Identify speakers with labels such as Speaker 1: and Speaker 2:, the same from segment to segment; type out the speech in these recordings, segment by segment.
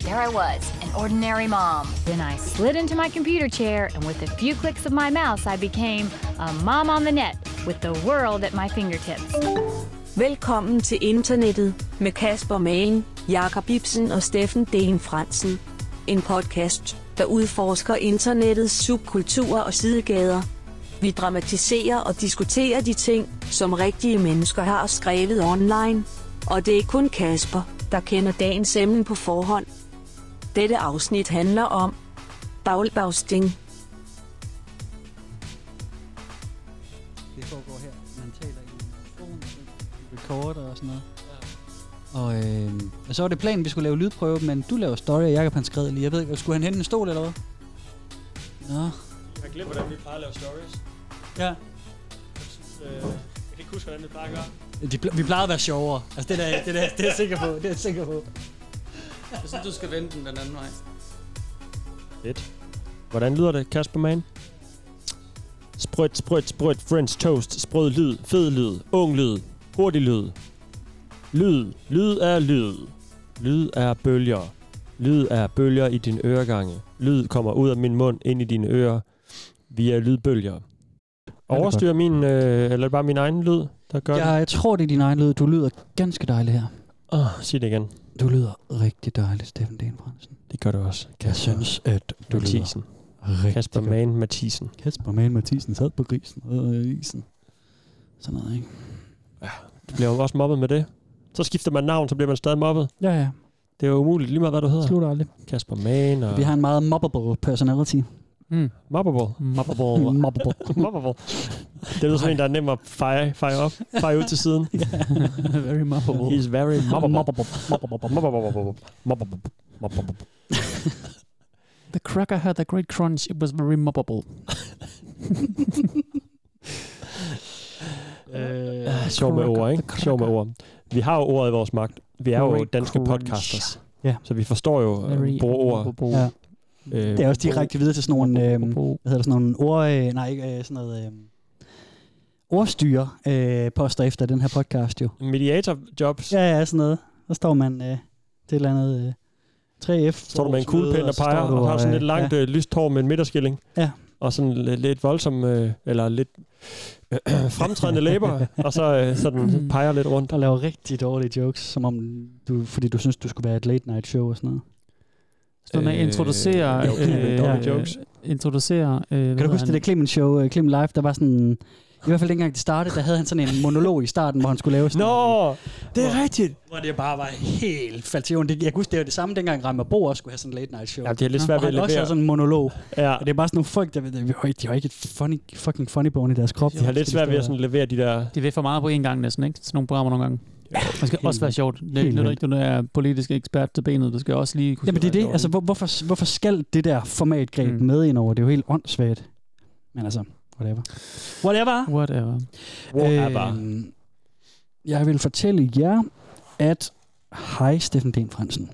Speaker 1: There I was, an ordinary mom. Then I slid into my computer chair, and with a few clicks of my mouse, I became a mom on the net with the world at my fingertips.
Speaker 2: Velkommen til internettet med Kasper Magen, Jakob Ibsen og Steffen Dane Fransen. En podcast, der udforsker internettets subkulturer og sidegader. Vi dramatiserer og diskuterer de ting, som rigtige mennesker har skrevet online. Og det er kun Kasper, der kender dagens emne på forhånd. Dette afsnit handler om baglbagsting.
Speaker 3: det foregår her. Man taler i en mikrofon, og så recorder og sådan noget. Og, øh, og så var det planen, vi skulle lave lydprøve, men du laver story, og Jacob han skred lige. Jeg ved ikke, skulle han hente en stol eller hvad? Nå,
Speaker 4: Jeg har glemt, hvordan vi plejer at lave stories.
Speaker 3: ja.
Speaker 4: Jeg, synes, øh, jeg kan ikke huske, hvordan vi plejer at gøre.
Speaker 3: De, pl- vi plejede at være sjovere. Altså, det, der, det, der, det er jeg sikker på. Det er jeg sikker på.
Speaker 5: Jeg synes, du skal vende den den anden vej.
Speaker 4: Fedt. Hvordan lyder det, Kasper Mann? Sprødt, sprødt, sprødt, french toast, sprød lyd, fed lyd, ung lyd, hurtig lyd. Lyd, lyd er lyd. Lyd er bølger. Lyd er bølger i din øregange. Lyd kommer ud af min mund ind i dine ører via lydbølger. Overstyrer min, øh, eller er det bare min egen lyd, der gør det?
Speaker 3: Jeg, jeg tror, det er din egen lyd. Du lyder ganske dejlig her.
Speaker 4: Oh, sig det igen.
Speaker 3: Du lyder rigtig dejlig, Steffen Dane Fransen.
Speaker 4: Det gør det også.
Speaker 3: Jeg synes, at du lyder
Speaker 4: Mathisen.
Speaker 3: rigtig
Speaker 4: Kasper
Speaker 3: godt.
Speaker 4: Mann Mathisen.
Speaker 3: Kasper Mann Mathisen sad på grisen og øh, isen. Sådan noget, ikke?
Speaker 4: Du bliver jo også mobbet med det. Så skifter man navn, så bliver man stadig mobbet.
Speaker 3: Ja, ja.
Speaker 4: Det er jo umuligt, lige meget hvad du hedder.
Speaker 3: Slutter aldrig.
Speaker 4: Kasper Mann og
Speaker 3: Vi har en meget mobbable personality.
Speaker 5: Mm.
Speaker 4: Mobbable.
Speaker 3: Mobbable. mobbable.
Speaker 4: Mobbable. Det er sådan en, der er nem at feje, feje op, feje ud til siden.
Speaker 3: Very mobbable.
Speaker 4: He's very mobbable.
Speaker 3: mobbable. mobbable.
Speaker 4: Mobbable. Mobbable. Mobbable.
Speaker 5: The cracker had a great crunch. It was very mobbable. Ah,
Speaker 4: Øh, Sjov med ord, ikke? Sjov med ord. Vi har jo ordet i vores magt. Vi er jo
Speaker 5: Great
Speaker 4: danske
Speaker 5: crunch.
Speaker 4: podcasters.
Speaker 3: Ja.
Speaker 4: Så vi forstår jo at bruge ord.
Speaker 3: Ja.
Speaker 4: Øh,
Speaker 3: Det er også direkte videre til sådan nogle, øh, hvad hedder det, sådan nogle ord, øh, nej, ikke, øh, sådan noget, øh, ordstyre øh, poster efter den her podcast jo.
Speaker 4: Mediator jobs.
Speaker 3: Ja, ja, sådan noget. Der står man øh, det eller andet øh, 3F.
Speaker 4: Så står du med en kuglepen og peger, og, og har sådan lidt langt ja. øh, lyst hår med en midterskilling.
Speaker 3: Ja.
Speaker 4: Og sådan lidt, lidt voldsom, øh, eller lidt øh, fremtrædende læber, og så øh, sådan peger lidt rundt.
Speaker 3: Mm. der laver rigtig dårlige jokes, som om du, fordi du synes, du skulle være et late night show og sådan noget.
Speaker 5: Så man
Speaker 4: Øh,
Speaker 5: introducerer...
Speaker 4: jo, kæmpe dårlige
Speaker 5: øh,
Speaker 4: jokes.
Speaker 5: Introducerer... Øh, hvad
Speaker 3: Kan du
Speaker 5: hedder
Speaker 3: huske det der
Speaker 5: han?
Speaker 3: Clemens show, øh, Clem Live, der var sådan, i hvert fald dengang det startede, der havde han sådan en monolog i starten, hvor han skulle lave sådan
Speaker 4: Nå, det er rigtigt.
Speaker 3: Hvor det bare var helt faldt til jorden. Det- Jeg kunne huske, det var det samme, dengang Reimer Bo også skulle have sådan en late night show.
Speaker 4: Ja, det er lidt
Speaker 5: Nå,
Speaker 4: svært
Speaker 3: og
Speaker 4: ved at
Speaker 3: han også
Speaker 4: levere.
Speaker 3: havde sådan en monolog.
Speaker 4: Ja,
Speaker 3: Og det er bare sådan nogle folk, der, der, der, der de har ikke et funny, fucking funny bone i deres krop.
Speaker 4: de har lidt svært ved at sådan levere de der...
Speaker 5: Det er for meget på én gang næsten, ikke? Sådan nogle programmer nogle gange. Det skal
Speaker 3: helt
Speaker 5: også være sjovt. Det
Speaker 3: Helt
Speaker 5: nytter
Speaker 3: vildt.
Speaker 5: ikke, når du er politisk ekspert til benet. Du skal også lige kunne...
Speaker 3: Jamen det er det, altså hvor, hvorfor, hvorfor skal det der formatgreb
Speaker 5: Mm.
Speaker 3: mm. med ind over? Det er jo helt åndssvagt. Men altså, whatever. Whatever!
Speaker 5: Whatever.
Speaker 4: Whatever.
Speaker 3: Øhm, jeg vil fortælle jer, at hej Steffen Den Fransen.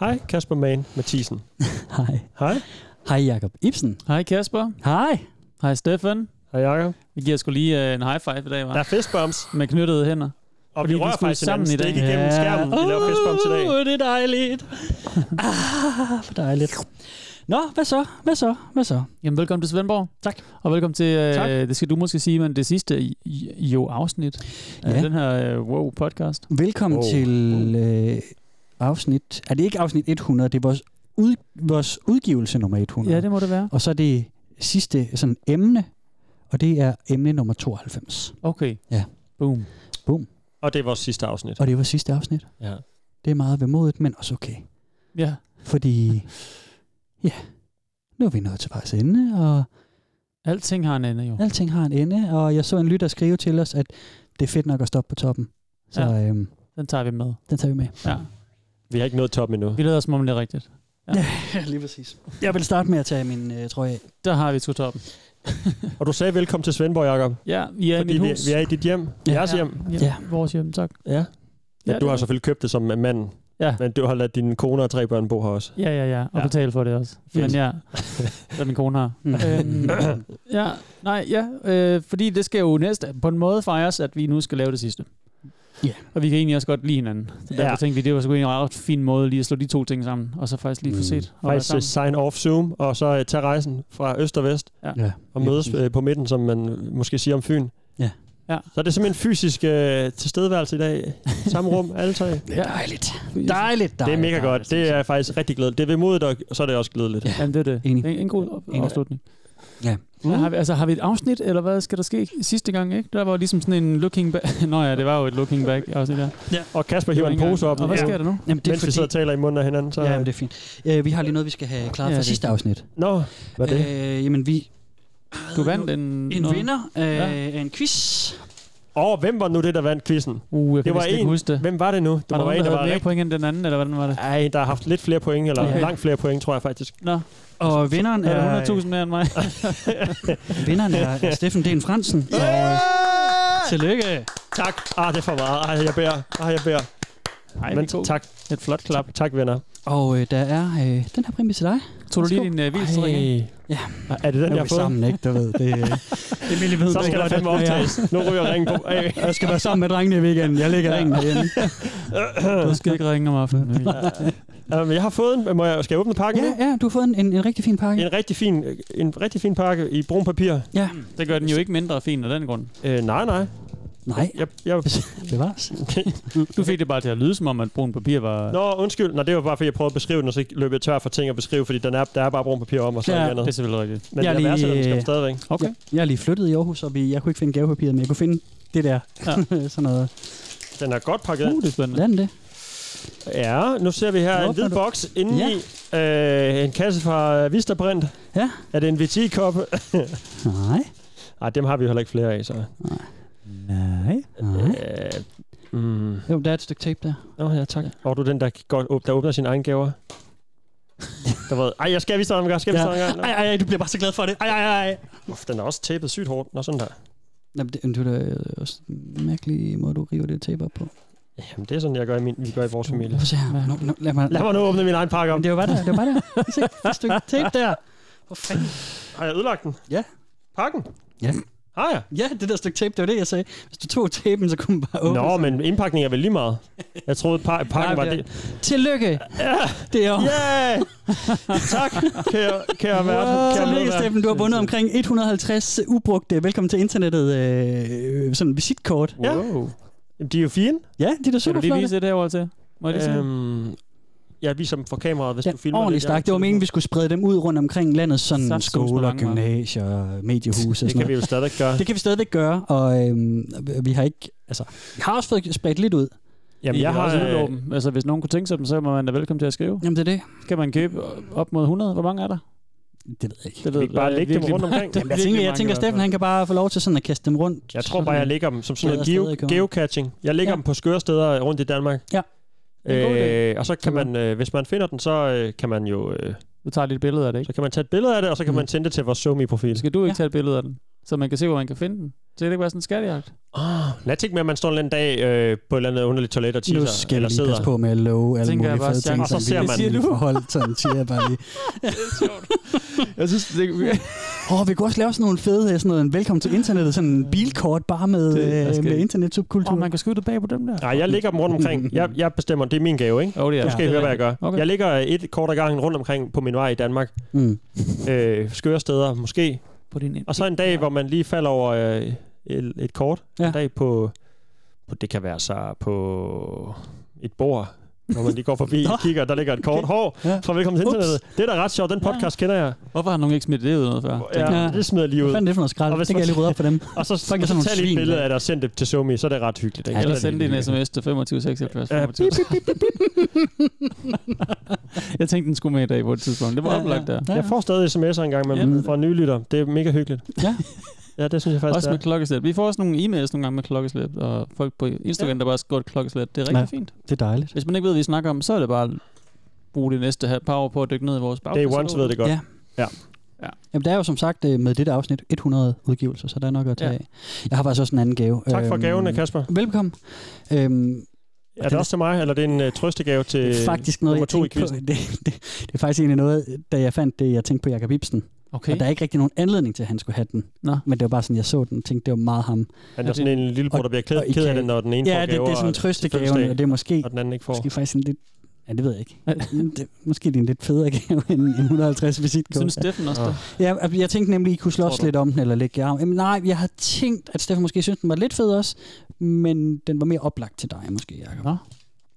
Speaker 4: Hej Kasper Mann Mathisen.
Speaker 3: Hej.
Speaker 4: Hej.
Speaker 3: Hej Jakob Ibsen.
Speaker 5: Hej Kasper.
Speaker 3: Hej.
Speaker 5: Hej Stefan.
Speaker 4: Hej Jacob.
Speaker 5: Vi giver sgu lige øh, en high five i dag, var?
Speaker 4: Der er fistbumps,
Speaker 5: Med knyttede hænder.
Speaker 4: og
Speaker 5: Fordi
Speaker 4: vi
Speaker 5: vi
Speaker 4: rører
Speaker 5: skulle
Speaker 4: faktisk sammen
Speaker 5: sammen
Speaker 4: i
Speaker 5: i dag.
Speaker 4: dag. igennem
Speaker 3: Ja.
Speaker 4: skærmen. Vi laver fistbumps i dag.
Speaker 3: Åh, det er dejligt. Ah, for dejligt. Nå, hvad så? Hvad så? Hvad så?
Speaker 5: Jamen, velkommen til Svendborg.
Speaker 3: Tak.
Speaker 5: Og velkommen til,
Speaker 4: Tak.
Speaker 5: øh, det skal du måske sige, men det sidste i- i- jo afsnit af
Speaker 3: Ja.
Speaker 5: den her øh, wow podcast.
Speaker 3: Velkommen
Speaker 4: Wow.
Speaker 3: wow. til øh, afsnit... Er det ikke afsnit 100? Det er vores, ud, vores udgivelse nummer 100.
Speaker 5: Ja, det må det være.
Speaker 3: Og så er det sidste sådan emne, og det er emne nummer 92.
Speaker 5: Okay.
Speaker 3: Ja.
Speaker 5: Boom.
Speaker 4: Og det er vores sidste afsnit.
Speaker 3: Og det var sidste afsnit.
Speaker 4: Ja.
Speaker 3: Det er meget vemodigt, men også okay.
Speaker 5: Ja.
Speaker 3: Fordi, ja, nu er vi nået til vejs ende, og
Speaker 5: Alting har en ende, jo.
Speaker 3: alting har en ende, og jeg så en lytter skrive til os, at det er fedt nok at stoppe på toppen. Så
Speaker 5: Ja.
Speaker 3: ja. øhm,
Speaker 5: Den tager vi med.
Speaker 3: den tager vi med.
Speaker 5: Ja.
Speaker 4: Vi har ikke nået toppen endnu.
Speaker 5: Vi lader som om det er rigtigt.
Speaker 3: Lige præcis. Jeg vil starte med at tage min øh, trøje af.
Speaker 5: Der har vi sgu toppen.
Speaker 4: Og du sagde velkommen til Svendborg, Jacob.
Speaker 5: Ja, vi er
Speaker 4: Fordi
Speaker 5: i mit
Speaker 4: vi,
Speaker 5: hus.
Speaker 4: vi er i dit hjem. Jeres hjem.
Speaker 5: Ja.
Speaker 3: Ja.
Speaker 5: ja. Vores hjem, tak.
Speaker 4: Ja.
Speaker 5: Ja,
Speaker 4: ja du
Speaker 5: det
Speaker 4: har
Speaker 5: er-
Speaker 4: selvfølgelig købt det som mand,
Speaker 5: Ja.
Speaker 4: men du har ladt dine kone og tre børn bo her også.
Speaker 5: Ja, ja, ja. Og
Speaker 4: Ja.
Speaker 5: ja. betale for det også.
Speaker 4: Fedt.
Speaker 5: Men ja, hvad min kone har.
Speaker 3: Mm.
Speaker 5: øhm, ja, nej, ja. Øh, fordi det skal jo næste på en måde fejres, at vi nu skal lave det sidste. Yeah. Og vi kan egentlig også godt lide hinanden. Så derfor
Speaker 4: Ja.
Speaker 5: ja. tænkte vi, det var sgu en ret fin måde lige at slå de to ting sammen, og så faktisk lige få set. Og
Speaker 4: Faktisk øh,
Speaker 5: være sammen.
Speaker 4: sign off Zoom, og så øh, tage rejsen fra øst og vest,
Speaker 5: Ja.
Speaker 3: Ja,
Speaker 4: og
Speaker 3: lige
Speaker 4: mødes
Speaker 3: præcis.
Speaker 4: øh, på midten, som man øh, måske siger om Fyn.
Speaker 3: Ja.
Speaker 5: Ja.
Speaker 4: Så er det simpelthen fysisk øh, tilstedeværelse i dag. Samme rum, alle tre. Det
Speaker 3: Det er dejligt. Dejligt, dejligt.
Speaker 4: er mega
Speaker 3: dejligt.
Speaker 4: godt. Det er faktisk rigtig glædeligt. Det er vemodigt, og så er det også glædeligt.
Speaker 3: Ja.
Speaker 5: Jamen, det er det.
Speaker 3: Enig.
Speaker 5: Det er en god op-
Speaker 3: Enig.
Speaker 5: afslutning.
Speaker 3: Ja.
Speaker 5: Mm. Har, vi, altså, har vi et afsnit, eller hvad skal der ske sidste gang? Ikke? Der var jo ligesom sådan en looking back. Nå ja, det var jo et looking back afsnit der.
Speaker 4: Og Kasper hiver en pose op,
Speaker 5: Og hvad
Speaker 4: ja.
Speaker 5: sker der nu?
Speaker 3: Jamen, det er
Speaker 4: mens vi
Speaker 3: fordi...
Speaker 4: sidder og taler i munden af hinanden. Så...
Speaker 3: Ja, men det er fint. Øh, vi har lige noget, vi skal have klaret
Speaker 5: Ja,
Speaker 3: ja, fra
Speaker 5: det er
Speaker 3: sidste
Speaker 5: fint.
Speaker 3: afsnit.
Speaker 4: Nå, hvad er det?
Speaker 3: Øh, jamen, vi...
Speaker 5: Du vandt en...
Speaker 3: En
Speaker 5: noget.
Speaker 3: vinder af
Speaker 5: Ja.
Speaker 3: ja. en quiz.
Speaker 4: Og hvem var nu det, der vandt quizzen?
Speaker 5: Uh, jeg kan
Speaker 4: Det var
Speaker 5: næsten ikke
Speaker 4: en-
Speaker 5: huske det.
Speaker 4: Hvem var det nu? Det
Speaker 5: var der
Speaker 4: må
Speaker 5: nogen,
Speaker 4: være en,
Speaker 5: der
Speaker 4: der
Speaker 5: havde
Speaker 4: var
Speaker 5: mere
Speaker 4: rigtig...
Speaker 5: point end den anden, eller hvordan var det?
Speaker 4: Ej, der har haft lidt flere point, eller
Speaker 5: Ja.
Speaker 4: langt flere point, tror jeg faktisk.
Speaker 5: Nå,
Speaker 3: Og vinderen
Speaker 5: er
Speaker 3: er,
Speaker 5: der 100.000 mere end mig?
Speaker 3: vinderen er, er Steffen Den Fransen. Og tillykke.
Speaker 4: Tak. Ah, det er for meget. Ej, jeg bærer. Ah, jeg bærer.
Speaker 5: Ej,
Speaker 4: Men
Speaker 5: det er god.
Speaker 4: tak,
Speaker 5: Et flot klap.
Speaker 4: tak, tak, venner.
Speaker 3: Og øh, der er øh, den her præmie til dig.
Speaker 5: Tog du lige din øh, vildstræk?
Speaker 3: Ja.
Speaker 4: Er det den,
Speaker 3: Nu
Speaker 4: jeg
Speaker 3: er
Speaker 4: har
Speaker 3: vi
Speaker 4: fået?
Speaker 3: sammen, ikke? Du ved, det, øh, det vil jeg vide.
Speaker 4: Så skal der fandme optages. Nu ryger ringen på. Ej.
Speaker 3: Jeg skal være sammen med drengene i weekenden. Jeg lægger ringen herhjemme.
Speaker 5: Du skal ikke ringe om aftenen. Mikkel.
Speaker 4: Øhm, Jeg har fået en... Må jeg, skal jeg åbne pakken
Speaker 3: Ja,
Speaker 4: nu?
Speaker 3: ja, du har fået en, en, en rigtig fin pakke.
Speaker 4: En rigtig, fin, en rigtig fin pakke i brun papir.
Speaker 3: Ja.
Speaker 5: Det gør den jo ikke mindre fin af den grund.
Speaker 4: Øh, nej, nej.
Speaker 3: Nej,
Speaker 4: Jeg, jeg,
Speaker 3: det var os.
Speaker 5: Du fik det bare til at lyde som om, at brun papir var...
Speaker 4: Nå, undskyld. Nå, det var bare, fordi jeg prøvede at beskrive den, og så løb jeg tør for ting at beskrive, fordi den er, der er bare brun papir om og sådan
Speaker 3: Ja.
Speaker 4: ja.
Speaker 5: Det er
Speaker 4: andet.
Speaker 5: selvfølgelig rigtigt.
Speaker 4: Men
Speaker 3: Jeg
Speaker 4: jeg, jeg
Speaker 3: lige-
Speaker 4: værdsætter den skam stadigvæk.
Speaker 5: Okay.
Speaker 3: Ja, jeg er lige flyttet i Aarhus, og vi, jeg kunne ikke finde gavepapiret, men jeg kunne finde det der. Ja. Sådan noget.
Speaker 4: Den er godt pakket.
Speaker 5: Uh,
Speaker 4: ind.
Speaker 5: det er spændende.
Speaker 3: Lad den det.
Speaker 4: Ja, nu ser vi her
Speaker 3: Nå,
Speaker 4: en hvid
Speaker 3: kan du-
Speaker 4: boks indeni. Øh, en kasse fra øh, Vista Brint.
Speaker 3: Ja.
Speaker 4: Er det en VT-kop?
Speaker 3: Nej.
Speaker 4: Nej, dem har vi jo heller ikke flere af, så...
Speaker 3: Nej. Nej.
Speaker 4: Øh, mm.
Speaker 3: Jo, der er et stykke tape der.
Speaker 4: Nå, ja, tak. Og du er den, der, går, åb- der åbner sine egne gaver? der var, ej, jeg skal vise dig en gang. Skal jeg vise dig en gang?
Speaker 3: ej, ej, du bliver bare så glad for det. Ej, ej, ej.
Speaker 4: Uff, den er også tapet sygt hårdt. Nå, sådan der.
Speaker 3: Nå, men det, men det er da øh, også en mærkelig måde, du river det tape op på.
Speaker 4: Jamen, det er sådan, jeg gør i, min, vi gør i vores familie.
Speaker 3: Prøv at se her. Nå, nå, lad mig...
Speaker 4: Lad mig nu åbne min egen pakke om.
Speaker 3: Jamen, det var bare der. Det var bare der. Se, et stykke tape der. Hvor fanden?
Speaker 4: Har jeg ødelagt den?
Speaker 3: Ja.
Speaker 4: Pakken?
Speaker 3: Ja.
Speaker 4: Har jeg?
Speaker 3: Ja, det der stykke tape, det var det, jeg sagde. Hvis du tog tapen, så kunne man bare åbne.
Speaker 4: Nå, men indpakning er vel lige meget. Jeg troede, pa- pakken var
Speaker 3: det-
Speaker 4: det.
Speaker 3: Tillykke. Det er
Speaker 4: Ja! Yeah! tak, kære, kære verden. Kære
Speaker 3: Tillykke,
Speaker 4: medverden.
Speaker 3: Steffen. Du har vundet omkring 150 ubrugte velkommen til internettet øh, sådan visitkort.
Speaker 4: Ja. Jamen, De er jo fine.
Speaker 3: Ja, de er da
Speaker 5: Kan du
Speaker 3: super
Speaker 5: lige
Speaker 3: flotte.
Speaker 5: vise det derovre til? Må jeg lige se?
Speaker 4: Øhm, jeg viser dem for kameraet, hvis
Speaker 3: Ja,
Speaker 4: du filmer
Speaker 3: ordentligt
Speaker 4: det. Jeg-
Speaker 3: stak. Det var meningen, vi skulle sprede dem ud rundt omkring landet, sådan
Speaker 5: Saftsus med
Speaker 3: skoler,
Speaker 5: mange, hva'?
Speaker 3: gymnasier, mediehuse og
Speaker 4: Det
Speaker 3: sådan
Speaker 4: kan vi
Speaker 3: noget.
Speaker 4: jo stadig gøre.
Speaker 3: Det kan vi stadigvæk gøre, og øhm, vi har ikke, altså, vi har også fået spredt lidt ud.
Speaker 4: Jamen, jeg har... øh,
Speaker 5: Øh... Altså, hvis nogen kunne tænke sig dem, så er man da velkommen til at skrive.
Speaker 3: Jamen, det er det.
Speaker 5: Kan man købe op mod 100? Hvor mange er der?
Speaker 3: Det ved jeg ikke.
Speaker 5: Det
Speaker 4: vi ikke bare
Speaker 5: jeg
Speaker 4: lægge dem
Speaker 5: virkelig
Speaker 4: rundt
Speaker 5: mange.
Speaker 4: omkring?
Speaker 5: Det er
Speaker 3: Jamen, jeg
Speaker 5: virkelig
Speaker 3: tænker, jeg
Speaker 5: mange
Speaker 3: tænker
Speaker 5: i hvert fald.
Speaker 3: Steffen, han kan bare få lov til sådan at kaste dem rundt.
Speaker 4: Jeg tror bare, jeg lægger dem som sådan
Speaker 3: Ja,
Speaker 4: en
Speaker 3: der er
Speaker 4: geo,
Speaker 3: stadig kommer.
Speaker 4: geocaching. Jeg lægger
Speaker 3: Ja.
Speaker 4: dem på skøre steder rundt i Danmark.
Speaker 3: Ja.
Speaker 5: Det er en god
Speaker 4: Øh, og så kan man, øh, hvis man finder den, så øh, kan man jo øh,
Speaker 5: Du tager lidt billede af det, ikke?
Speaker 4: så kan man tage et billede af det, og så kan
Speaker 3: Mm.
Speaker 4: man sende det til vores Zoom-profil.
Speaker 5: Skal du ikke
Speaker 3: Ja.
Speaker 5: tage et billede af den? Så man kan se, hvor man kan finde den. Så det kan ikke være sådan en skattejagt.
Speaker 4: Oh, lad os tænke med, at man står en eller anden dag øh, på et eller andet underligt toilet og
Speaker 3: Nu
Speaker 4: tisser,
Speaker 3: skal
Speaker 4: eller
Speaker 3: jeg lige
Speaker 4: sidder.
Speaker 3: passe på med at love alle
Speaker 5: Tænker jeg
Speaker 3: mulige
Speaker 5: bare,
Speaker 3: fede ting,
Speaker 5: Jacob,
Speaker 4: så
Speaker 3: som
Speaker 4: ser
Speaker 3: vi
Speaker 4: man-
Speaker 3: lige
Speaker 5: Siger du?
Speaker 3: forhold. Sådan siger jeg bare lige.
Speaker 5: Jeg synes, det er...
Speaker 3: Åh, oh, vi kunne også lave sådan nogle fede, øh, sådan noget, en velkommen til internettet, sådan en bilkort bare med,
Speaker 5: Det- jeg
Speaker 3: det,
Speaker 5: skal-
Speaker 3: med internetsubkultur. Mm.
Speaker 5: Åh, man kan skyde det bag på dem der.
Speaker 4: Nej, jeg lægger dem rundt omkring. Jeg, jeg bestemmer, det er min gave, ikke?
Speaker 5: Åh, oh, det er
Speaker 4: Nu skal I høre, hvad jeg gør.
Speaker 5: Okay.
Speaker 4: Jeg lægger øh, et kort ad gangen rundt omkring på min vej i Danmark.
Speaker 3: mm.
Speaker 4: Øh, skøre steder, måske.
Speaker 5: På din ind.
Speaker 4: Og så en dag, hvor man lige falder over øh, et, et kort. Ja.
Speaker 3: Ja.
Speaker 4: En dag på, på, det kan være så på et bord, hvor man lige går forbi og kigger, der ligger et kort. Hår,
Speaker 3: Ja.
Speaker 4: fra velkommen til
Speaker 3: Ups.
Speaker 4: internettet. Det er da ret sjovt, den podcast kender jeg.
Speaker 5: Hvorfor har nogen ikke smidt det ud noget før?
Speaker 4: Ja,
Speaker 3: Ja.
Speaker 4: det smider jeg lige
Speaker 3: Hvad
Speaker 4: ud.
Speaker 3: fanden er det for noget skrald?
Speaker 4: Og hvis
Speaker 3: Det kan
Speaker 4: man-
Speaker 3: jeg lige rydde op for dem.
Speaker 4: Og så, så,
Speaker 3: sådan
Speaker 4: så
Speaker 3: nogle
Speaker 4: tag lige et
Speaker 3: svin,
Speaker 4: billede
Speaker 3: der.
Speaker 4: af det og send det til Somi, så er det ret hyggeligt. Ikke?
Speaker 3: Ja,
Speaker 5: Eller
Speaker 4: det
Speaker 5: send en sms til 25 76 25. Jeg tænkte, den skulle med i dag på et tidspunkt. Det var oplagt der.
Speaker 3: Ja,
Speaker 4: Jeg får stadig sms'er en gang imellem
Speaker 5: Ja.
Speaker 4: fra nylytter. Det er mega hyggeligt.
Speaker 3: Ja.
Speaker 4: Ja, det synes jeg faktisk,
Speaker 5: Også med
Speaker 4: det er.
Speaker 5: klokkeslæt. Vi får også nogle e-mails nogle gange med klokkeslæt, og folk på Instagram, der bare skriver et klokkeslæt. Det er rigtig fint.
Speaker 3: Det er dejligt.
Speaker 5: Hvis man ikke ved, hvad vi snakker om, så er det bare at bruge det næste halv par år på at dykke ned i vores bagkasse.
Speaker 4: Day Ones ved det godt.
Speaker 3: Ja. Jamen, der er jo som sagt øh, med dette afsnit 100 udgivelser, så der er nok at tage
Speaker 5: Ja.
Speaker 3: af. Jeg har faktisk også en anden gave.
Speaker 4: Tak for
Speaker 3: Øhm,
Speaker 4: gavene, Kasper.
Speaker 3: Velkommen. Øhm,
Speaker 4: Er det også til mig, eller er det en uh, trøstegave til
Speaker 3: det er faktisk noget,
Speaker 4: nummer
Speaker 3: jeg
Speaker 4: to i
Speaker 3: tænkte på.
Speaker 4: quizzen?
Speaker 3: Det, det, det, er faktisk egentlig noget, da jeg fandt det, jeg tænkte på Jakob Ibsen.
Speaker 5: Okay.
Speaker 3: Og der er ikke rigtig nogen anledning til, at han skulle have den.
Speaker 5: Nå.
Speaker 3: Men det var bare sådan, jeg så den og tænkte, det var meget ham.
Speaker 4: Han er sådan en lillebror, der bliver ked,
Speaker 3: og I
Speaker 4: ked af
Speaker 3: kan-
Speaker 4: det, når den ene
Speaker 3: ja,
Speaker 4: får
Speaker 3: det,
Speaker 4: gaver,
Speaker 3: det er sådan en
Speaker 4: til
Speaker 3: trøstegaven,
Speaker 4: fødselsdag,
Speaker 3: og det er måske,
Speaker 4: og den anden ikke får.
Speaker 3: måske faktisk en lidt... Ja, det ved jeg ikke. det, måske det er en lidt federe gave end en 150 visitkort.
Speaker 5: Synes Steffen også det?
Speaker 3: Ja, altså, jeg tænkte nemlig, I kunne slås
Speaker 5: Tror du?
Speaker 3: lidt om den, eller lægge jer om. Jamen, nej, jeg havde tænkt, at Steffen måske synes, den var lidt fed også, men den var mere oplagt til dig, måske, Jacob.
Speaker 5: Nå.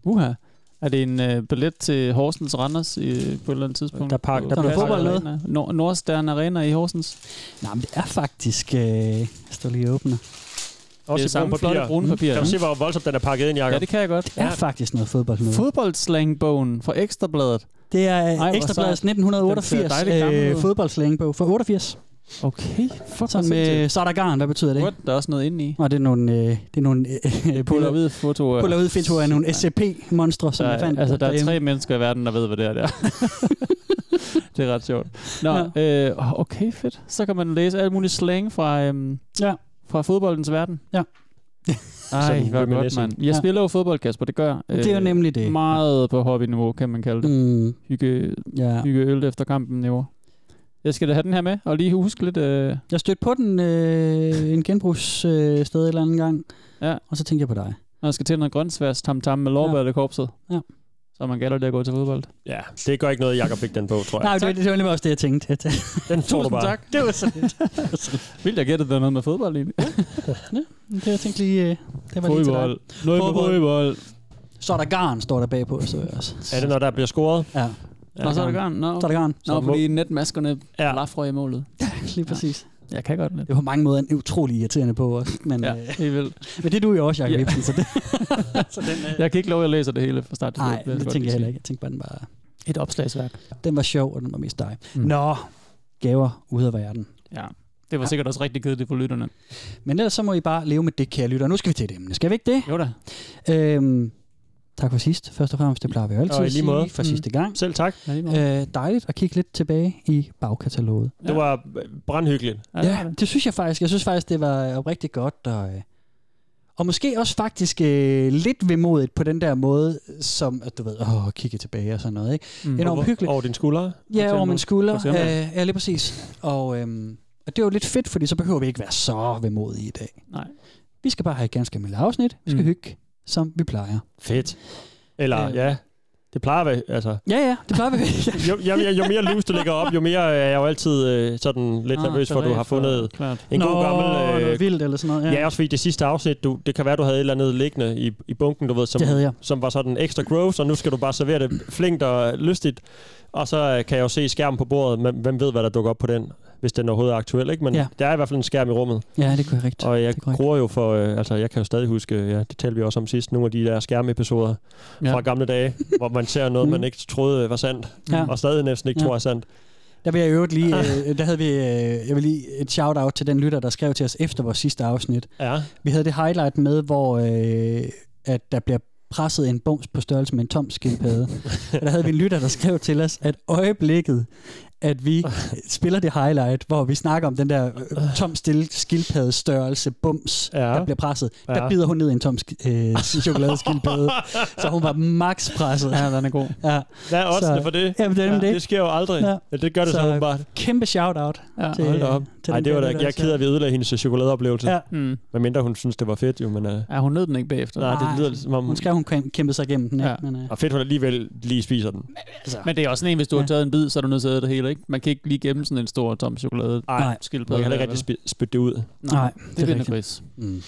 Speaker 5: Uha. Er det en øh, billet til Horsens Randers i, på et eller andet tidspunkt?
Speaker 3: Der pak-
Speaker 5: På-
Speaker 3: der
Speaker 5: på
Speaker 3: bliver
Speaker 5: Nordstern
Speaker 3: fodbold med.
Speaker 5: Arena. Nord- Nordstern Arena i Horsens.
Speaker 3: Nej, men det er faktisk... Øh, jeg står lige og åbner.
Speaker 5: det er samme flotte brune papir.
Speaker 4: Mm. Kan du
Speaker 5: ikke?
Speaker 4: se, hvor voldsomt den er pakket ind, Jacob?
Speaker 5: Ja, det kan jeg godt.
Speaker 3: Det er faktisk noget fodbold nu.
Speaker 5: Fodboldslangbogen fra Ekstrabladet.
Speaker 3: Det er
Speaker 5: hvor
Speaker 3: øh, Ekstrabladets
Speaker 5: sejt. Den ser
Speaker 3: 1988
Speaker 5: dejligt gammel
Speaker 3: øh,
Speaker 5: ud.
Speaker 3: fodboldslangebog fra 88.
Speaker 5: Okay, fuck
Speaker 3: Sådan med Sardagarn, hvad betyder det?
Speaker 5: What? Der er også noget inde i.
Speaker 3: Og det er nogle, øh, det er nogle øh,
Speaker 5: Puller
Speaker 3: puller
Speaker 5: ud fotoer.
Speaker 3: ud fedt af nogle SCP-monstre, som
Speaker 5: der,
Speaker 3: jeg fandt.
Speaker 5: altså, der er
Speaker 3: derhjemme.
Speaker 5: tre mennesker i verden, der ved, hvad det er der. det er ret sjovt. Nå, ja. øh, okay, fedt. Så kan man læse alt muligt slang fra, øhm,
Speaker 3: Ja.
Speaker 5: fra fodboldens verden.
Speaker 3: Ja.
Speaker 5: Ej,
Speaker 4: Sådan
Speaker 5: hvor godt,
Speaker 4: reminiscing.
Speaker 5: mand. Jeg
Speaker 3: Ja.
Speaker 5: spiller jo fodbold, Kasper, det gør jeg.
Speaker 3: Det er jo
Speaker 5: Øh,
Speaker 3: nemlig det.
Speaker 5: Meget på hobbyniveau, kan man kalde det.
Speaker 3: Mm,
Speaker 5: Hygge,
Speaker 3: ja.
Speaker 5: hygge øl efter kampen niveau. Jeg skal da have den her med, og lige huske lidt. Øh,
Speaker 3: Jeg stødte på den øh, en genbrugssted øh, sted et eller andet gang,
Speaker 5: Ja.
Speaker 3: og så tænkte jeg på dig.
Speaker 5: når jeg skal til noget grøntsværs tam tam med lårbærtekorpset.
Speaker 3: Ja.
Speaker 5: Så man gælder det at gå til fodbold.
Speaker 4: Ja, det gør ikke noget, Jacob fik den på, tror jeg.
Speaker 3: Nej, det, det var nemlig også det, jeg tænkte. At,
Speaker 4: Den tror du bare.
Speaker 5: tak.
Speaker 3: det var så lidt.
Speaker 5: Vildt, jeg gættede, der er noget med fodbold i det.
Speaker 3: Det, jeg tænkte lige, øh, det var lige til dig.
Speaker 5: Fodbold. Noget med
Speaker 3: Fodbold.
Speaker 5: fodbold.
Speaker 3: Så er der garn, står der bagpå, så jeg også.
Speaker 4: Er det, når der bliver scoret?
Speaker 3: Ja,
Speaker 5: Nå, så er det garn. Nå,
Speaker 3: så er der garn.
Speaker 5: Nå
Speaker 4: Så må-
Speaker 5: fordi netmaskerne
Speaker 4: Ja.
Speaker 5: ja. lafrer i målet.
Speaker 3: Lige præcis.
Speaker 5: Jeg kan godt lidt.
Speaker 3: Det er på mange måder en utrolig irriterende på også. Men,
Speaker 5: Ja,
Speaker 3: ja. øh,
Speaker 5: helt vildt.
Speaker 3: men det er du jo også, Jacob
Speaker 5: Ja.
Speaker 3: Ibsen, så det, så den, øh,
Speaker 5: Jeg kan ikke love, at jeg læser det hele fra start til slut.
Speaker 3: nej,
Speaker 5: vil
Speaker 3: det
Speaker 5: godt
Speaker 3: tænker jeg
Speaker 5: lige
Speaker 3: heller
Speaker 5: sige.
Speaker 3: ikke. Jeg tænkte bare, den var,
Speaker 5: Et opslagsværk.
Speaker 3: den var sjov, og den var mest dig.
Speaker 5: Mm.
Speaker 3: Mm. Nå, gaver ude af verden.
Speaker 5: Ja. Det var sikkert også rigtig kedeligt for lytterne.
Speaker 3: Men ellers så må I bare leve med det, kære lytter. Nu skal vi til et emne. Skal vi ikke det?
Speaker 5: Jo da.
Speaker 3: Øhm, tak for sidst. Først og fremmest, det plejer vi jo altid
Speaker 4: Og i
Speaker 3: at
Speaker 4: lige måde. Mm.
Speaker 3: sige for sidste gang.
Speaker 4: Selv tak.
Speaker 5: Ja, lige meget.
Speaker 3: Øh, dejligt at kigge lidt tilbage i bagkataloget.
Speaker 4: Det
Speaker 5: Ja.
Speaker 4: var brandhyggeligt.
Speaker 5: Ja, det var
Speaker 3: Ja,
Speaker 5: det.
Speaker 3: det synes jeg faktisk. Jeg synes faktisk, det var rigtig godt. Og, øh, og måske også faktisk øh, lidt vemodigt på den der måde, som at du ved, åh, kigge tilbage og sådan noget. Ikke?
Speaker 5: Mm.
Speaker 3: Enormt
Speaker 4: Over-
Speaker 3: hyggeligt.
Speaker 4: Over din skulder.
Speaker 5: På den
Speaker 3: Ja, over
Speaker 5: måde.
Speaker 3: min skulder.
Speaker 5: For
Speaker 3: Øh,
Speaker 5: eksempel.
Speaker 3: ja, lige præcis. Og, øhm, og det er jo lidt fedt, fordi så behøver vi ikke være så vemodige i dag.
Speaker 5: Nej.
Speaker 3: Vi skal bare have et ganske almindeligt afsnit. Vi skal
Speaker 5: Mm.
Speaker 3: mm. hygge, som vi plejer.
Speaker 4: Fedt. Eller,
Speaker 3: Øh.
Speaker 4: ja. Det plejer at være, altså.
Speaker 3: Ja, ja, det plejer vi.
Speaker 4: Jo, jo, jo, jo mere loose du lægger op, jo mere er jeg jo altid øh, sådan lidt
Speaker 5: Ah,
Speaker 4: nervøs for, at du har
Speaker 5: beredt for-
Speaker 4: fundet
Speaker 5: Klart.
Speaker 4: en god gammel... øh,
Speaker 3: noget vildt eller sådan noget. øh, Ja.
Speaker 4: Ja, også fordi det sidste afsnit, du, det kan være, du havde et eller andet liggende i, i bunken, du ved, som,
Speaker 3: Det havde jeg.
Speaker 4: som var sådan ekstra gross, og nu skal du bare servere det flinkt og lystigt. Og så øh, kan jeg jo se skærmen på bordet, men hvem ved, hvad der dukker op på den, hvis den overhovedet er aktuel, ikke? Men ja.
Speaker 3: Ja.
Speaker 4: der er i hvert fald en skærm i rummet,
Speaker 3: ja, det kunne jeg rigtigt.
Speaker 4: og jeg
Speaker 3: Det er korrekt.
Speaker 4: gruer jo for, øh, altså jeg kan jo stadig huske, ja, det talte vi også om sidst, nogle af de der skærmepisoder ja. fra gamle dage, hvor man ser noget, man ikke troede øh, var sandt,
Speaker 3: Mm. Ja.
Speaker 4: og stadig næsten ikke ja.
Speaker 3: Ja.
Speaker 4: tror er sandt.
Speaker 3: Der vil jeg i øvrigt lige, øh, der havde vi, øh, jeg vil lige et shout-out til den lytter, der skrev til os efter vores sidste afsnit.
Speaker 4: Ja,
Speaker 3: Vi havde det highlight med, hvor øh, at der bliver presset en bums på størrelse med en tom skildpadde. og der havde vi en lytter, der skrev til os, at øjeblikket, at vi spiller det highlight, hvor vi snakker om den der øh, tom stille skildpadde størrelse bums,
Speaker 4: Ja.
Speaker 3: ja. der bliver presset. Der
Speaker 4: Ja.
Speaker 3: bider hun ned i en tom sk- øh, chokoladeskildpadde. så hun var max presset.
Speaker 5: Ja, den er god.
Speaker 3: Ja.
Speaker 4: hvad er
Speaker 3: Så-
Speaker 4: også for det?
Speaker 3: Jamen, det er nemlig
Speaker 4: Det
Speaker 3: det.
Speaker 4: sker jo aldrig,
Speaker 3: Ja.
Speaker 4: ja. det gør det så,
Speaker 3: Så-
Speaker 4: så åbenbart.
Speaker 3: Kæmpe shout-out.
Speaker 5: Ja.
Speaker 3: til,
Speaker 4: hold da op.
Speaker 3: til
Speaker 4: Nej,
Speaker 3: den
Speaker 4: det var da
Speaker 3: der
Speaker 4: ikke.
Speaker 3: lytter,
Speaker 4: Jeg er
Speaker 3: der
Speaker 4: ked af, at vi ødelagde hendes chokoladeoplevelse. Ja.
Speaker 3: Ja.
Speaker 5: Mm.
Speaker 4: Medmindre hun synes, det var fedt, jo, men... Uh,
Speaker 5: Ja, hun nød den ikke bagefter.
Speaker 4: nej, det
Speaker 3: Nej.
Speaker 4: lyder som om...
Speaker 3: Hun skrev, hun kæm- kæmpede sig igennem den. Ja.
Speaker 5: Ja.
Speaker 3: Men, øh,
Speaker 4: Og fedt, hun alligevel lige spiser den.
Speaker 3: altså,
Speaker 5: Men det er også sådan en, hvis du har
Speaker 3: Ja.
Speaker 5: taget en bid, så er du nødt til at æde det hele, ikke? Man kan ikke lige gemme sådan en stor tom chokolade.
Speaker 3: Nej.
Speaker 4: Man
Speaker 5: skildpadde.
Speaker 4: kan heller
Speaker 5: der,
Speaker 4: ikke
Speaker 5: vel?
Speaker 4: rigtig spi- spytte det ud.
Speaker 3: Nej,
Speaker 5: det,
Speaker 3: det er
Speaker 5: det er
Speaker 3: rigtigt.
Speaker 5: gris.
Speaker 3: mm.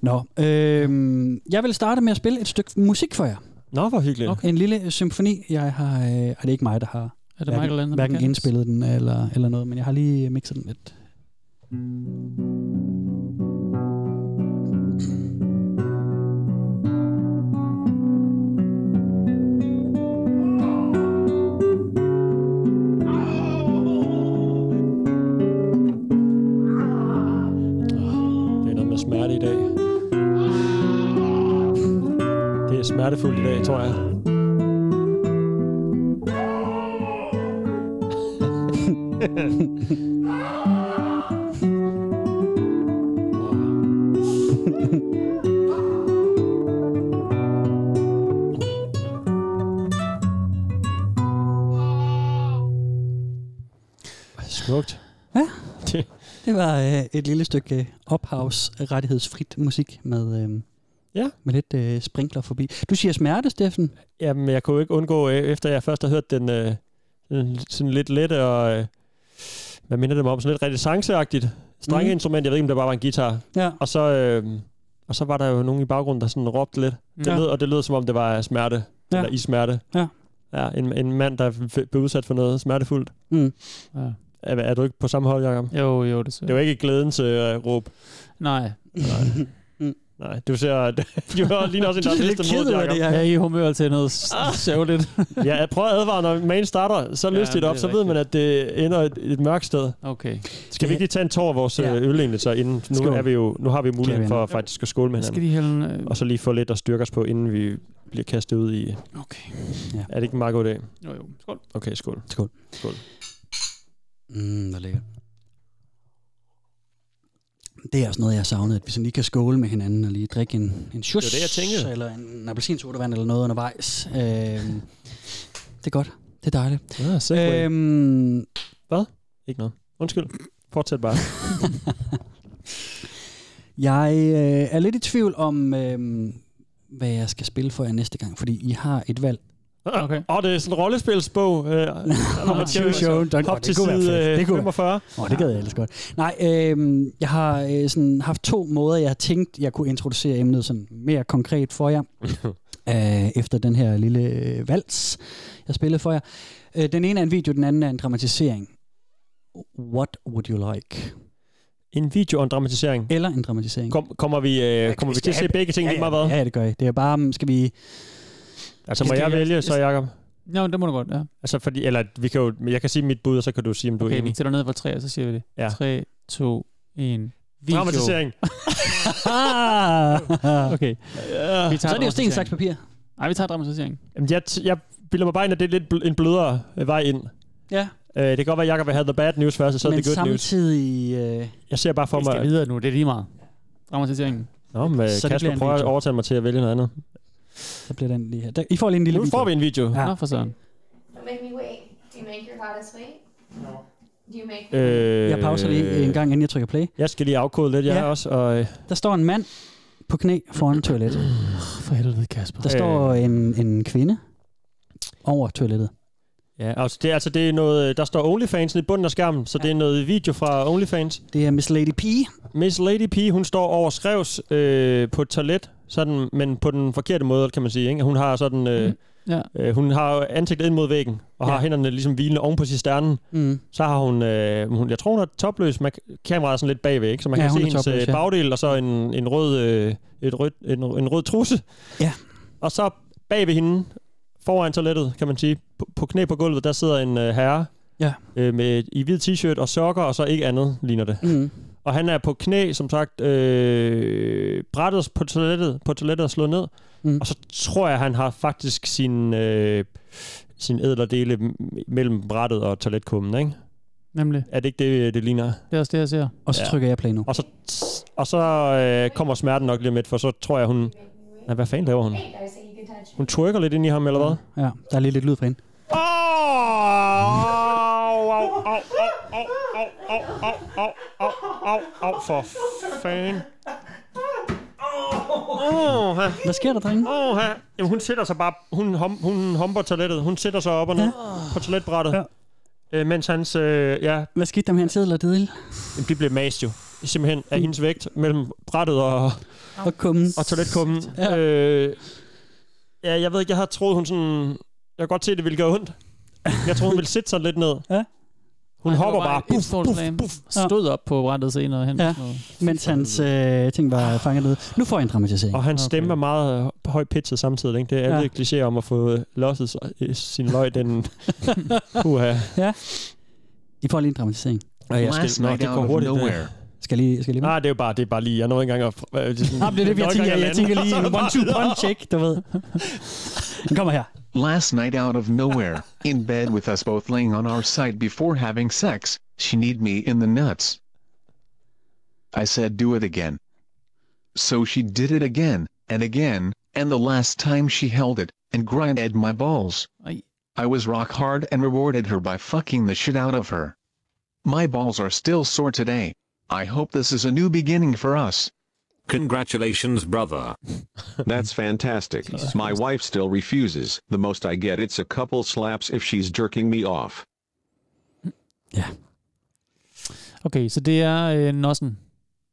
Speaker 3: Nå, øh, jeg vil starte med at spille et stykke musik for jer.
Speaker 4: Nå, hvor hyggeligt.
Speaker 5: Okay.
Speaker 4: Okay.
Speaker 3: En lille symfoni. Jeg har, øh, og det er ikke mig, der har
Speaker 5: Er det Michael
Speaker 3: hverken,
Speaker 5: Landon?
Speaker 3: hverken
Speaker 5: McCann?
Speaker 3: indspillet den eller, eller noget, men jeg har lige mixet den lidt.
Speaker 4: Det er noget med smerte i dag.
Speaker 5: Ah.
Speaker 4: Det er smertefuldt i dag, tror jeg. Smukt.
Speaker 3: Ja.
Speaker 4: Det,
Speaker 3: Det var øh, et lille stykke øh, ophavsrettighedsfrit musik med, øh,
Speaker 4: Ja.
Speaker 3: med lidt øh, sprinkler forbi. Du siger smerte, Steffen.
Speaker 4: Jamen, jeg kunne jo ikke undgå, øh, efter jeg først har hørt den, øh, den sådan lidt lette og... Øh, hvad minder det mig om? Sådan lidt renaissanceagtigt strengeinstrument. Jeg ved ikke, om det bare var en guitar.
Speaker 3: Ja.
Speaker 4: Og så, øh, og så var der jo nogen i baggrunden, der sådan råbte lidt. Det
Speaker 3: Ja.
Speaker 4: lød, og det lød, som om det var smerte.
Speaker 3: Ja.
Speaker 4: Ja. Eller i smerte.
Speaker 3: Ja.
Speaker 4: ja en, en mand, der f- blev udsat for noget smertefuldt.
Speaker 3: Mm.
Speaker 5: Ja.
Speaker 4: Er, er du ikke på samme hold, Jacob?
Speaker 5: Jo, jo, det ser
Speaker 4: Det var ikke glædens øh, råb.
Speaker 5: Nej.
Speaker 4: Nej, du ser... du ligner også en, der
Speaker 3: Du
Speaker 4: har
Speaker 3: ser lidt
Speaker 4: mistet
Speaker 3: ked
Speaker 4: mod,
Speaker 3: ud af
Speaker 4: Jacob.
Speaker 3: det,
Speaker 5: Jeg er
Speaker 3: Jacob.
Speaker 5: i humør til noget s- sørgeligt.
Speaker 4: ja, jeg prøver at advare, når main starter så
Speaker 5: Ja,
Speaker 4: lystigt
Speaker 5: det er
Speaker 4: op, så ved
Speaker 5: rigtigt.
Speaker 4: man, at det ender et, et mørkt sted.
Speaker 5: Okay.
Speaker 4: Skal vi ikke lige tage en tår af vores
Speaker 3: Ja.
Speaker 4: ja. øl egentlig, så inden, nu,
Speaker 3: Skål.
Speaker 4: er vi jo, nu har vi
Speaker 3: Skal vi
Speaker 4: muligheden for
Speaker 3: hinanden?
Speaker 4: faktisk at skåle med
Speaker 5: Jeg skal
Speaker 4: hinanden.
Speaker 5: de hælde... en, Øh...
Speaker 4: Og så lige få lidt at styrke os på, inden vi bliver kastet ud i...
Speaker 5: Okay.
Speaker 4: Er det ikke en meget god dag?
Speaker 5: Jo, jo. Skål.
Speaker 4: Okay, skål.
Speaker 3: Mm, hvor lækkert. Det er også noget, jeg savnede, at vi sådan lige kan skåle med hinanden og lige drikke en, en shus,
Speaker 4: Det var det, jeg tænkede.
Speaker 3: eller en appelsinsodavand eller noget undervejs. Øhm, det er godt. Det er dejligt.
Speaker 4: Ja, segway.
Speaker 3: Øhm,
Speaker 4: Ikke noget. Undskyld. Fortsæt bare.
Speaker 3: jeg øh, er lidt i tvivl om, øh, hvad jeg skal spille for jer næste gang, fordi I har et valg.
Speaker 5: Okay.
Speaker 4: Åh, oh, det er sådan en rollespilsbog. Øh, nummer 20.
Speaker 3: Show, det,
Speaker 4: Hop til
Speaker 3: kunne være fedt.
Speaker 4: side øh,
Speaker 3: det kunne være
Speaker 4: 45.
Speaker 3: Åh, oh, det gad jeg ellers godt. Nej, øh, jeg har øh, sådan haft to måder, jeg har tænkt, jeg kunne introducere emnet sådan mere konkret for jer,
Speaker 6: Mm.
Speaker 3: øh, efter den her lille øh, vals, jeg spillede for jer. Øh, den ene er en video, den anden er en dramatisering. What would you like?
Speaker 4: En video og en dramatisering.
Speaker 3: Eller en dramatisering.
Speaker 4: Kom, kommer vi, øh, kommer vi
Speaker 3: skal
Speaker 4: til at se
Speaker 3: have-
Speaker 4: begge ting
Speaker 3: ja,
Speaker 4: lige meget hvad?
Speaker 3: ja, ja, det gør jeg. Det er bare, mm, skal vi...
Speaker 4: Altså,
Speaker 3: Vi
Speaker 4: må
Speaker 3: skal-
Speaker 4: jeg vælge så, Jacob?
Speaker 5: Nå, men det må du godt, ja.
Speaker 4: Altså, fordi, eller vi kan jo, men jeg kan sige mit bud, og så kan du sige, om du er
Speaker 5: Okay, vi
Speaker 4: enig.
Speaker 5: tæller ned fra 3, og så siger vi det.
Speaker 4: Ja.
Speaker 5: 3, 2, 1. Video. Ah,
Speaker 4: Dramatisering. Ah.
Speaker 5: Okay.
Speaker 3: Så er
Speaker 5: Vi tager
Speaker 4: Ja.
Speaker 3: det jo sten,
Speaker 5: dramatisering.
Speaker 3: slags papir.
Speaker 5: Nej, vi tager dramatisering.
Speaker 4: Jamen, jeg, t- jeg bilder mig bare ind, at det er lidt bl- en blødere øh, vej ind.
Speaker 3: Ja,
Speaker 4: Øh, det kan godt være, at Jacob vil have the bad news
Speaker 5: Altså,
Speaker 4: først, og så er
Speaker 3: men
Speaker 4: det good news.
Speaker 3: samtidig... Øh,
Speaker 4: Jeg ser bare for
Speaker 5: Vi
Speaker 4: mig...
Speaker 5: skal videre nu, det er lige meget. Dramatiseringen.
Speaker 4: Nå, men øh,
Speaker 3: Så det bliver
Speaker 4: Kasper
Speaker 3: en
Speaker 4: prøver at
Speaker 3: video.
Speaker 4: overtale mig til at vælge noget andet.
Speaker 3: så bliver den lige her. Der, I får lige en lille
Speaker 4: Nu
Speaker 3: video.
Speaker 4: får vi en video.
Speaker 3: Ja.
Speaker 5: Ja. Nå, for sådan.
Speaker 7: Don't make me wait. Do you make your goddess wait? No. Do you make
Speaker 4: Øh,
Speaker 3: Jeg pauser lige en gang, inden jeg trykker play.
Speaker 4: Jeg skal lige afkode lidt, jeg
Speaker 3: Ja.
Speaker 4: ja. også. Og, øh,
Speaker 3: Der står en mand på knæ foran toilettet.
Speaker 5: For helvede, Kasper.
Speaker 3: Der
Speaker 4: Øh.
Speaker 3: står en, en kvinde over toilettet.
Speaker 4: ja, altså, det, er- altså, det er noget, øh, der står OnlyFans i bunden af skærmen, så ja. det er noget video fra OnlyFans.
Speaker 3: Det er Miss Lady P.
Speaker 4: Miss Lady P, hun står over skrevs øh, på et toilet, sådan, men på den forkerte måde, kan man sige. Ikke? Hun har sådan... Øh,
Speaker 5: Mm. Ja.
Speaker 4: øh, hun har jo ansigtet ind mod væggen, og
Speaker 3: Ja.
Speaker 4: har hænderne ligesom hvilende oven på cisternen.
Speaker 3: Mm.
Speaker 4: Så har hun, øh, hun jeg tror hun er topløs, man, kameraet er sådan lidt bagved, ikke? så man
Speaker 3: Ja,
Speaker 4: ja, kan
Speaker 3: hun
Speaker 4: se
Speaker 3: er
Speaker 4: hendes øh,
Speaker 3: topløs,
Speaker 4: topløs,
Speaker 3: ja.
Speaker 4: ja. bagdel, og så en, en, rød, øh, et rød, en, en rød trusse.
Speaker 3: Ja.
Speaker 4: Og så bagved hende, foran toilettet, kan man sige, på, på knæ på gulvet, der sidder en øh, herre
Speaker 3: Ja.
Speaker 4: øh, med, i hvid t-shirt og sokker, og så ikke andet ligner det.
Speaker 3: Mm.
Speaker 4: Og han er på knæ, som sagt, øh, brættet på toilettet, på toilettet og slået ned.
Speaker 3: Mm.
Speaker 4: Mm. Og så tror jeg, han har faktisk sin, øh, sin ædlerdele m- mellem brættet og toiletkummen, ikke?
Speaker 5: Nemlig.
Speaker 4: Er det ikke det, det ligner?
Speaker 5: Det er også det, jeg ser.
Speaker 3: Og så
Speaker 4: Ja.
Speaker 3: trykker jeg play nu.
Speaker 4: Og så, og så øh, kommer smerten nok lige om lidt, for så tror jeg, hun... Nej, hvad fanden laver hun?
Speaker 7: wait? I say you can touch
Speaker 4: Hun twerker lidt ind i ham, eller hvad?
Speaker 3: Ja, der er lige lidt lyd fra hende.
Speaker 4: Åh! Au, au, au, au, au, au, au, au, au, au, au, au, for fanden. Åh, ha,
Speaker 3: Hvad sker der, drenge?
Speaker 4: åh, ha. Jamen, hun sætter sig bare... Hun, hum, hun humper toilettet. Hun sætter sig op og ned på toiletbrættet.
Speaker 3: Ja.
Speaker 4: Øh, mens hans... Øh, ja,
Speaker 3: Hvad skete der med hans ædel og dedel?
Speaker 4: Jamen, de blev mast jo. Simpelthen af hendes vægt mellem brættet og,
Speaker 3: Og kummen.
Speaker 4: og toiletkummen.
Speaker 3: Ja.
Speaker 4: Ja. Øh, ja, jeg ved ikke, jeg havde troet, hun sådan... Jeg kan godt se, det ville gøre ondt. Jeg troede, hun ville sætte sig lidt ned.
Speaker 3: Ja.
Speaker 4: Hun
Speaker 5: Ej,
Speaker 4: hopper
Speaker 5: det var
Speaker 4: bare.
Speaker 5: et
Speaker 4: Puff,
Speaker 5: stort
Speaker 4: puff,
Speaker 5: slam.
Speaker 4: puff.
Speaker 5: Stod op på brættet senere hen.
Speaker 3: Ja.
Speaker 5: Sådan noget.
Speaker 3: Mens hans øh, ting
Speaker 4: Ah.
Speaker 3: var fanget ned. Nu får jeg en dramatisering.
Speaker 4: Og hans
Speaker 5: Okay.
Speaker 4: okay. stemme er meget øh, høj pitchet samtidig. Ikke? Det er alle
Speaker 3: Ja.
Speaker 4: ja. klichéer om at få øh, losset sig- øh, sin løg. Den, uha.
Speaker 3: I får lige en dramatisering.
Speaker 4: Og jeg
Speaker 6: Last
Speaker 4: skal, nå,
Speaker 6: night
Speaker 4: det
Speaker 6: out
Speaker 4: går
Speaker 6: of
Speaker 4: hurtigt.
Speaker 6: nowhere.
Speaker 3: Skal jeg lige... Skal jeg lige
Speaker 4: Nej, det er jo bare, det er bare lige, jeg nåede ikke engang at... Øh, det er sådan-
Speaker 3: Ah, det er det, jeg
Speaker 4: nåede ikke
Speaker 3: tænker.
Speaker 4: engang at
Speaker 3: Jeg
Speaker 4: lande.
Speaker 3: tænker lige
Speaker 4: Så er det
Speaker 3: en
Speaker 4: bare videre.
Speaker 3: one-two-punch, ikke? Du ved. Den kommer her.
Speaker 6: Last night out of nowhere, in bed with us both laying on our side before having sex, she need me in the nuts. I said do it again. So she did it again, and again, and the last time she held it, and grinded my balls.
Speaker 5: Ej.
Speaker 6: I was rock hard and rewarded her by fucking the shit out of her. My balls are still sore today. I hope this is a new beginning for us.
Speaker 8: Congratulations, brother.
Speaker 9: That's fantastic. My wife still refuses. The most I get it's a couple slaps if she's jerking me off.
Speaker 5: Okay, så det er øh, nossen,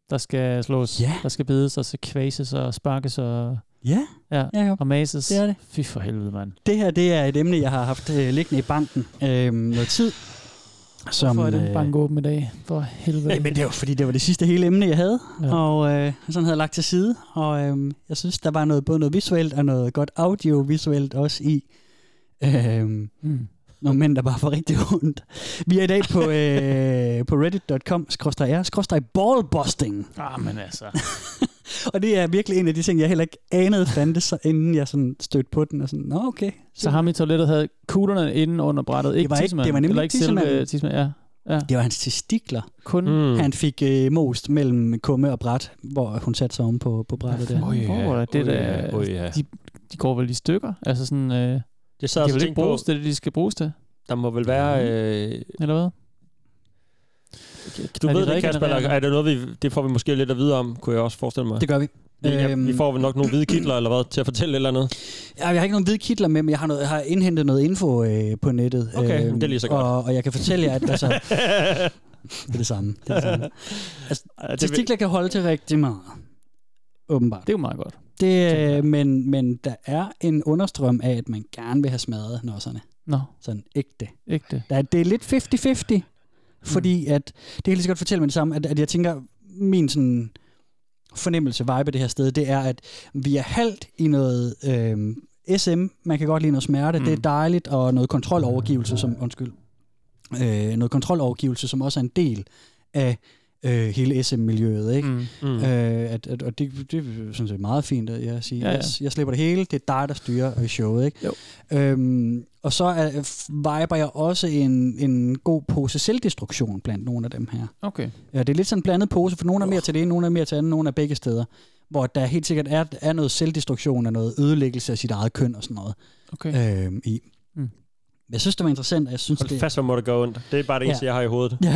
Speaker 5: der skal slås.
Speaker 3: Ja.
Speaker 5: Der skal bides, og så kvases og sparkes og...
Speaker 3: Ja,
Speaker 5: ja.
Speaker 3: Jacob.
Speaker 5: Og mases.
Speaker 3: Det er det.
Speaker 5: Fy for helvede, mand.
Speaker 3: Det her det er et emne, jeg har haft øh, liggende i banken øh, noget tid. Som,
Speaker 5: Hvorfor er den
Speaker 3: øh,
Speaker 5: bank åben i dag? For helvede.
Speaker 3: Jamen, det var fordi, det var det sidste hele emne, jeg havde,
Speaker 5: Ja.
Speaker 3: ja. og øh, sådan havde jeg lagt til side. Og øh, jeg synes, der var noget, både noget visuelt og noget godt audiovisuelt også i. Øh,
Speaker 5: mm.
Speaker 3: Nogle mænd, der bare får rigtig ondt. Vi er i dag på, øh, på reddit.com-r-ballbusting.
Speaker 5: Ah, men altså.
Speaker 3: Og det er virkelig en af de ting, jeg heller ikke anede fandtes, så inden jeg sådan stødte på den. Og sådan, Nå, okay.
Speaker 5: Så ham i toilettet havde kuglerne inde under brættet. Ikke
Speaker 3: var ikke-
Speaker 5: tissemanden,
Speaker 3: det var nemlig
Speaker 5: eller
Speaker 3: ikke
Speaker 5: selve
Speaker 3: tissemanden.
Speaker 5: tissemanden, Ja.
Speaker 3: Det var hans testikler.
Speaker 5: Kun...
Speaker 4: Mm.
Speaker 3: Han fik øh, most mellem kumme og bræt, hvor hun satte sig oven på, på brættet der.
Speaker 5: Åh, ja. Det der,
Speaker 4: oh, ja.
Speaker 5: de, de går vel i stykker? Altså sådan, øh, de
Speaker 4: Det sad altså
Speaker 5: kan vel
Speaker 4: jeg og
Speaker 5: ikke
Speaker 4: tænkte på,
Speaker 5: bruges til det, de skal bruges til, Mm.
Speaker 4: der må vel være... Øh,
Speaker 5: eller hvad?
Speaker 4: du
Speaker 5: Er de
Speaker 4: ved det, Kasper,
Speaker 5: regenererende?
Speaker 4: eller er det noget, vi, det får vi måske lidt at vide om, kunne jeg også forestille mig.
Speaker 3: Det gør vi.
Speaker 4: Vi, øhm,
Speaker 3: Øhm,
Speaker 4: vi får vel nok nogle hvide kitler eller hvad, til at fortælle et eller andet.
Speaker 3: Ja, jeg har ikke nogen hvide kitler med, men jeg har, noget, jeg har indhentet noget info øh, på nettet.
Speaker 4: Okay, det er lige så godt.
Speaker 3: Og, og jeg kan fortælle jer, at altså, det er det samme. Det er det samme.
Speaker 4: Ej, det vil-
Speaker 3: Testikler kan holde til rigtig meget. Åbenbart.
Speaker 5: Det er jo meget godt.
Speaker 3: Det, øh, men, men der er en understrøm af, at man gerne vil have smadret nosserne.
Speaker 5: Nå,
Speaker 3: Sådan ægte.
Speaker 5: ikke det.
Speaker 3: Der, er- det er lidt 50-50, fordi
Speaker 5: Mm.
Speaker 3: at, det kan jeg lige så godt fortælle med det samme, at, at jeg tænker, min sådan fornemmelse, vibe af det her sted, det er, at vi er halvt i noget øh, SM, man kan godt lide noget smerte, mm. det er dejligt, og noget kontrolovergivelse, som, undskyld, øh, noget kontrolovergivelse, som også er en del af øh, hele SM-miljøet, ikke?
Speaker 5: Mm.
Speaker 4: Mm.
Speaker 3: Mm. Øh, at, at, og det, det er sådan set meget fint, at jeg siger,
Speaker 5: Ja,
Speaker 3: ja,
Speaker 5: ja.
Speaker 3: ja. Jeg, jeg slipper det hele, det er dig, der styrer øh, showet. Ikke?
Speaker 5: Jo.
Speaker 3: Øhm, og så er, f- viber jeg også en, en god pose selvdestruktion blandt nogle af dem her.
Speaker 5: Okay.
Speaker 3: Ja, det er lidt sådan en blandet pose, for nogle er mere til det ene, nogle er mere til andet, nogle er begge steder. Hvor der helt sikkert er, er noget selvdestruktion og noget ødelæggelse af sit eget køn og sådan noget
Speaker 5: Okay.
Speaker 3: øhm, i.
Speaker 5: Mm.
Speaker 3: Mm. Jeg synes, det var interessant, og jeg synes,
Speaker 4: Hold
Speaker 3: det...
Speaker 4: fast, hvor må det gøre ondt. Det er bare det eneste, jeg har i hovedet.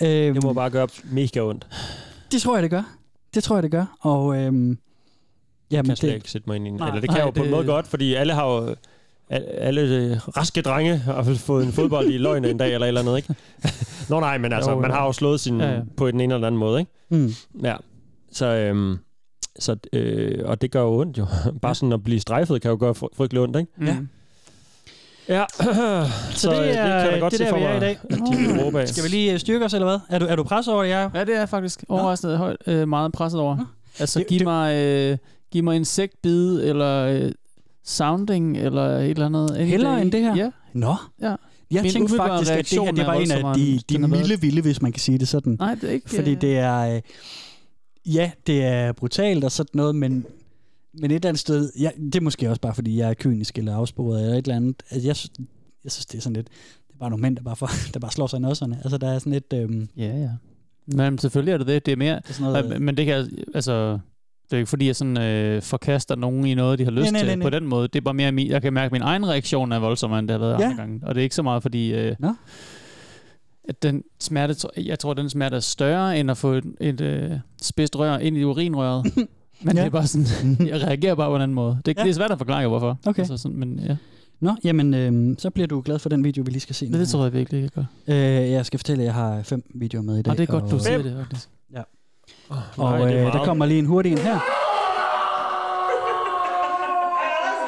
Speaker 3: Ja. øhm,
Speaker 4: Det må bare gøre mega ondt.
Speaker 3: det tror jeg, det gør. Det tror jeg, det gør. Og øhm,
Speaker 4: Jamen,
Speaker 3: jamen,
Speaker 4: kan slet
Speaker 3: det,
Speaker 4: ikke sætte mig ind i. en-
Speaker 5: Nej,
Speaker 4: Eller det kan jeg
Speaker 5: nej,
Speaker 4: jo på en
Speaker 5: det-
Speaker 4: måde godt, fordi alle har jo al- alle øh, raske drenge har vel fået en fodbold i løgn en dag eller et eller andet, ikke? Nå nej, men altså,
Speaker 5: Jo,
Speaker 4: man
Speaker 5: jo.
Speaker 4: har jo slået sin
Speaker 5: Ja,
Speaker 4: ja,
Speaker 5: ja.
Speaker 4: ja. på den ene eller den anden måde, ikke?
Speaker 3: mm.
Speaker 4: Ja. Så, øhm, så øh, og det gør jo ondt jo. Bare sådan at blive strejfet kan jo gøre fry- frygtelig ondt, ikke?
Speaker 5: Mm.
Speaker 3: Ja.
Speaker 4: Ja. så, så øh, det, kan jeg godt
Speaker 3: det
Speaker 4: se
Speaker 3: der,
Speaker 4: for
Speaker 3: vi er
Speaker 4: mig.
Speaker 3: i dag.
Speaker 4: at de vil råbe af.
Speaker 3: Skal vi lige øh, styrke os, eller hvad? Er du, er du presset over det, jeg?
Speaker 5: Ja, det er jeg faktisk overraskende højt, øh, meget presset over. Altså,
Speaker 3: Det-
Speaker 5: giv
Speaker 3: det-
Speaker 5: mig, øh, giv mig insektbid, eller øh, sounding, eller et eller andet. Any
Speaker 3: Hellere
Speaker 5: day.
Speaker 3: end det her?
Speaker 5: Ja.
Speaker 3: Nå.
Speaker 5: Ja.
Speaker 3: Jeg
Speaker 5: Min
Speaker 3: tænkte
Speaker 5: umiddelbare
Speaker 3: faktisk, at det her
Speaker 5: reaktion
Speaker 3: det
Speaker 5: er
Speaker 3: var en af
Speaker 5: voldsommere,
Speaker 3: de,
Speaker 5: end
Speaker 3: de
Speaker 5: den har været.
Speaker 3: milde vilde, hvis man kan sige det sådan.
Speaker 5: Nej, det er ikke...
Speaker 3: Fordi
Speaker 5: øh,
Speaker 3: det er... øh, Ja, det er brutalt og sådan noget, men, men et eller andet sted... Jeg, det er måske også bare, fordi jeg er kynisk eller afsporet eller et eller andet. Altså, jeg, sy- jeg synes, det er sådan lidt... Det er bare nogle mænd, der bare, for, der bare slår sig i nosserne. Altså, der er sådan lidt... Øhm, det
Speaker 5: Ja, ja. Men selvfølgelig er det det. Det er mere...
Speaker 3: er sådan noget,
Speaker 5: Øh, men det kan... Altså, det er jo ikke fordi, jeg sådan, øh, forkaster nogen i noget, de har lyst
Speaker 3: Nej, nej,
Speaker 5: til
Speaker 3: nej, nej.
Speaker 5: på den måde. Det er bare mere, min- jeg kan mærke, at min egen reaktion er voldsommere, end det har været
Speaker 3: Ja.
Speaker 5: andre gange. Og det er ikke så meget, fordi... Øh,
Speaker 3: Nå.
Speaker 5: at den smerte, tr- jeg tror, den smerte er større, end at få et, et øh, spidst rør ind i urinrøret. men ja.
Speaker 3: Ja.
Speaker 5: det er bare sådan, jeg reagerer bare på en anden måde. Det, ja.
Speaker 3: Ja.
Speaker 5: det er svært at forklare, hvorfor.
Speaker 3: Okay.
Speaker 5: Altså sådan, men ja,
Speaker 3: Nå, jamen, øhm, så bliver du glad for den video, vi lige skal se.
Speaker 5: det, det tror jeg virkelig, jeg gør.
Speaker 3: Øh, jeg skal fortælle, at jeg har fem videoer med i dag.
Speaker 5: Og det er godt,
Speaker 3: og,
Speaker 5: du siger det, faktisk.
Speaker 10: Oh.
Speaker 3: Og
Speaker 4: Nej, det er
Speaker 3: øh,
Speaker 4: meget.
Speaker 3: der kommer lige en hurtig en her.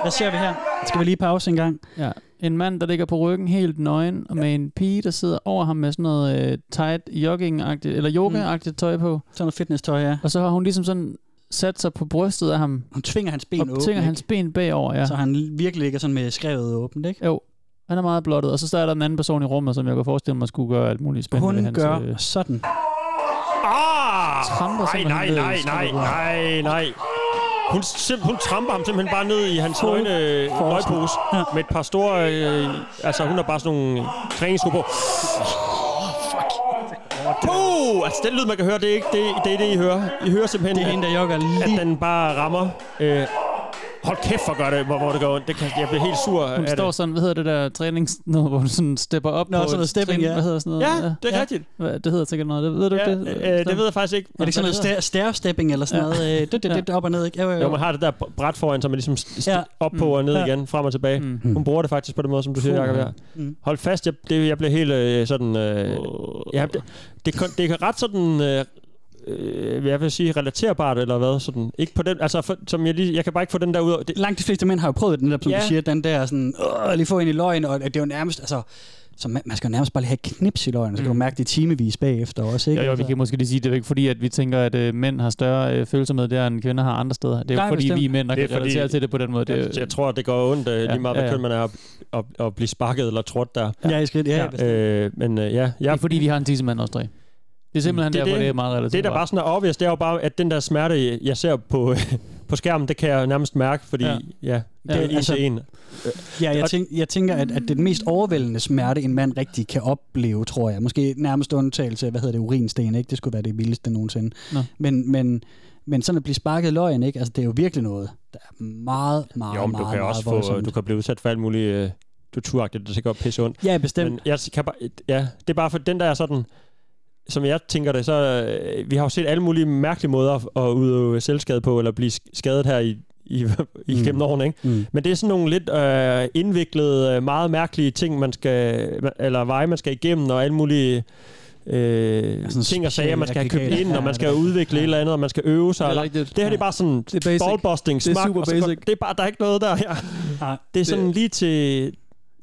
Speaker 3: Hvad ser vi her? Skal vi lige pause en gang?
Speaker 5: Ja. En mand, der ligger på ryggen helt nøgen, og med en pige, der sidder over ham med sådan noget øh, tight jogging eller yoga-agtigt tøj på.
Speaker 3: Mm. Sådan noget fitness-tøj, ja.
Speaker 5: Og så har hun ligesom sådan sat sig på brystet af ham,
Speaker 3: Hun tvinger hans ben
Speaker 5: og
Speaker 3: åbent,
Speaker 5: tvinger
Speaker 3: ikke?
Speaker 5: hans ben bagover. Ja.
Speaker 3: så han virkelig ligger sådan med skrevet åbent, ikke?
Speaker 5: Jo, han er meget blottet. Og så står der en anden person i rummet, som jeg kan forestille mig skulle gøre alt muligt spændende. ved
Speaker 3: Hun
Speaker 5: hans,
Speaker 3: gør
Speaker 5: øh,
Speaker 3: sådan.
Speaker 4: Ah!
Speaker 5: Tramper
Speaker 4: Nej,
Speaker 5: simpelthen
Speaker 4: nej,
Speaker 5: ned i
Speaker 4: nej, nej,
Speaker 5: skraldegrunden.
Speaker 4: nej, nej. Hun, simp- hun tramper ham simpelthen bare ned i hans nøgne øh, løgpose
Speaker 3: Ja.
Speaker 4: med et par store... Øh, altså, hun har bare sådan nogle træningssko på. Puh! Altså, den lyd, man kan høre, det er ikke det, det, er det I hører. I hører simpelthen,
Speaker 3: Det er hende,
Speaker 4: at,
Speaker 3: der jogger
Speaker 4: at
Speaker 3: lige...
Speaker 4: den bare rammer øh, Hold kæft, hvor gør det, hvor, hvor det går ondt. Det kan, jeg bliver helt sur
Speaker 5: Hun
Speaker 4: af
Speaker 5: står
Speaker 4: det.
Speaker 5: sådan, hvad hedder det der trænings... Noget, hvor du sådan stepper op
Speaker 4: Nå,
Speaker 5: på
Speaker 4: sådan noget
Speaker 5: et
Speaker 4: stepping,
Speaker 5: trin-
Speaker 4: ja.
Speaker 5: Hvad hedder sådan
Speaker 4: Ja,
Speaker 5: noget?
Speaker 4: det er rigtigt.
Speaker 5: Hvad, det hedder sikkert noget. Det, ved du
Speaker 4: Ja,
Speaker 5: ikke det?
Speaker 4: øh, det ved jeg faktisk ikke.
Speaker 3: Er det ikke sådan noget stair-stepping eller sådan
Speaker 5: Ja.
Speaker 3: noget? Øh, Det, det, det, op og ned, ikke? Jo, jo,
Speaker 4: Jo, man har det der bræt foran, som man ligesom st- st-
Speaker 3: Ja.
Speaker 4: op på og ned
Speaker 3: Ja.
Speaker 4: igen, frem og tilbage.
Speaker 5: Mm.
Speaker 4: Hun bruger det faktisk på den måde, som du siger,
Speaker 5: Puh.
Speaker 4: Jacob. Her.
Speaker 3: Mm.
Speaker 4: Hold fast, jeg, det, jeg bliver helt øh, sådan... Øh, jeg, det, det, kan- det er ret sådan... Øh, øh, hvad jeg vil sige, relaterbart eller hvad, sådan. Ikke på den, altså, for, som jeg lige, jeg kan bare ikke få den der ud af, det,
Speaker 3: Langt de fleste mænd har jo prøvet den der, som
Speaker 4: Ja.
Speaker 3: du siger, den der sådan, "Åh, lige få ind i løgn, og det er jo nærmest, altså, så man, man skal jo nærmest bare lige have et knips i løgn, så
Speaker 4: Mm.
Speaker 3: kan du mærke det timevis bagefter også, ikke?
Speaker 5: Jo, jo,
Speaker 4: altså-
Speaker 5: vi kan måske lige sige, det er jo ikke fordi, at vi tænker, at øh, mænd har større øh, følsomhed der, end kvinder har andre steder. Det er jo
Speaker 3: Nej,
Speaker 5: fordi,
Speaker 3: bestemt.
Speaker 5: vi er mænd, der
Speaker 4: Det er
Speaker 5: kan relatere
Speaker 4: fordi-
Speaker 5: til det på den måde. Det, er
Speaker 4: jeg,
Speaker 5: jo-
Speaker 4: jeg tror, det går ondt, øh, lige meget hvad
Speaker 5: ja, ja.
Speaker 4: køn man er, at, at, at blive sparket eller trådt der.
Speaker 3: Ja, i skridt, ja. ja.
Speaker 4: Øh, men øh, ja,
Speaker 5: det
Speaker 4: jeg,
Speaker 5: er fordi, vi har en tissemand også, tre. Det er simpelthen det,
Speaker 4: Det er
Speaker 5: derfor,
Speaker 4: det.
Speaker 5: det, er meget relativt.
Speaker 4: det, der bare sådan er obvious, det er jo bare, at den der smerte, jeg ser på, på skærmen, det kan jeg nærmest mærke, fordi ja,
Speaker 5: Ja.
Speaker 4: ja det er
Speaker 5: Ja,
Speaker 4: en
Speaker 3: altså-
Speaker 4: til en.
Speaker 3: Ja, jeg, tænk, jeg tænker, at, at det er den mest overvældende smerte, en mand rigtig kan opleve, tror jeg. Måske nærmest undtagelse af, hvad hedder det, urinsten, ikke? Det skulle være det vildeste nogensinde.
Speaker 5: Nå.
Speaker 3: Men, men, men sådan at blive sparket i løgn, ikke? Altså, det er jo virkelig noget, der er meget, meget,
Speaker 4: Jo, men
Speaker 3: meget,
Speaker 4: du kan
Speaker 3: meget
Speaker 4: også få, øh,
Speaker 3: voldsomt.
Speaker 4: du kan blive udsat for alt muligt øh, torturagtigt, det sikkert pisse ondt.
Speaker 3: Ja, bestemt.
Speaker 4: Men jeg kan bare, ja, det er bare for den der er sådan, som jeg tænker det, så øh, vi har jo set alle mulige mærkelige måder at, at udøve selvskade på, eller blive sk- skadet her i, i, i gennem
Speaker 3: Mm.
Speaker 4: årene, ikke?
Speaker 3: Mm.
Speaker 4: Men det er sådan nogle lidt øh, indviklede, øh, meget mærkelige ting, man skal, eller veje, man skal igennem, og alle mulige øh,
Speaker 3: sådan
Speaker 4: ting og sager, man skal have købt
Speaker 3: specialaggregater.
Speaker 4: ind, og man skal
Speaker 3: Ja, det er
Speaker 4: udvikle et eller andet, og man skal øve sig.
Speaker 5: det
Speaker 4: eller-
Speaker 5: er rigtigt.
Speaker 4: Det her det er bare sådan
Speaker 5: Det er basic.
Speaker 4: ballbusting,
Speaker 5: Det er
Speaker 4: smak,
Speaker 5: super
Speaker 4: og så går-
Speaker 5: basic.
Speaker 4: Det er bare, der er ikke noget der. Ja.
Speaker 3: Nej,
Speaker 4: Det er sådan det... lige til...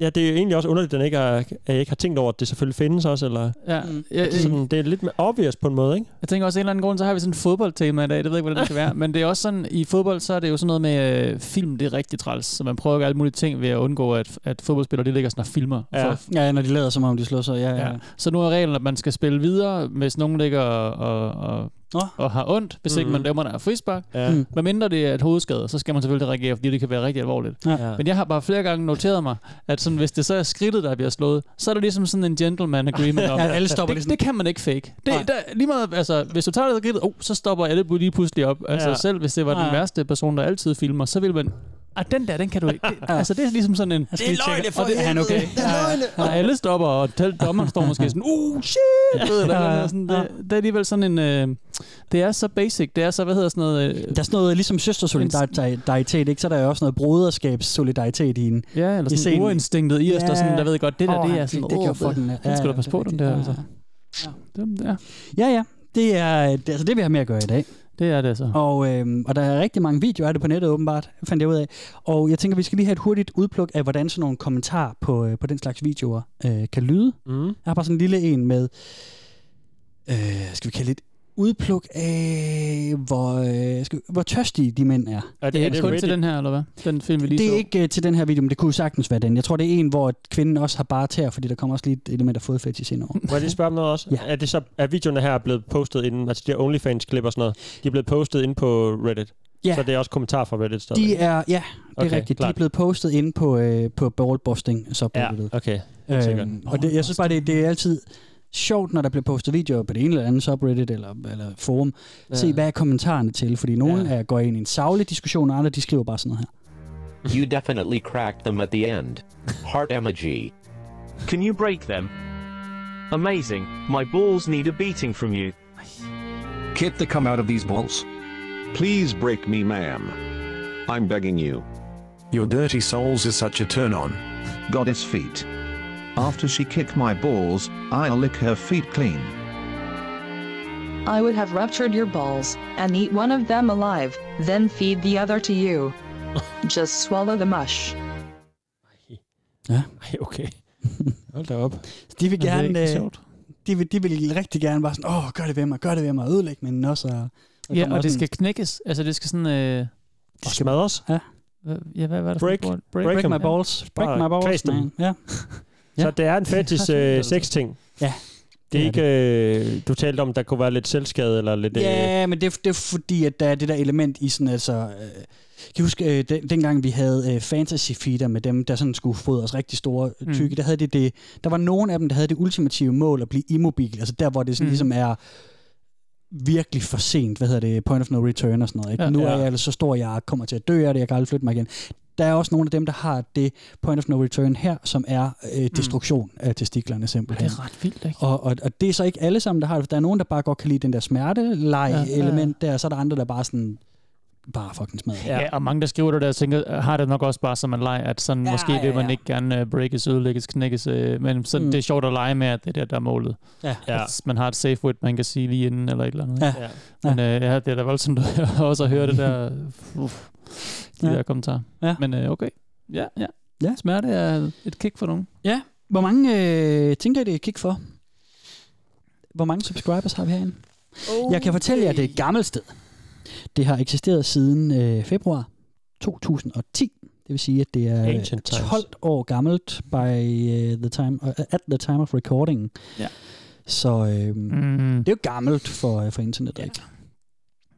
Speaker 4: Ja, det er egentlig også underligt, at, den ikke har, at jeg ikke har tænkt over, at det selvfølgelig findes også, eller...
Speaker 5: Ja,
Speaker 3: Mm.
Speaker 5: jeg,
Speaker 4: Det er, sådan, det er lidt mere obvious på en måde, ikke?
Speaker 5: Jeg tænker også, af en eller anden grund, så har vi sådan et fodboldtema i dag. Det ved jeg ikke, hvordan det skal være. Men det er også sådan, i fodbold, så er det jo sådan noget med øh, film, det er rigtig træls. Så man prøver at gøre alle mulige ting ved at undgå, at, at fodboldspillere, de ligger sådan og filmer.
Speaker 4: Ja.
Speaker 5: For,
Speaker 3: Ja, når de lader som om, de slår sig. Ja, ja.
Speaker 5: ja. Så nu er reglen, at man skal spille videre, hvis nogen ligger og, og,
Speaker 3: Nå.
Speaker 5: og, og har ondt, hvis ikke
Speaker 4: Mhm.
Speaker 5: man dømmer der er frispark.
Speaker 4: Ja.
Speaker 3: Mm.
Speaker 5: Men mindre det er et hovedskade, så skal man selvfølgelig reagere, fordi det kan være rigtig alvorligt.
Speaker 4: ja.
Speaker 5: Men jeg har bare flere gange noteret mig, at sådan, hvis det så er skridtet, der bliver slået, så er det ligesom sådan en gentleman agreement om,
Speaker 3: Ja, alle stopper
Speaker 5: det,
Speaker 3: ligesom.
Speaker 5: det kan man ikke fake.
Speaker 3: Nej.
Speaker 5: Det, der, lige meget, altså, hvis du tager det skridtet, oh, så stopper alle lige pludselig op. Altså,
Speaker 4: Ja.
Speaker 5: ja. Selv hvis det var den
Speaker 3: Ja.
Speaker 5: værste person, der altid filmer, så vil man... Ah, den der, den kan du ikke. Det, altså, det er ligesom sådan en...
Speaker 3: Det er løgne for det, er han okay? Ja,
Speaker 5: Og alle stopper, og tal- dommeren står måske sådan,
Speaker 3: Oh,
Speaker 5: uh, shit! Ved, eller, eller, sådan, det, det er alligevel sådan en... Øh, det er så basic. Det er så, hvad hedder sådan noget... Øh,
Speaker 3: Der er sådan noget ligesom søstersolidaritet, ikke? Så er der er også noget broderskabssolidaritet i en.
Speaker 5: ja, eller
Speaker 3: i
Speaker 5: sådan
Speaker 3: scenen.
Speaker 5: urinstinktet i os, der,
Speaker 3: Ja.
Speaker 5: sådan, der ved godt, det der,
Speaker 3: Åh,
Speaker 5: det er
Speaker 3: han-
Speaker 5: sådan...
Speaker 3: det kan jo
Speaker 5: åh,
Speaker 3: få den. Ja,
Speaker 5: Den skal
Speaker 3: ja,
Speaker 5: du passe
Speaker 3: det er
Speaker 5: på, den
Speaker 3: rigtigt.
Speaker 5: der.
Speaker 3: Ja,
Speaker 5: Altså.
Speaker 3: ja.
Speaker 5: Den, ja.
Speaker 3: Ja, ja. Det er, det, er altså det, vi har med at gøre i dag.
Speaker 5: Det er det altså.
Speaker 3: Og, øhm, og der er rigtig mange videoer af det på nettet, åbenbart, fandt jeg ud af. Og jeg tænker, vi skal lige have et hurtigt udpluk af, hvordan sådan nogle kommentarer på, øh, på den slags videoer øh, kan lyde.
Speaker 4: Mm.
Speaker 3: Jeg har bare sådan en lille en med, øh, skal vi kalde det et udpluk af, hvor, øh, skal, hvor tørstige de mænd er.
Speaker 4: Er
Speaker 5: Det er,
Speaker 4: er
Speaker 5: ikke kun til den her, eller hvad? Den film, vi lige
Speaker 3: Det
Speaker 5: så.
Speaker 3: er ikke øh, til den her video, men det kunne jo sagtens være den. Jeg tror, det er en, hvor kvinden også har bare tæer, fordi der kommer også lige et element af fodfetish ind over.
Speaker 4: Må jeg lige spørge om noget også?
Speaker 3: Ja.
Speaker 4: Ja. Er, det så, er videoerne her blevet postet inden, altså de her OnlyFans-klip og sådan noget, de er blevet postet inde på Reddit?
Speaker 3: Ja.
Speaker 4: Så det er også kommentarer fra Reddit stadig?
Speaker 3: De er, ja, det er
Speaker 4: Okay,
Speaker 3: rigtigt. De er
Speaker 4: klart.
Speaker 3: blevet postet inde på, øh, på ballbusting, så
Speaker 4: Ja,
Speaker 3: ja.
Speaker 4: okay. sikkert.
Speaker 3: Øhm, og det, jeg synes bare, det, det er altid sjovt, når der bliver postet videoer på det ene eller andet subreddit eller, eller forum. Ja. Se, hvad er kommentarerne til? Fordi nogle
Speaker 4: Ja.
Speaker 3: ja. går ind i en savlig diskussion, og andre de skriver bare sådan noget her.
Speaker 11: You definitely cracked them at the end. Heart emoji.
Speaker 12: Can you break them? Amazing, my balls need a beating from you.
Speaker 8: Get the come out of these balls.
Speaker 9: Please break me, ma'am. I'm begging you.
Speaker 13: Your dirty souls is such a turn on.
Speaker 8: Goddess feet. After she kicked my balls, I'll lick her feet clean.
Speaker 14: I would have ruptured your balls, and eat one of them alive, then feed the other to you. Just swallow the mush.
Speaker 4: Ej, okay. Hold da op.
Speaker 3: Så de vil
Speaker 5: Men det er
Speaker 3: gerne,
Speaker 5: ikke
Speaker 3: øh,
Speaker 5: sjovt.
Speaker 3: de vil, de vil rigtig gerne bare sådan, åh, gør det ved mig, gør det ved mig, ødelæg min også. Og, der
Speaker 5: Ja,
Speaker 3: kommer
Speaker 5: og
Speaker 3: også
Speaker 5: det
Speaker 3: en-
Speaker 5: skal knækkes. Altså, det skal sådan... Øh,
Speaker 4: Og smadres.
Speaker 5: hvad- ja, hvad, hvad er det
Speaker 4: Break-
Speaker 5: for et ord?
Speaker 4: break
Speaker 3: break
Speaker 4: them.
Speaker 3: my balls,
Speaker 4: Bare
Speaker 3: break my balls,
Speaker 4: kvæs dem.
Speaker 3: man. Ja.
Speaker 4: Ja.
Speaker 3: Ja.
Speaker 4: Så det er en fetish øh,
Speaker 5: Altså.
Speaker 4: sex-ting.
Speaker 3: Ja,
Speaker 4: Det er
Speaker 3: det
Speaker 4: ikke... Øh, du talte om, der kunne være lidt selvskade, eller lidt... Øh,
Speaker 3: Ja, men det, er- det er fordi, at der er det der element i sådan, altså... Øh, kan I huske, øh, den, dengang vi havde øh, fantasy feeder med dem, der sådan skulle fodre os rigtig store øh, tykke, mm. der, havde det det, der var nogen af dem, der havde det ultimative mål at blive immobil, altså der, hvor det sådan,
Speaker 5: Mm.
Speaker 3: mm. ligesom er virkelig for sent, hvad hedder det, point of no return og sådan noget. Ikke?
Speaker 5: Ja.
Speaker 3: Ja, nu er
Speaker 5: Ja.
Speaker 3: jeg altså så stor, jeg kommer til at dø af det, jeg kan aldrig flytte mig igen. Der er også nogle af dem, der har det point of no return her, som er øh, destruktion mm. af testiklerne simpelthen.
Speaker 5: Det er ret vildt, ikke?
Speaker 3: Og, og, og det er så ikke alle sammen, der har det. Der er nogen, der bare godt kan lide den der smerte-leg-element ja, ja. der, og så er der andre, der bare sådan, bare fucking smadrer.
Speaker 5: Ja. ja, og mange, der skriver det der, tænker, "Øh, har det nok også bare som en leg, at sådan, ja, måske ja, vil man ja. ikke gerne øh, breakes, ødelægges, knækkes, øh, men så mm. det er sjovt at lege med, at det er det, der er målet.
Speaker 3: Ja.
Speaker 5: At
Speaker 3: Ja.
Speaker 5: man har et safe word, man kan sige lige inden, eller et eller andet.
Speaker 3: Ja.
Speaker 5: ikke? Men øh, ja, det er da voldsomt at- også at høre det der, uff, de
Speaker 3: Ja.
Speaker 5: ja. der kommentarer.
Speaker 3: Ja.
Speaker 5: Men øh, okay, ja, ja.
Speaker 3: ja.
Speaker 5: Smerte er et kick for nogen.
Speaker 3: Ja. Hvor mange øh, tænker I, det er et kick for? Hvor mange subscribers har vi herinde?
Speaker 5: Okay.
Speaker 3: Jeg kan fortælle jer, det er et gammelt sted. Det har eksisteret siden øh, februar 2010. Det vil sige, at det er øh,
Speaker 4: Ancient times.
Speaker 3: 12 år gammelt by uh, the time uh, at the time of recording.
Speaker 5: Ja.
Speaker 3: Så øh, mm.
Speaker 5: det
Speaker 3: er jo gammelt for, øh, for internettet, ja. ikke?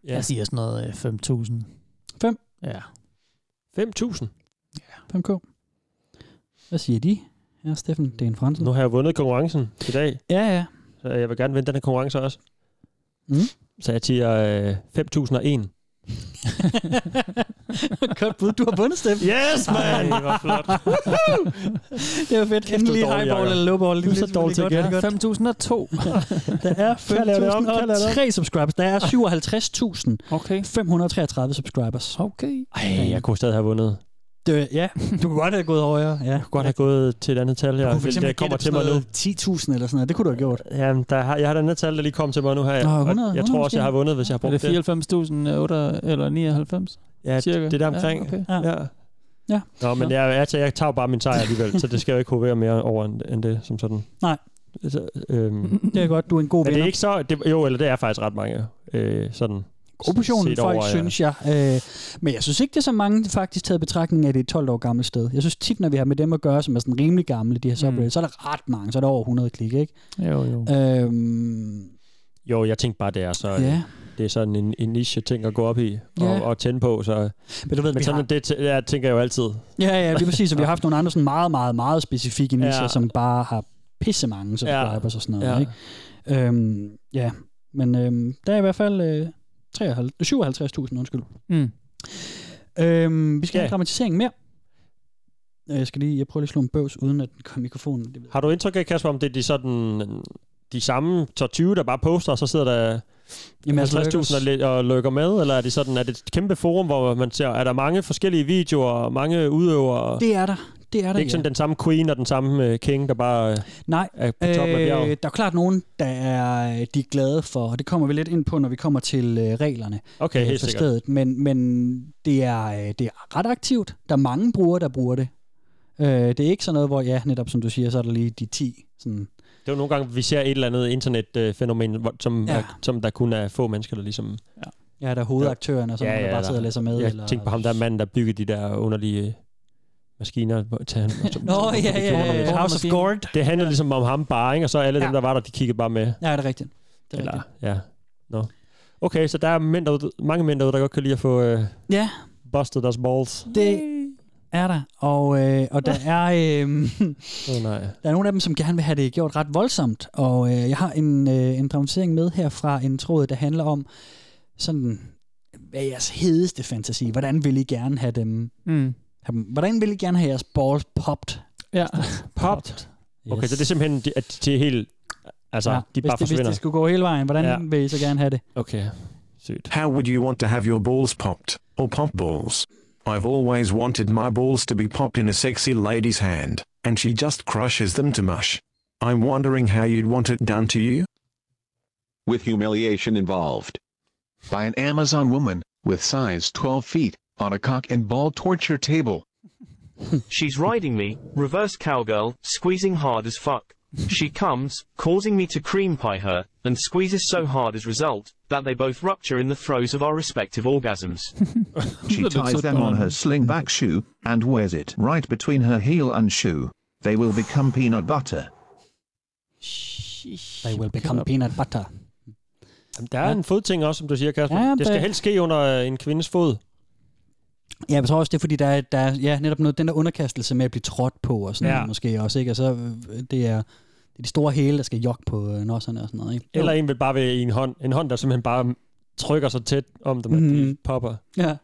Speaker 5: Ja. Jeg siger sådan noget øh, 5.000.
Speaker 3: 5?
Speaker 5: Ja.
Speaker 4: 5.000?
Speaker 3: 5K. Hvad siger de? Ja, Steffen, det er en fransk.
Speaker 4: Nu har jeg vundet konkurrencen i dag.
Speaker 3: Ja, ja.
Speaker 4: Så jeg vil gerne vinde den her konkurrence også.
Speaker 3: Mm.
Speaker 4: Så jeg siger øh, 5.001.
Speaker 3: Godt bud, du har vundet, Steffen.
Speaker 4: Yes, man! Ej, hvor flot.
Speaker 3: det var fedt.
Speaker 4: Kæft, du er
Speaker 3: Endelig
Speaker 4: dårlig,
Speaker 3: highball
Speaker 4: Jacob.
Speaker 3: eller lowball.
Speaker 4: Du er så dårlig til at gætte.
Speaker 3: 5.002. der er
Speaker 4: Kan jeg lave det om? Kan jeg lave det om?
Speaker 3: 5.003 subscribers. Der er 57.533
Speaker 5: okay.
Speaker 3: subscribers.
Speaker 5: Okay.
Speaker 4: Ej, jeg kunne stadig have vundet.
Speaker 3: Det, ja, du kunne godt have gået højere. Ja. Du kunne
Speaker 4: godt have gået til et andet tal her.
Speaker 3: kunne for
Speaker 4: Det,
Speaker 3: eksempel
Speaker 4: der kommer
Speaker 3: gætte
Speaker 4: til mig
Speaker 3: sådan
Speaker 4: nu.
Speaker 3: noget 10.000 eller sådan noget. Det kunne du have gjort.
Speaker 4: Jamen, der har, jeg har et andet tal, der lige kom til mig nu her.
Speaker 3: Nå,
Speaker 4: Og
Speaker 3: 100,
Speaker 4: jeg
Speaker 3: 100
Speaker 4: tror også, jeg har vundet, hvis jeg har
Speaker 5: Er
Speaker 4: brugt
Speaker 5: det 94.000 eller 99?
Speaker 4: Ja,
Speaker 5: Cirka.
Speaker 4: det er der omkring.
Speaker 5: Ja, okay.
Speaker 4: ja.
Speaker 3: ja.
Speaker 4: Nå, men jeg, altså, jeg tager bare min sejr alligevel, så det skal jo ikke hovere mere over end, end det, som sådan.
Speaker 3: Nej.
Speaker 4: Så, øhm,
Speaker 3: Det er godt, du er en god
Speaker 4: er det
Speaker 3: vinder.
Speaker 4: ikke så... Det, jo, eller det er faktisk ret mange. Øh, sådan,
Speaker 3: God portion,
Speaker 4: set
Speaker 3: folk
Speaker 4: over, ja.
Speaker 3: synes jeg. Øh, men jeg synes ikke, det er så mange faktisk taget i betragtning af, at det er et 12 år gammelt sted. Jeg synes tit, når vi har med dem at gøre, som er sådan rimelig gamle, de her subreddits,
Speaker 4: Mm.
Speaker 3: så er der ret mange, så er der over 100 klik, ikke?
Speaker 5: Jo, jo.
Speaker 3: Øhm,
Speaker 4: Jo, jeg tænkte bare, det er så...
Speaker 3: Ja.
Speaker 4: Det er sådan en, en niche ting at gå op i og,
Speaker 3: Ja.
Speaker 4: og tænde på, så...
Speaker 3: Men, du ved, vi
Speaker 4: men sådan,
Speaker 3: har-
Speaker 4: det tæ- ja, tænker jeg jo altid.
Speaker 3: ja, ja, lige præcis. Og vi har haft nogle andre sådan meget, meget, meget specifikke
Speaker 4: Ja.
Speaker 3: nischer, som bare har pisse mange subscribers ja. og sådan noget,
Speaker 4: Ja.
Speaker 3: ja. ikke? Øhm, ja, men øhm, der er i hvert fald øh, 53 57.000, undskyld.
Speaker 5: Mm.
Speaker 3: Øhm, vi skal
Speaker 4: Ja.
Speaker 3: have en dramatisering mere. Øh, Jeg skal lige, jeg prøver lige at slå en bøvs, uden at den kom i mikrofonen. Det ved
Speaker 4: Har du indtryk af, Kasper, om det er de, sådan, de samme top 20, der bare poster, og så sidder der
Speaker 3: Jamen, altså,
Speaker 4: 50.000 og, læ- og lykker med? Eller er det sådan, er det et kæmpe forum, hvor man ser, er der mange forskellige videoer og mange udøvere?
Speaker 3: Det er der. Det er der,
Speaker 4: det er ikke
Speaker 3: ja.
Speaker 4: sådan den samme queen og den samme øh, king, der bare øh,
Speaker 3: Nej,
Speaker 4: er på toppen øh, af
Speaker 3: der
Speaker 4: bjerget.
Speaker 3: er jo klart nogen, der er, øh, de er glade for, og det kommer vi lidt ind på, når vi kommer til øh, reglerne
Speaker 4: Okay, helt
Speaker 3: for
Speaker 4: sikkert.
Speaker 3: stedet. Men, men det, er, øh, det er ret aktivt. Der er mange brugere, der bruger det. Øh, det er ikke sådan noget, hvor, ja, netop som du siger, så er der lige de 10. Sådan.
Speaker 4: Det er jo nogle gange, vi ser et eller andet internetfænomen, øh, hvor- som,
Speaker 3: Ja.
Speaker 4: ja. er, som der kun er få mennesker, der ligesom... Ja,
Speaker 3: Ja, der er hovedaktøren, og så ja, ja, der bare sidder og læser med.
Speaker 4: Jeg
Speaker 3: eller,
Speaker 4: tænkte på ham, der er manden, der byggede de der underlige øh, maskiner hvor- til han. og så-
Speaker 3: Nå, ja, ja, ja,
Speaker 4: House
Speaker 3: ja.
Speaker 4: of
Speaker 3: House of
Speaker 4: Maskiner.
Speaker 3: Gourd.
Speaker 4: Det handler ligesom om ham bare, ikke? og så alle ja. dem, der var der, de kiggede bare med.
Speaker 3: Ja, det er rigtigt. Det er
Speaker 4: Eller-
Speaker 3: rigtigt.
Speaker 4: Ja. Nå. Okay, så der er mænd derude, mange mænd derude, der godt kan lide at få øh,
Speaker 3: Ja.
Speaker 4: busted deres balls.
Speaker 3: Det er der. Og, øh, og der er... Øh,
Speaker 4: oh, nej.
Speaker 3: Der er nogle af dem, som gerne vil have det gjort ret voldsomt, og øh, jeg har en, øh, en dramatisering med her fra en tråd, der handler om sådan, hvad er jeres hedeste fantasi? Hvordan vil I gerne have dem?
Speaker 5: Mm.
Speaker 3: Have dem hvordan vil I gerne have jeres balls popped?
Speaker 5: Ja.
Speaker 4: Popped? Okay,
Speaker 3: Yes.
Speaker 4: så det er simpelthen, de, at de er helt... Altså, ja, de
Speaker 3: hvis,
Speaker 4: bare
Speaker 3: det, hvis
Speaker 4: forsvinder.
Speaker 3: det skulle gå hele vejen, hvordan
Speaker 4: Ja.
Speaker 3: ja. vil I så gerne have det?
Speaker 4: Okay.
Speaker 13: How would you want to have your balls popped, or pop balls? I've always wanted my balls to be popped in a sexy lady's hand, and she just crushes them to mush. I'm wondering how you'd want it done to you?
Speaker 9: With humiliation involved.
Speaker 6: By an Amazon woman, with size 12 feet, on a cock and ball torture table.
Speaker 12: She's riding me, reverse cowgirl, squeezing hard as fuck. She comes, causing me to cream pie her, and squeezes so hard as result, that they both rupture in the throes of our respective orgasms.
Speaker 8: She ties them on her slingback shoe and wears it right between her heel and shoe. They will become peanut butter.
Speaker 3: They will become peanut butter.
Speaker 4: Jamen, der er ja.
Speaker 3: Ja.
Speaker 4: en fodting også, som du siger, Kasper.
Speaker 3: Ja,
Speaker 4: Ja, det skal
Speaker 3: det-
Speaker 4: helst ske under øh, en kvindes fod.
Speaker 3: Ja, jeg tror også, det er fordi, der er, der er ja, netop noget, den der underkastelse med at blive trådt på og sådan
Speaker 4: Ja.
Speaker 3: ja. noget måske også, ikke? Og så øh, det er, det er de store hæle, der skal jogge på øh, nosserne og sådan noget. Ikke?
Speaker 4: Eller en vil bare være i en hånd. En hånd, der simpelthen bare trykker så tæt om dem, at de
Speaker 3: Mhm.
Speaker 4: popper.
Speaker 3: Ja.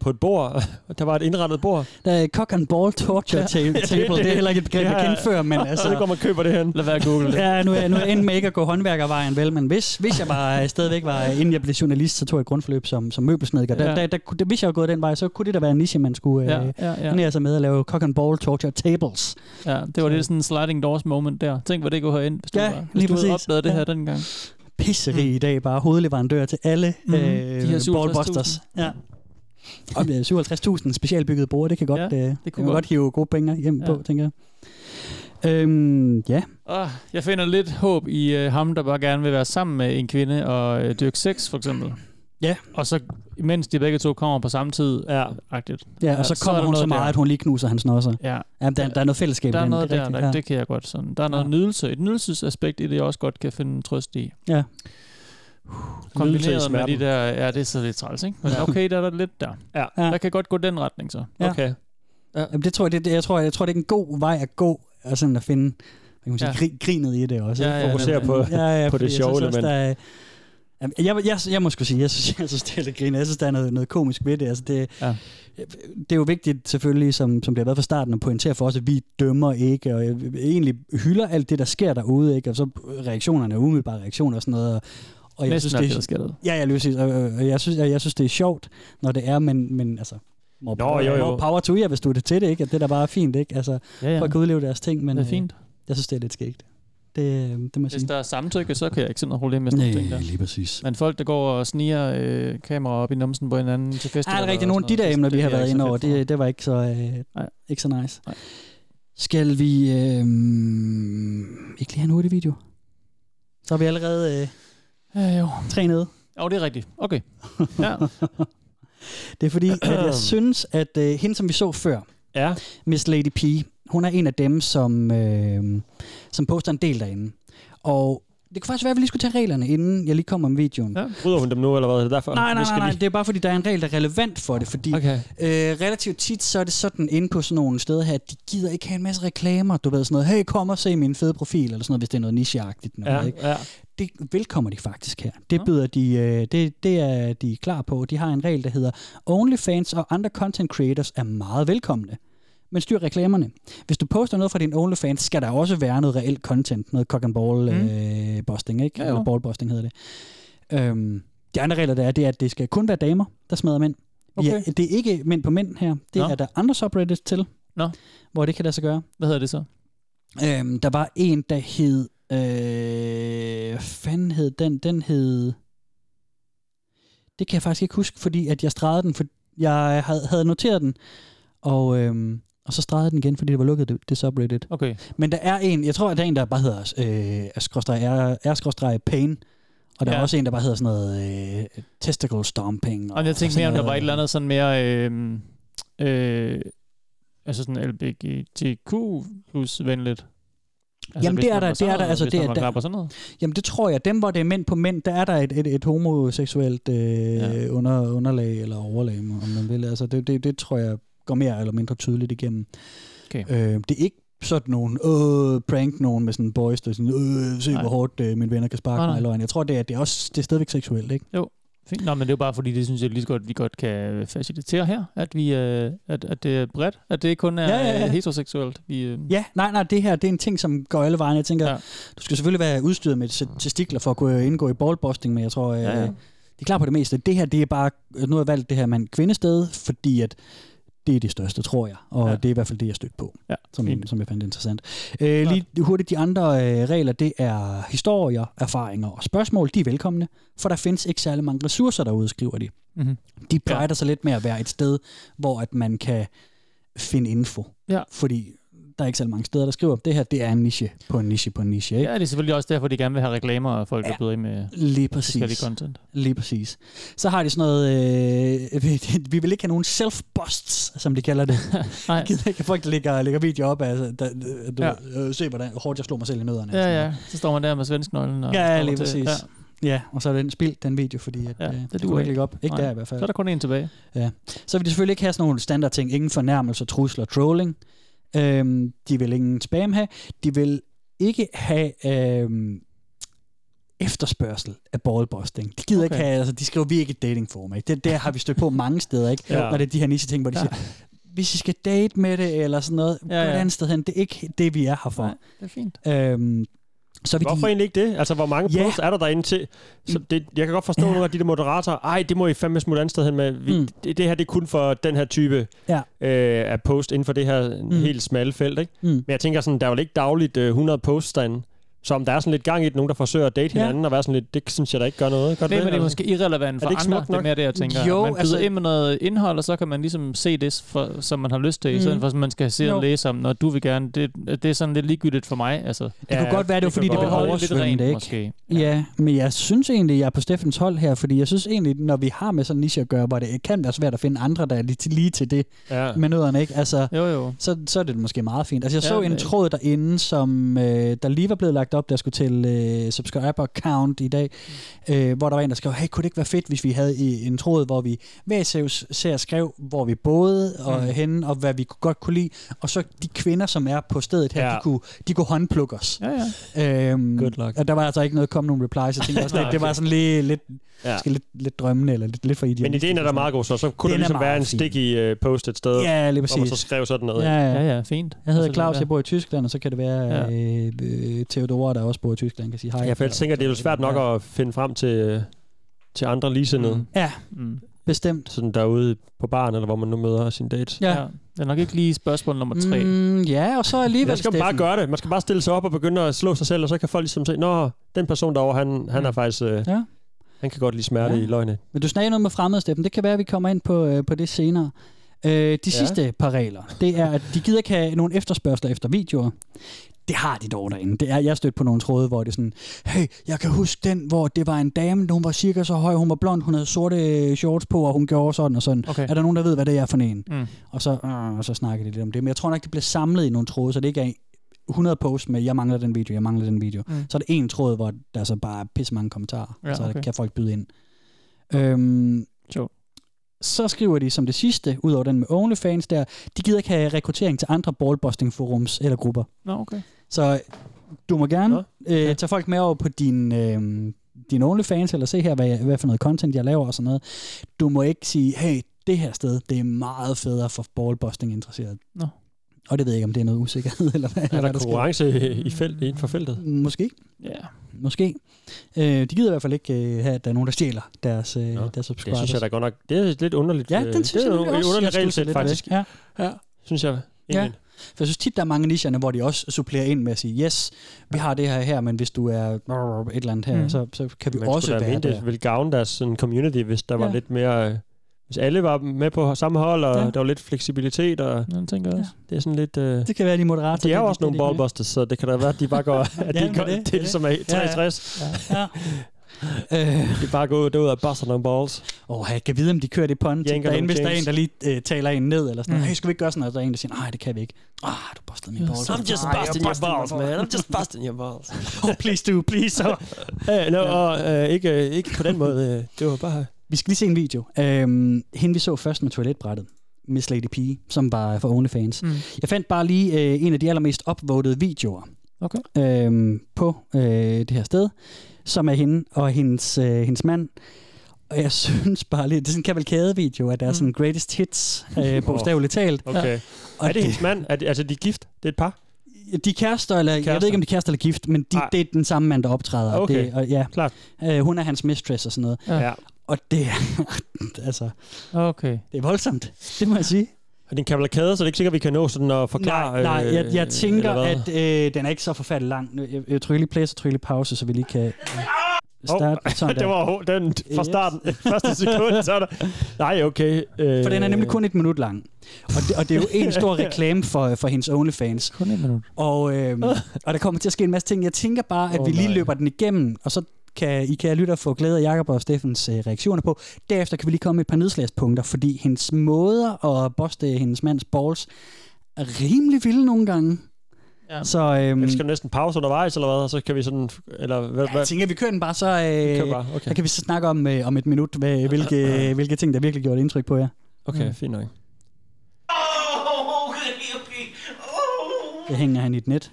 Speaker 4: På et bord. Der var et indrettet bord.
Speaker 3: Der er cock and ball torture table. table. Det er heller ikke et begreb, jeg kendte før, men altså...
Speaker 4: Så går man og køber det hen.
Speaker 5: Lad være at google det.
Speaker 3: Ja, nu er, nu er jeg endnu med ikke at gå håndværkervejen, vel, men hvis, hvis jeg bare øh, stadigvæk var, inden jeg blev journalist, så tog jeg et grundforløb som, som møbelsnedker. Der,
Speaker 5: Ja.
Speaker 3: ja. der, der, der, hvis jeg var gået den vej, så kunne det da være en niche, man skulle
Speaker 5: Ja,
Speaker 3: ja, øh,
Speaker 5: ja,
Speaker 3: ja,
Speaker 5: ja.
Speaker 3: ja. sig med at lave cock and ball torture tables.
Speaker 5: Ja, det var lidt sådan en sliding doors moment der. Tænk, hvor det kunne have ind, hvis du,
Speaker 3: Ja,
Speaker 5: var, hvis
Speaker 3: lige
Speaker 5: du havde
Speaker 3: præcis.
Speaker 5: opdaget det
Speaker 3: Ja.
Speaker 5: her dengang.
Speaker 3: Pisseri i dag, bare hovedleverandør til alle
Speaker 5: Mhm.
Speaker 3: mm.
Speaker 5: Mm. De her
Speaker 3: øh, ballbusters.
Speaker 5: 57.000.
Speaker 3: Ja. øh, Om det er 57.000 specialbygget bord, det kan godt, ja, det, det, det kan godt. godt hive gode penge hjem ja. på, tænker jeg. Øhm, ja.
Speaker 5: Oh, jeg finder lidt håb i øh, ham, der bare gerne vil være sammen med en kvinde og øh, dyrke sex, for eksempel.
Speaker 3: Ja.
Speaker 5: Og så, mens de begge to kommer på samme tid,
Speaker 4: ja.
Speaker 5: agtigt.
Speaker 3: Ja, og så kommer
Speaker 5: er der
Speaker 3: hun så
Speaker 5: noget
Speaker 3: meget,
Speaker 5: der.
Speaker 3: at hun lige knuser hans nosser.
Speaker 5: Ja.
Speaker 3: Jamen, der, der er noget fællesskab
Speaker 5: Der
Speaker 3: i
Speaker 5: er
Speaker 3: den,
Speaker 5: noget
Speaker 3: det
Speaker 5: der,
Speaker 3: rigtigt,
Speaker 5: der, det kan jeg godt sådan. Der er noget nydelse, et nydelsesaspekt i det, jeg også godt kan finde trøst i.
Speaker 3: Ja.
Speaker 5: Kombineret med
Speaker 4: smerten.
Speaker 5: de der, ja, det er så lidt træls, ikke? Men
Speaker 4: Ja.
Speaker 5: okay, der er der lidt der.
Speaker 4: Ja.
Speaker 5: Der kan godt gå den retning, så.
Speaker 3: Ja. Ja. Jamen, det tror jeg, det, det- jeg, tror, jeg tror, det er en god vej at gå, og sådan at finde hvad kan man sige,
Speaker 5: Ja.
Speaker 3: ja. gri, grinet i det også.
Speaker 5: Ja,
Speaker 3: ikke?
Speaker 5: ja, Fokusere
Speaker 4: på- på det
Speaker 3: fordi jeg
Speaker 4: sjove
Speaker 3: synes også,
Speaker 4: element.
Speaker 3: der er- Jamen, jeg, jeg, jeg, jeg må sgu sige, jeg synes, jeg synes, det er lidt griner. Jeg synes, der er noget, noget komisk ved det. Altså, det,
Speaker 5: ja.
Speaker 3: det er jo vigtigt selvfølgelig, som, som det har været fra starten, at pointere for os, at vi dømmer ikke, og øh, egentlig hylder alt det, der sker derude, ikke? og så reaktionerne, umiddelbare reaktioner og sådan noget. Og, og
Speaker 5: Næsten alt det, der sker derude.
Speaker 3: det, ja, jeg, løser, og, og, og jeg, synes, jeg, jeg synes, det er sjovt, når det er, men, men altså, more,
Speaker 4: Nå,
Speaker 3: power,
Speaker 4: jo, jo.
Speaker 3: more power to jer, hvis du er det til det, ikke? At det er da bare fint, ikke? Altså,
Speaker 5: Ja, ja.
Speaker 3: folk kan udleve deres ting, men
Speaker 5: Det er
Speaker 3: øh,
Speaker 5: fint.
Speaker 3: jeg synes, det er lidt skægt. Det, øh, det må jeg
Speaker 5: Hvis
Speaker 3: sige.
Speaker 5: der er samtykke, så kan jeg ikke se noget problem med sådan nogle
Speaker 3: Nej,
Speaker 5: ting der.
Speaker 3: lige præcis.
Speaker 5: Men folk, der går og sniger øh, kameraer op i numsen på hinanden til festivaler.
Speaker 3: Ja, det er rigtigt.
Speaker 5: og
Speaker 3: Nogle af de
Speaker 5: sådan
Speaker 3: der
Speaker 5: noget,
Speaker 3: emner,
Speaker 5: det-
Speaker 3: vi
Speaker 5: det
Speaker 3: har
Speaker 5: er jeg
Speaker 3: været
Speaker 5: ikke
Speaker 3: inde
Speaker 5: så
Speaker 3: over,
Speaker 5: fedt for.
Speaker 3: det, det var ikke så, øh, ikke så nice. Skal vi øh, ikke lige have en hurtig video? Så er vi allerede
Speaker 5: øh, ja, jo.
Speaker 3: tre nede.
Speaker 5: Åh, oh, det er rigtigt. Okay. Ja.
Speaker 3: Det er fordi, at jeg synes, at øh, hende, som vi så før,
Speaker 4: ja.
Speaker 3: Miss Lady P, hun er en af dem, som, øh, som poster en del derinde. Og det kunne faktisk være, at vi lige skulle tage reglerne, inden jeg lige kommer med videoen.
Speaker 4: Ja. Bryder hun dem nu, eller hvad? Er det derfor?
Speaker 3: Nej, nej,
Speaker 4: Vi skal
Speaker 3: nej, nej.
Speaker 4: lige-
Speaker 3: Det er bare fordi, der er en regel, der er relevant for det. Fordi
Speaker 4: Okay.
Speaker 3: øh, relativt tit, så er det sådan inde på sådan nogle steder her, at de gider ikke have en masse reklamer. Du ved sådan noget, hey, kom og se min fede profil, eller sådan noget, hvis det er noget nicheagtigt. Noget,
Speaker 4: Ja,
Speaker 3: ikke?
Speaker 4: ja.
Speaker 3: Det velkommer de faktisk her. Det byder de, øh, det, det er de klar på. De har en regel, der hedder, OnlyFans og andre content creators er meget velkomne. Men styr reklamerne. Hvis du poster noget fra din OnlyFans, skal der også være noget reelt content. Noget cock and ball
Speaker 5: Mm.
Speaker 3: mm. øh, busting, ikke?
Speaker 5: Ja,
Speaker 3: Ja,
Speaker 5: jo.
Speaker 3: Eller ballbusting hedder det. Øhm, de andre regler, der er, det er, at det skal kun være damer, der smadrer mænd. Okay. Ja,
Speaker 5: Okay.
Speaker 3: Øh, det er ikke mænd på mænd her. Det
Speaker 5: Nå.
Speaker 3: Nå. er der andre subreddits til,
Speaker 5: Nå.
Speaker 3: hvor det kan lade sig gøre.
Speaker 5: Hvad hedder det så?
Speaker 3: Øhm, der var en, der hed... Øh, hvad fanden hed den? Den hed... Det kan jeg faktisk ikke huske, fordi at jeg stregede den, for jeg havde, havde noteret den, og, øhm, og så stregede jeg den igen, fordi det var lukket, det, det subreddit.
Speaker 5: Okay.
Speaker 3: Men der er en, jeg tror, at der er en, der bare hedder øh, skråstreg R- R, skråstreg pain, og der
Speaker 5: Ja.
Speaker 3: er også en, der bare hedder sådan noget øh, testicle stomping.
Speaker 5: Og jeg tænkte mere, om
Speaker 3: sådan
Speaker 5: der var
Speaker 3: noget.
Speaker 5: et eller andet sådan mere... Øh, øh, altså sådan LBGTQ plus venligt.
Speaker 3: Altså, Jamen
Speaker 5: hvis
Speaker 3: det er
Speaker 5: man
Speaker 3: der,
Speaker 5: var
Speaker 3: det
Speaker 5: sådan
Speaker 3: er der,
Speaker 5: noget,
Speaker 3: altså
Speaker 5: hvis
Speaker 3: det
Speaker 5: man
Speaker 3: er
Speaker 5: var
Speaker 3: der.
Speaker 5: klar på sådan noget.
Speaker 3: Jamen det tror jeg, dem hvor det er mænd på mænd, der er der et, et, et homoseksuelt øh, ja. under, underlag eller overlag, om man vil. Altså det, det, det tror jeg går mere eller mindre tydeligt igennem.
Speaker 5: Okay.
Speaker 3: Øh, det er ikke sådan nogen, øh, prank nogen med sådan boys, der er sådan, øh, se
Speaker 5: Nej.
Speaker 3: hvor hårdt øh, mine venner kan sparke
Speaker 5: Nej, nej.
Speaker 3: mig i løgn. Jeg tror, det er, det er, også, det er stadigvæk seksuelt, ikke?
Speaker 5: Jo. Fint. Nå, men det er jo bare fordi, det synes jeg lige så godt, vi godt kan facilitere her, at, vi, øh, at, at det er bredt, at det ikke kun er
Speaker 3: Ja, ja, ja.
Speaker 5: øh, heteroseksuelt. Vi, øh,
Speaker 3: Ja, nej, nej, det her det er en ting, som går alle vejen. Jeg tænker, ja. du skal selvfølgelig være udstyret med sæt testikler for at kunne øh, indgå i ballbusting, men jeg tror, ja,
Speaker 5: Ja,
Speaker 3: ja.
Speaker 5: ja.
Speaker 3: de er klar på det meste. Det her, det er bare, nu har jeg valgt det her mand kvindested, fordi at det er det største, tror jeg. Og
Speaker 5: Ja.
Speaker 3: ja. det er i hvert fald det, jeg stødte på,
Speaker 5: ja,
Speaker 3: som,
Speaker 5: fint.
Speaker 3: som jeg fandt interessant. Øh, lige hurtigt, de andre øh, regler, det er historier, erfaringer og spørgsmål. De er velkomne, for der findes ikke særlig mange ressourcer derude, skriver de.
Speaker 5: Mhm.
Speaker 3: De plejer ja. sig lidt med at være et sted, hvor at man kan finde info.
Speaker 5: Ja.
Speaker 3: Fordi der er ikke så mange steder, der skriver, det her det er en niche på en niche på en niche. Ikke?
Speaker 5: Ja, det er selvfølgelig også derfor, de gerne vil have reklamer og folk, der byder ind med
Speaker 3: Lige præcis.
Speaker 5: forskellige content.
Speaker 3: Lige præcis. Så har de sådan noget, øh, vi- vi vil ikke have nogen self-busts, som de kalder det.
Speaker 5: Nej.
Speaker 3: Jeg gider ikke, at folk lægger, lægger video op af, altså, der, du,
Speaker 5: Ja.
Speaker 3: ja. øh, se hvordan hårdt jeg slog mig selv i nødderne.
Speaker 5: Ja, ja. Så står man der med svensknøglen. Og
Speaker 3: Ja,
Speaker 5: kommer
Speaker 3: lige
Speaker 5: til-
Speaker 3: præcis.
Speaker 5: Ja.
Speaker 3: Ja. ja, og så er den spildt, den video, fordi at,
Speaker 5: Ja,
Speaker 3: ja,
Speaker 5: det
Speaker 3: det, det
Speaker 5: duer
Speaker 3: kunne man
Speaker 5: ikke.
Speaker 3: ikke lægge op. Ikke
Speaker 5: Nej.
Speaker 3: der i hvert fald.
Speaker 5: Så er der kun en tilbage.
Speaker 3: Ja. Så vil de selvfølgelig ikke have sådan nogle standardting. Ingen fornærmelser, trusler, trolling. Øhm, de vil ingen spam have. De vil ikke have øhm, efterspørgsel af ballbusting. De gider okay. ikke have, altså de skriver, vi er ikke et datingformat. Det der har vi stødt på mange steder, ikke?
Speaker 5: Ja.
Speaker 3: Ja. Når det er de her niche-ting, hvor de
Speaker 5: Ja.
Speaker 3: ja. siger, hvis I skal date med det, eller sådan noget, ja, ja.
Speaker 5: ja.
Speaker 3: gå et andet sted hen. Det er ikke det, vi er her for. Nej,
Speaker 5: det er fint.
Speaker 3: Øhm, så vil de,
Speaker 4: Hvorfor egentlig ikke det? Altså, hvor mange yeah. posts er der derinde til? Så det, jeg kan godt forstå nogle af de der moderatorer. Ej, det må I fandme smutte andet sted hen med. Vi, mm. det, det her, det er kun for den her type
Speaker 3: Ja.
Speaker 4: øh, af post inden for det her mm. helt smalle felt, ikke?
Speaker 3: Mm.
Speaker 4: Men jeg tænker sådan, der er jo ikke dagligt øh, 100 posts derinde. Så om der er sådan lidt gang i det, nogen der forsøger at date
Speaker 5: Ja.
Speaker 4: hinanden og være sådan lidt, det synes jeg da ikke gør noget. Gør
Speaker 5: Nej, men det er
Speaker 4: altså?
Speaker 5: måske irrelevant for
Speaker 4: er det ikke
Speaker 5: andre,
Speaker 4: smukt
Speaker 5: det er
Speaker 4: nok?
Speaker 5: mere det, jeg tænker.
Speaker 4: Jo,
Speaker 5: man byder
Speaker 4: altså-
Speaker 5: altså... ind med noget indhold, og så kan man ligesom se det, for, som man har lyst til, mm. i stedet
Speaker 3: Mhm.
Speaker 5: for, at man skal sidde
Speaker 3: Jo.
Speaker 5: og læse om, når du vil gerne. Det, det er sådan lidt ligegyldigt for mig. Altså. Det
Speaker 3: kunne godt være, det var, fordi det blev oversvømmet, ikke?
Speaker 5: Måske.
Speaker 3: Ja. ja, men jeg synes egentlig, jeg er på Steffens hold her, fordi jeg synes egentlig, når vi har med sådan en niche at gøre, hvor det kan være svært at finde andre, der er lige til, lige til det
Speaker 4: Ja.
Speaker 3: med nødderne, ikke? Altså,
Speaker 5: jo, jo.
Speaker 3: Så, så er det måske meget fint. Altså, jeg
Speaker 5: Ja,
Speaker 3: så en
Speaker 5: men-
Speaker 3: tråd derinde, som øh, der lige var blevet lagt op, der skulle til øh, subscriber count i dag,
Speaker 5: Mm.
Speaker 3: øh, hvor der var en, der skrev, hey, kunne det ikke være fedt, hvis vi havde i en tråd, hvor vi hver ser, ser skrev, hvor vi boede og
Speaker 5: Mm.
Speaker 3: mm. henne, og hvad vi kunne- godt kunne lide, og så de kvinder, som er på stedet her,
Speaker 5: Ja.
Speaker 3: ja. de, kunne, de kunne håndplukke os.
Speaker 5: Ja, ja.
Speaker 3: Øhm, Good luck. Og der var altså ikke noget, kom nogen replies, jeg tænkte også,
Speaker 4: Nej,
Speaker 3: det, det var
Speaker 4: okay.
Speaker 3: sådan lige lidt,
Speaker 4: Ja.
Speaker 3: ja. lidt, lidt drømmende, eller lidt, lidt for
Speaker 4: Men
Speaker 3: idealistisk.
Speaker 4: ideen er
Speaker 3: eller
Speaker 4: da
Speaker 3: sådan
Speaker 4: meget god, så, så kunne
Speaker 3: Den
Speaker 4: der
Speaker 3: er
Speaker 4: ligesom være
Speaker 3: meget
Speaker 4: en
Speaker 3: fin.
Speaker 4: sticky uh, post et sted,
Speaker 3: Ja, lige
Speaker 4: hvor man så
Speaker 3: præcis.
Speaker 4: skrev sådan noget.
Speaker 3: Ja,
Speaker 4: ikke?
Speaker 3: ja,
Speaker 5: ja, fint.
Speaker 3: Jeg hedder
Speaker 4: Altså,
Speaker 3: Claus,
Speaker 4: ja.
Speaker 3: jeg bor i Tyskland, og så kan det være ja. øh, Theodora, der også bor i Tyskland, kan sige hej.
Speaker 4: Ja, for jeg tænker, det er jo svært nok at finde frem til, øh, til andre ligesindede. Mm.
Speaker 3: Ja,
Speaker 5: mm.
Speaker 3: bestemt.
Speaker 4: Sådan derude på baren, eller hvor man nu møder sin date.
Speaker 5: Ja. ja. Det er nok ikke lige spørgsmål nummer tre.
Speaker 3: Mm, ja, og så alligevel,
Speaker 4: Man skal man bare
Speaker 3: Steffen.
Speaker 4: gøre det. Man skal bare stille sig op og begynde at slå sig selv, og så kan folk ligesom se, nå, den person derovre, han, han er faktisk... Øh,
Speaker 3: Ja.
Speaker 4: Han kan godt lide smerte
Speaker 3: Ja.
Speaker 4: i løgne.
Speaker 3: Men du snakker noget med fremmede, Steffen. Det kan være, at vi kommer ind på, øh, på det senere. Øh, de ja. sidste par regler, det er, at de gider ikke have nogen efterspørgsler efter videoer. Det har de dog derinde. Det er, jeg stødte på nogle tråde, hvor det er sådan, hey, jeg kan huske den, hvor det var en dame, hun var cirka så høj, hun var blond, hun havde sorte øh, shorts på, og hun gjorde sådan og sådan.
Speaker 5: Okay.
Speaker 3: Er der nogen, der ved, hvad det er for en?
Speaker 5: Mm.
Speaker 3: Og så, øh, og så snakkede de lidt om det. Men jeg tror nok, det bliver samlet i nogle tråde, så det ikke er 100 posts med, jeg mangler den video, jeg mangler den video.
Speaker 5: Mm.
Speaker 3: Mm. Så er det en tråd, hvor der så bare er pisse mange kommentarer,
Speaker 5: Ja,
Speaker 3: ja, så
Speaker 5: okay.
Speaker 3: okay. kan folk byde ind. Øhm,
Speaker 5: jo.
Speaker 3: Så skriver de som det sidste, ud over den med OnlyFans der, de gider ikke have rekruttering til andre ballbusting forums eller grupper.
Speaker 5: Nå, okay.
Speaker 3: Så du må gerne ja. øh, tage folk med over på din, øh, din OnlyFans, eller se her, hvad, jeg, hvad for noget content jeg laver og sådan noget. Du må ikke sige, hey, det her sted, det er meget federe for ballbusting interesseret.
Speaker 5: Nå.
Speaker 3: Og det ved jeg ikke, om det er noget usikkerhed, eller hvad,
Speaker 4: Er
Speaker 3: eller hvad
Speaker 4: der
Speaker 3: der sker.
Speaker 4: konkurrence i, i felt, inden for feltet?
Speaker 3: Måske.
Speaker 5: Ja.
Speaker 3: Måske. Øh, de gider i hvert fald ikke øh, have, at der er nogen, der stjæler deres, øh, deres
Speaker 4: Det
Speaker 3: subscribers.
Speaker 4: synes jeg da godt nok. Det er lidt underligt.
Speaker 3: Ja,
Speaker 4: øh,
Speaker 3: den synes jeg
Speaker 4: det er
Speaker 3: nemlig
Speaker 4: et
Speaker 3: også.
Speaker 4: underligt
Speaker 3: Jeg studsede
Speaker 4: regelsæt,
Speaker 3: lidt ved
Speaker 4: faktisk.
Speaker 3: det. Ja.
Speaker 4: ja. Synes jeg.
Speaker 3: Ja.
Speaker 4: egentlig.
Speaker 3: For jeg synes tit, der er mange nicherne, hvor de også supplerer ind med at sige, yes, vi har det her her, men hvis du er et eller andet her,
Speaker 4: Mm.
Speaker 3: mm. så, så kan vi
Speaker 4: Man
Speaker 3: også
Speaker 4: skulle da
Speaker 3: være
Speaker 4: mene,
Speaker 3: der.
Speaker 4: det ville gavne deres sådan, community, hvis der ja. var
Speaker 3: Ja.
Speaker 4: lidt mere... øh, Hvis alle var med på samme hold, og ja.
Speaker 3: Ja.
Speaker 4: der var lidt fleksibilitet. Og
Speaker 5: ja, tænker jeg også.
Speaker 4: Det er sådan lidt... Øh,
Speaker 3: Det kan være, de moderate.
Speaker 4: de er jo
Speaker 3: det-
Speaker 4: også
Speaker 3: det-
Speaker 4: nogle
Speaker 3: det- det-
Speaker 4: ballbusters, så det kan da være, at de bare går... at de
Speaker 3: Jamen,
Speaker 4: går
Speaker 3: det er
Speaker 4: det, det, det, som er 63.
Speaker 3: Ja, ja.
Speaker 4: De bare går derud og buster nogle balls.
Speaker 3: Åh, oh, jeg kan vide, om de kører det på en ting
Speaker 4: Jænker
Speaker 3: derinde,
Speaker 4: nogle
Speaker 3: hvis der er en,
Speaker 4: chains.
Speaker 3: der lige øh, taler en ned, eller sådan
Speaker 4: Mm.
Speaker 3: mm. hey, skal vi ikke gøre sådan noget? Og der er en, der siger, nej, det kan vi ikke. Ah, oh, du bustede min balls.
Speaker 4: I'm just
Speaker 3: "Nej, jeg
Speaker 4: busting your
Speaker 3: bustede
Speaker 4: balls,
Speaker 3: min
Speaker 4: man. I'm just busting your balls.
Speaker 3: oh, please do, please. Oh.
Speaker 4: hey, no, og, øh, ikke, øh, ikke på den måde. Øh, det var bare...
Speaker 3: Vi skal lige se en video. Øhm, hende vi så først med toiletbrættet. Miss Lady P, som var for OnlyFans.
Speaker 5: Mm.
Speaker 3: Mm. Jeg fandt bare lige øh, en af de allermest upvotede videoer
Speaker 5: Okay.
Speaker 3: øhm, på øh, det her sted, som er hende og hendes, øh, hendes mand. Og jeg synes bare lige, det er sådan en kavalkade-video, at der er sådan greatest hits, øh, bogstaveligt talt.
Speaker 4: Okay.
Speaker 3: Og
Speaker 4: er det, hendes mand? Er det, altså, de er gift? Det er et par?
Speaker 3: De er kærester, eller kærester. jeg ved
Speaker 4: Kærester.
Speaker 3: ikke, om de er kærester eller gift, men de,
Speaker 4: Nej.
Speaker 3: det er den samme mand, der optræder. og
Speaker 4: Okay,
Speaker 3: det, og, ja.
Speaker 4: klart.
Speaker 3: Øh, hun er hans mistress og sådan noget.
Speaker 5: Ja. Ja.
Speaker 3: Og det er, altså,
Speaker 5: Okay.
Speaker 3: det er voldsomt, det må jeg sige.
Speaker 4: Er det en kavalkade, så det er ikke sikkert, vi kan nå sådan at forklare?
Speaker 3: Nej, nej jeg, jeg
Speaker 4: øh,
Speaker 3: tænker,
Speaker 4: eller hvad?
Speaker 3: at øh, den er ikke så forfærdelig lang. Nu, Jeg, jeg trykker lige play, så trykker lige pause, så vi lige kan øh, starte. Oh, sådan
Speaker 4: det
Speaker 3: der.
Speaker 4: var hår- den fra
Speaker 3: Yes.
Speaker 4: starten. Første sekund, så er der... Nej, okay. Øh,
Speaker 3: For den er nemlig kun et minut lang. Og det, og det er jo en stor reklame for, for hendes OnlyFans.
Speaker 5: Kun et minut.
Speaker 3: Og, øh, og der kommer til at ske en masse ting. Jeg tænker bare, at
Speaker 5: Åh,
Speaker 3: oh, vi lige
Speaker 5: nej.
Speaker 3: løber den igennem, og så kan I kan lytte og få glæde af Jakob og Steffens øh, reaktioner på. Derefter kan vi lige komme med et par nedslagspunkter, fordi hendes måder at boste hendes mands balls er rimelig vilde nogle gange.
Speaker 5: Ja.
Speaker 3: Så øhm,
Speaker 4: Skal du næsten pause undervejs, eller hvad? Og så kan vi sådan... Eller, hvad,
Speaker 3: Jeg tænker, vi kører den bare, så, øh,
Speaker 4: kører bare, okay.
Speaker 3: så kan vi så snakke om, øh, om et minut, hvad, hvilke, hvilke ting, der virkelig gjorde et indtryk på jer. Mm.
Speaker 4: Okay, fint nok.
Speaker 3: Det hænger han i et net.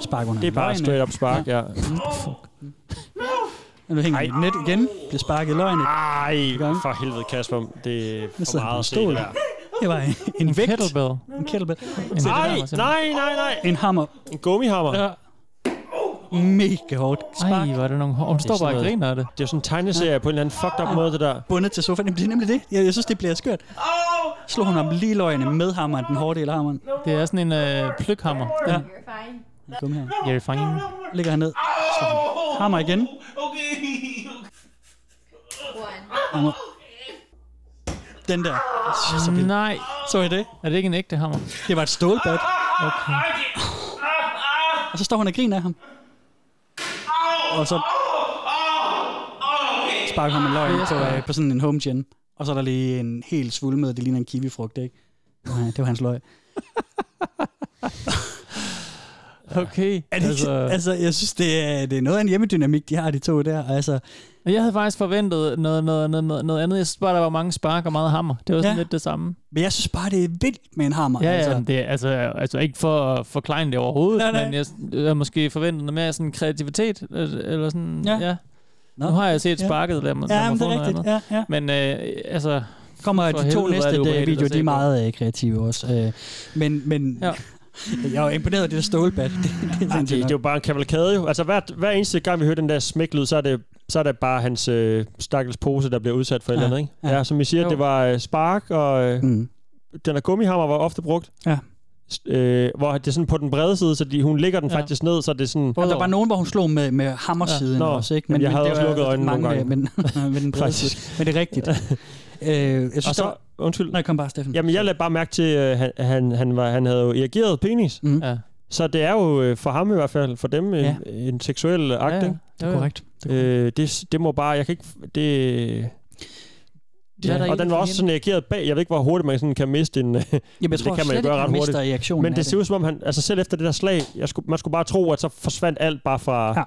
Speaker 3: Spark under øh.
Speaker 4: Det er bare
Speaker 3: løgene.
Speaker 4: straight up spark, ja.
Speaker 3: Mm, Er du hænger i et net igen? Bliver sparket i løgnet?
Speaker 4: Ej, for helvede, Kasper. Det er
Speaker 3: Jeg
Speaker 4: for
Speaker 3: sidder på
Speaker 4: meget
Speaker 3: en
Speaker 4: at se det
Speaker 3: stol.
Speaker 4: der.
Speaker 3: Det var en, en vægt. Kettlebell. En kettlebell. Se, det
Speaker 4: Nej,
Speaker 3: der var sådan-
Speaker 4: nej, nej, nej.
Speaker 3: En hammer.
Speaker 4: En gummihammer.
Speaker 3: Ja. Mega hårdt spark.
Speaker 4: Ej, hvor er det nogle Hun
Speaker 3: står bare og griner
Speaker 4: af det. Det er jo sådan en tegneserie på en eller anden fucked
Speaker 3: Ja.
Speaker 4: up måde, det der.
Speaker 3: Ah, Bundet til sofaen. Jamen, det er nemlig det. Jeg, jeg synes, det bliver skørt. Slog hun ham lige i løgene med hammeren, den hårde del af hammeren.
Speaker 5: Det er sådan en øh, plukhammer.
Speaker 3: Ja.
Speaker 7: You're fine.
Speaker 3: Kom her.
Speaker 5: Jerry Fangen.
Speaker 3: Ligger han ned. Slår ham. Hammer igen. Hammer. Den der. Så vildt.
Speaker 5: Nej.
Speaker 3: Så I det?
Speaker 5: Er det ikke en ægte hammer?
Speaker 3: Det var et stålbat. Okay. Og så står hun og griner af ham. Og så sparker hun en løgn på, øh, på sådan en home gym. Og så er der lige en helt svulmet, det ligner en kiwifrugt, ikke? Nej, det var hans løg.
Speaker 5: Okay.
Speaker 3: Er det, altså, altså, jeg synes, det er, det er noget af en hjemmedynamik, de har, de to der. Altså,
Speaker 5: Jeg havde faktisk forventet noget, noget, noget, noget andet. Jeg synes bare, der var mange spark og meget hammer. Det var sådan
Speaker 3: Ja.
Speaker 5: ja. lidt det samme.
Speaker 3: men jeg synes bare, det er vildt med en hammer.
Speaker 5: Ja,
Speaker 3: altså.
Speaker 5: ja, men det er altså, altså ikke for at forklejne det overhovedet,
Speaker 3: Nej,
Speaker 5: nej,
Speaker 3: nej.
Speaker 5: nej. men jeg, jeg har måske forventet noget mere sådan kreativitet, øh, eller sådan,
Speaker 3: Ja.
Speaker 5: ja. ja. Nu har jeg set
Speaker 3: Ja.
Speaker 5: sparket, lad mig,
Speaker 3: Ja,
Speaker 5: lad mig
Speaker 3: men det
Speaker 5: få
Speaker 3: er
Speaker 5: noget
Speaker 3: rigtigt.
Speaker 5: andet.
Speaker 3: Ja, ja.
Speaker 5: Men øh, altså...
Speaker 3: kommer de
Speaker 5: for
Speaker 3: to
Speaker 5: helvede, hvor er
Speaker 3: næste
Speaker 5: det
Speaker 3: øh,
Speaker 5: ubehageligt
Speaker 3: videoer,
Speaker 5: at se
Speaker 3: de er
Speaker 5: på.
Speaker 3: meget øh, kreative også. Øh, men men ja. jeg er jo imponeret af det der stålbat. Det, det,
Speaker 4: Ej, Ah, det, det er jo bare en kavalkade. jo. Altså, hver, hver eneste gang, vi hører den der smæklyd, så er det, så er det bare hans øh, stakkels pose, der bliver udsat for ja. et
Speaker 3: Ja,
Speaker 4: eller andet, ikke?
Speaker 3: ja.
Speaker 4: Ja, som I siger,
Speaker 3: Jo.
Speaker 4: jo. det var øh, spark, og øh,
Speaker 3: mm.
Speaker 4: den der gummihammer var ofte brugt.
Speaker 3: Ja.
Speaker 4: S- Øh, hvor det er sådan på den brede side, så de, hun lægger den
Speaker 3: Ja.
Speaker 4: ja. faktisk ned, så det er sådan...
Speaker 3: Og altså, der var nogen, hvor hun slog med, med hammersiden ja.
Speaker 4: Nå,
Speaker 3: også, ikke?
Speaker 4: jamen, jeg havde
Speaker 3: det
Speaker 4: også
Speaker 3: var
Speaker 4: lukket øjnene
Speaker 3: mange
Speaker 4: nogle gange.
Speaker 3: med- Men, med den brede side.
Speaker 4: Faktisk.
Speaker 3: men det er rigtigt. øh, jeg synes,
Speaker 4: Og
Speaker 3: der
Speaker 4: så,
Speaker 3: var-
Speaker 4: undskyld.
Speaker 3: Nej, kom bare, Steffen.
Speaker 4: Jamen, jeg lagde bare mærke til, at han, han, han, var, han havde jo erigeret penis.
Speaker 3: Mm.
Speaker 5: Ja.
Speaker 4: Så det er jo øh, for ham i hvert fald, for dem, ja. en, en seksuel akt,
Speaker 5: Ja, ja.
Speaker 4: ikke?
Speaker 5: Det er Jo, jo. korrekt.
Speaker 4: Øh, det, det må bare, jeg kan ikke, det...
Speaker 3: Det er der
Speaker 4: ja.
Speaker 3: ikke
Speaker 4: Og den var
Speaker 3: for
Speaker 4: også
Speaker 3: hende.
Speaker 4: sådan reageret bag. Jeg ved ikke, hvor hurtigt man sådan kan miste en... Jamen,
Speaker 3: jeg tror
Speaker 4: det kan man
Speaker 3: slet
Speaker 4: jo gøre
Speaker 3: ikke,
Speaker 4: ret
Speaker 3: man
Speaker 4: hurtigt.
Speaker 3: mister reaktionen
Speaker 4: Men
Speaker 3: af
Speaker 4: det ser ud som om, han, altså selv efter det der slag, jeg skulle, man skulle bare tro, at så forsvandt alt bare fra...
Speaker 3: Ja.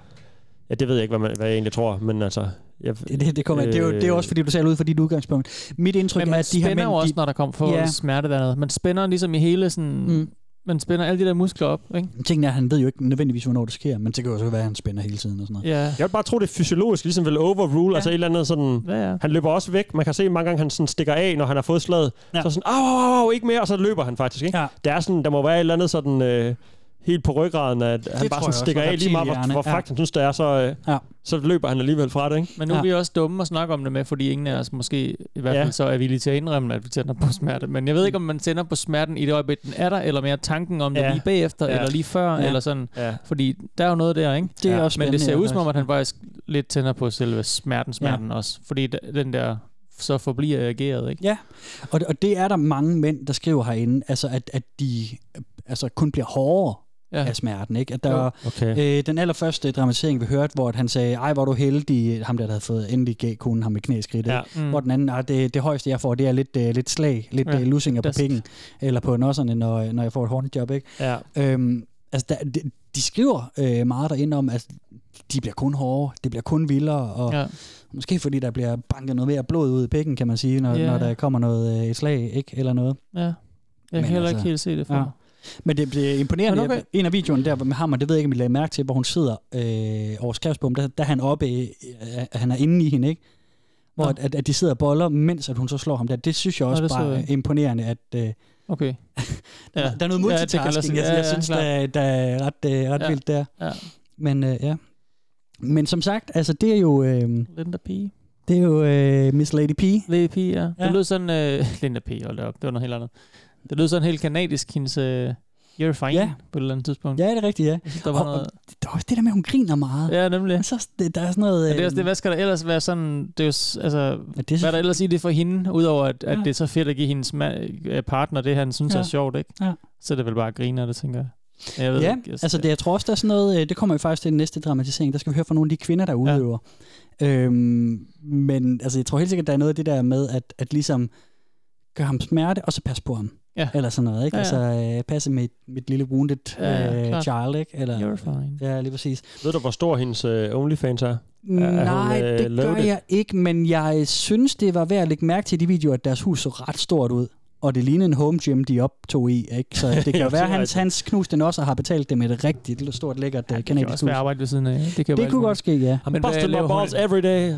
Speaker 4: ja det ved jeg ikke, hvad, man, hvad jeg egentlig tror, men altså... Jeg,
Speaker 3: Det, det, det, kommer, øh, det, er jo, det er jo også, fordi du taler ud fra dit udgangspunkt. Mit indtryk
Speaker 5: Men
Speaker 3: er,
Speaker 5: man
Speaker 3: at de her mænd...
Speaker 5: spænder jo også, når der kommer for
Speaker 3: Ja.
Speaker 5: ja. smerte dernede. Man spænder ligesom i hele sådan...
Speaker 3: Mm.
Speaker 5: Mm. Man spænder alle de der muskler op, ikke?
Speaker 3: Tingen er, at han ved jo ikke nødvendigvis, hvornår det sker, men det kan jo også være, at han spænder hele tiden og sådan noget.
Speaker 5: Ja.
Speaker 4: Jeg vil bare tro, det er fysiologisk, ligesom vil overrule, ja. altså et eller andet sådan...
Speaker 5: Ja, ja.
Speaker 4: Han løber også væk. Man kan se mange gange, han sådan stikker af, når han har fået slaget. Ja. Så er sådan, au, au, au, ikke mere, og så løber han faktisk, ikke?
Speaker 3: Ja.
Speaker 4: Der, er sådan, der må være et eller andet sådan... Øh, helt på ryggraden, at han
Speaker 5: tror
Speaker 4: bare
Speaker 5: jeg
Speaker 4: sådan
Speaker 5: også,
Speaker 4: stikker
Speaker 5: noget
Speaker 4: af lige meget, hvor,
Speaker 5: reptilhjerne.
Speaker 4: hvor
Speaker 5: Ja.
Speaker 4: fakt han synes, det er, så, øh,
Speaker 3: ja.
Speaker 4: så løber han alligevel fra det, ikke?
Speaker 5: Men nu ja. er vi også dumme at snakke om det med, fordi ingen af os måske i hvert
Speaker 4: Ja.
Speaker 5: fald ja. så er villige til at indrømme, at vi tænder på smerte. Men jeg ved ikke, om man tænder på smerten i det øjeblik, den er der, eller mere tanken om det
Speaker 4: Ja.
Speaker 5: ja. lige bagefter,
Speaker 4: Ja.
Speaker 5: ja. eller lige før,
Speaker 4: Ja.
Speaker 5: ja. eller sådan.
Speaker 4: Ja.
Speaker 5: Fordi der er jo noget der, ikke?
Speaker 3: Det er også
Speaker 5: Men det ser
Speaker 3: spændende,
Speaker 5: ud som om, at han faktisk lidt tænder på selve smerten, smerten ja. også. Fordi d- den der så forbliver ageret, ikke?
Speaker 3: Ja, og, og det er der mange mænd, der skriver herinde, altså at, at de øh, altså kun bliver hårdere ja.
Speaker 5: Ja.
Speaker 3: af smerten. Ikke? At der
Speaker 5: Jo.
Speaker 3: var,
Speaker 5: Okay.
Speaker 3: øh, den allerførste dramatisering, vi hørte, hvor at han sagde, ej, hvor er du heldig, ham der, der havde fået endelig gav konen ham med knæskridt.
Speaker 5: Ja.
Speaker 3: Ja. Mm. Hvor den anden, "Ah, det, det højeste, jeg får, det er lidt, øh, lidt slag, lidt
Speaker 5: Ja.
Speaker 3: ja. lusinger på
Speaker 5: Der-
Speaker 3: pikken, eller på nosserne, når, når jeg får et håndjob. Ikke?
Speaker 4: Ja.
Speaker 3: Øhm, altså, der, de, de skriver øh, meget derinde om, at de bliver kun hårde, det bliver kun vildere, og ja.
Speaker 5: Ja.
Speaker 3: måske fordi der bliver banket noget mere blod ud i pikken, kan man sige, når,
Speaker 5: Ja.
Speaker 3: når der kommer noget øh, et slag, ikke? Eller noget. altså,
Speaker 5: Ja. Jeg kan heller ikke helt se det for mig.
Speaker 3: Men det bliver imponerende.
Speaker 5: Men okay.
Speaker 3: En af videoerne der med hammer, det ved jeg ikke, om I lagde mærke til, hvor hun sidder øh, over skærmsbomben, der, der er han oppe, øh, øh, han er inde i hende, ikke? Hvor
Speaker 5: Nå.
Speaker 3: at, at, at, de sidder og boller, mens at hun så slår ham der. Det synes jeg
Speaker 5: Nå,
Speaker 3: også
Speaker 5: det så
Speaker 3: bare
Speaker 5: jeg
Speaker 3: er
Speaker 5: ikke.
Speaker 3: imponerende, at... Øh,
Speaker 5: Okay.
Speaker 3: Ja. Der er noget multitasking, ja, jeg, jeg synes, der, er- der er ret, øh, ret ja.
Speaker 5: Ja.
Speaker 3: vildt der.
Speaker 5: Ja.
Speaker 3: Men øh, ja. Men som sagt, altså det er jo... Øh,
Speaker 5: Linda P.
Speaker 3: Det er jo øh, Miss Lady P.
Speaker 5: Lady P, ja.
Speaker 3: Ja.
Speaker 5: Det lød sådan... Øh, Linda P, hold da op. Det var noget helt andet. Det lød sådan helt kanadisk, hendes... Øh, You're fine,
Speaker 3: Ja.
Speaker 5: ja. på et eller andet tidspunkt.
Speaker 3: Ja, det er rigtigt, ja.
Speaker 5: Jeg synes, der var
Speaker 3: Og- og
Speaker 5: noget...
Speaker 3: Der er også det der med, at hun griner meget.
Speaker 5: Ja, nemlig.
Speaker 3: Og så, det, der er sådan noget...
Speaker 5: Men det er også det,
Speaker 3: øh,
Speaker 5: hvad skal der ellers være sådan, det er jo, s- altså,
Speaker 3: er
Speaker 5: det hvad er der ellers i det for hende, udover at, at
Speaker 3: Ja.
Speaker 5: det er så fedt at give hendes ma- øh, partner det, han synes
Speaker 3: Ja.
Speaker 5: er sjovt, ikke?
Speaker 3: Ja.
Speaker 5: Så er det vel bare at grine af det, tænker jeg. Men jeg ved
Speaker 3: ja,
Speaker 5: ikke, jeg-
Speaker 3: altså det, jeg tror også, der er sådan noget, øh, det kommer jo faktisk til den næste dramatisering, der skal vi høre fra nogle af de kvinder, der udøver. Øhm, men altså, jeg tror helt sikkert, der er noget af det der med, at, at ligesom gøre ham smerte, og så passe på ham.
Speaker 5: Ja.
Speaker 3: Eller sådan noget, ikke?
Speaker 5: Ja, ja.
Speaker 3: Altså, øh, passe med mit lille wounded
Speaker 5: Ja, ja,
Speaker 3: øh,
Speaker 5: klart.
Speaker 3: child, ikke? Eller,
Speaker 5: You're fine.
Speaker 3: Ja, lige præcis.
Speaker 4: Ved du, hvor stor hendes øh, OnlyFans er?
Speaker 3: Nej,
Speaker 4: er
Speaker 3: hun,
Speaker 4: øh,
Speaker 3: det gør
Speaker 4: loaded?
Speaker 3: jeg ikke, men jeg synes, det var værd at lægge mærke til i de videoer, at deres hus så ret stort ud. og det lignede en home gym, de optog i, ikke? Så det kan jo
Speaker 5: Ja,
Speaker 3: være, at
Speaker 5: det er
Speaker 3: hans,
Speaker 5: rigtigt.
Speaker 3: hans knuste den også og har betalt det med et rigtig stort lækkert ja,
Speaker 5: Det kan
Speaker 3: kanadisk
Speaker 5: også
Speaker 3: knus.
Speaker 5: være arbejde ved siden af. øh, Det, kan
Speaker 3: Det kunne godt ske, ja.
Speaker 5: I'm
Speaker 4: Men busted my balls every day,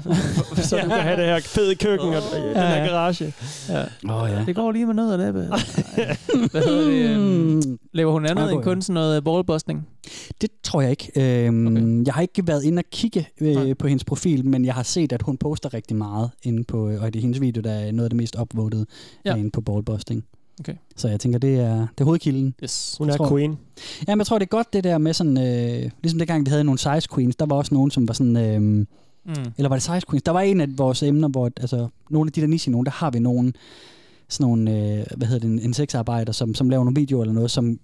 Speaker 4: så du kan have det her fede køkken og øh, den
Speaker 5: Ja,
Speaker 4: her
Speaker 5: ja.
Speaker 4: garage.
Speaker 5: Ja.
Speaker 3: Oh, ja.
Speaker 5: Det går lige med noget af det. Hvad hedder det? øhm, Laver hun andet
Speaker 3: Meget
Speaker 5: end
Speaker 3: god,
Speaker 5: kun sådan noget øh, ballbustning?
Speaker 3: Øhm, Det tror jeg ikke. Øhm, okay. Jeg har ikke været inde og kigge øh, på hendes profil, men jeg har set, at hun poster rigtig meget inde på, øh, og det er hendes video, der er noget af det mest upvotede
Speaker 5: Ja.
Speaker 3: ja. inde på ballbusting.
Speaker 5: Okay.
Speaker 3: Så jeg tænker, det er, det er hovedkilden.
Speaker 5: Yes.
Speaker 4: Hun
Speaker 3: Jeg
Speaker 4: er
Speaker 3: tror-
Speaker 4: queen.
Speaker 3: Jamen, jeg tror, det er godt det der med sådan, øh, ligesom dengang vi havde nogle size queens, der var også nogen, som var sådan, øh, mm. eller var det size queens? Der var en af vores emner, hvor, altså, nogle af de der niche nogen, der har vi nogen, sådan nogle, øh, hvad hedder det, en, en sexarbejder, som, som laver nogle videoer eller noget, som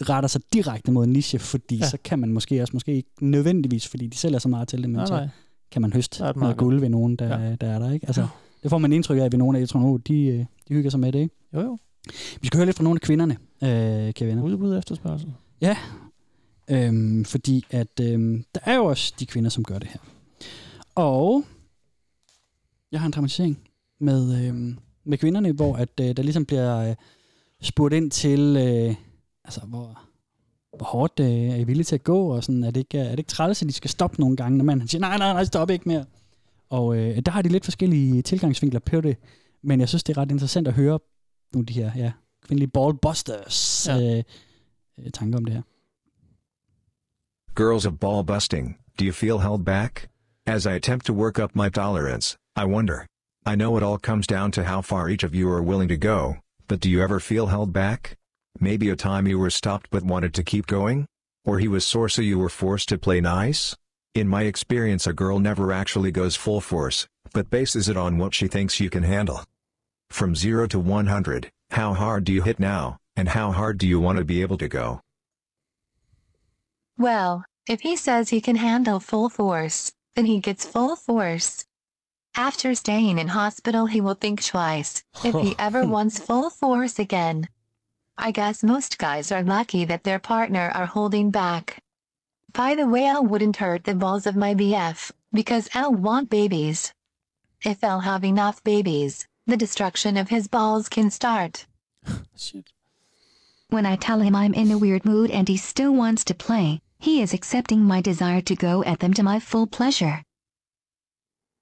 Speaker 3: retter sig direkte mod en niche, fordi
Speaker 5: Ja.
Speaker 3: ja. så kan man måske også, måske ikke nødvendigvis, fordi de sælger så meget til det, men
Speaker 5: Nej,
Speaker 3: så
Speaker 5: nej.
Speaker 3: kan man høste
Speaker 5: Der er et
Speaker 3: noget
Speaker 5: marked.
Speaker 3: guld ved nogen, der, ja. der er der, ikke? Altså, det får man indtryk af ved nogle af de, tror jeg, de, øh, de hygger sig med det, ikke?
Speaker 5: Jo, jo.
Speaker 3: Vi skal høre lidt fra nogle af kvinderne, øh, kan venner.
Speaker 5: Udbud efterspørgsel.
Speaker 3: Ja, øhm, fordi at øhm, der er jo også de kvinder, som gør det her. Og jeg har en dramatisering med, øhm, med kvinderne, hvor at, øh, der ligesom bliver øh, spurgt ind til, øh, altså hvor, hvor hårdt øh, er I villige til at gå, og sådan, er det ikke, er det ikke træls, at de skal stoppe nogle gange, når man siger, nej, nej, nej, stop ikke mere. Og øh, der har de lidt forskellige tilgangsvinkler på det, men jeg synes, det er ret interessant at høre nogle af de her ja, kvindelige ballbusters ja. øh, øh, tanker om det her.
Speaker 15: Girls of ball busting, do you feel held back? As I attempt to work up my tolerance, I wonder. I know it all comes down to how far each of you are willing to go, but do you ever feel held back? Maybe a time you were stopped but wanted to keep going? Or he was sore so you were forced to play nice? In my experience, a girl never actually goes full force, but bases it on what she thinks you can handle. From 0 to 100, how hard do you hit now, and how hard do you want to be able to go?
Speaker 16: Well, if he says he can handle full force, then he gets full force. After staying in hospital, he will think twice if he ever wants full force again. I guess most guys are lucky that their partner are holding back. By the way, I wouldn't hurt the balls of my BF because L want babies. If L have enough babies, the destruction of his balls can start.
Speaker 17: When I tell him I'm in a weird mood and he still wants to play, he is accepting my desire to go at them to my full pleasure.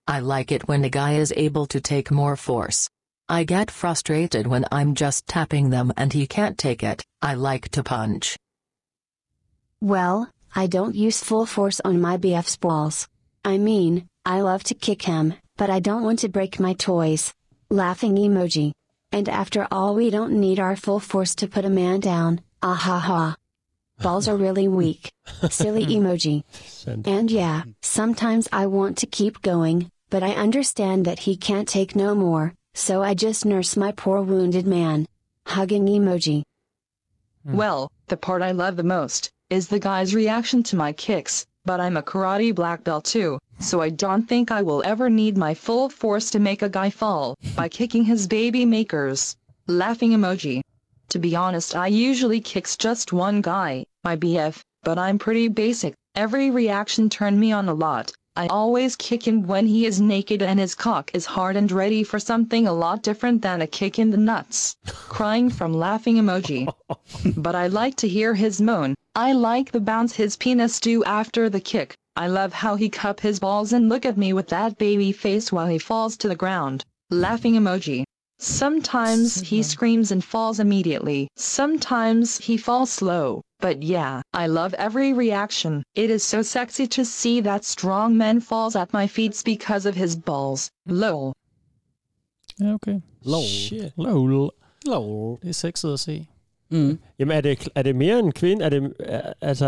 Speaker 18: I like it when a guy is able to take more force. I get frustrated when I'm just tapping them and he can't take it. I like to punch.
Speaker 19: Well, I don't use full force on my BF's balls. I mean, I love to kick him, but I don't want to break my toys. Laughing emoji. And after all, we don't need our full force to put a man down. Ah ha ha. Balls are really weak. Silly emoji. And yeah, sometimes I want to keep going, but I understand that he can't take no more, so I just nurse my poor wounded man. Hugging emoji.
Speaker 14: Well, the part I love the most is the guy's reaction to my kicks, but I'm a karate black belt too, so I don't think I will ever need my full force to make a guy fall by kicking his baby makers. Laughing emoji. To be honest, I usually kicks just one guy, my BF, but I'm pretty basic. Every reaction turned me on a lot. I always kick him when he is naked and his cock is hard and ready for something a lot different than a kick in the nuts. Crying from laughing emoji. but I like to hear his moan. I like the bounce his penis do after the kick. I love how he cup his balls and look at me with that baby face while he falls to the ground. Laughing emoji. Sometimes he screams and falls immediately. Sometimes he falls slow. But yeah, I love every reaction. It is so sexy to see that strong man falls at my feet because of his balls. Lol.
Speaker 5: Ja, okay.
Speaker 4: Lol.
Speaker 5: Shit.
Speaker 4: Lol.
Speaker 3: Lol.
Speaker 5: Det er sexet at se.
Speaker 3: Mm.
Speaker 4: Jamen, er det, er det mere en kvinde? Er det, er- altså,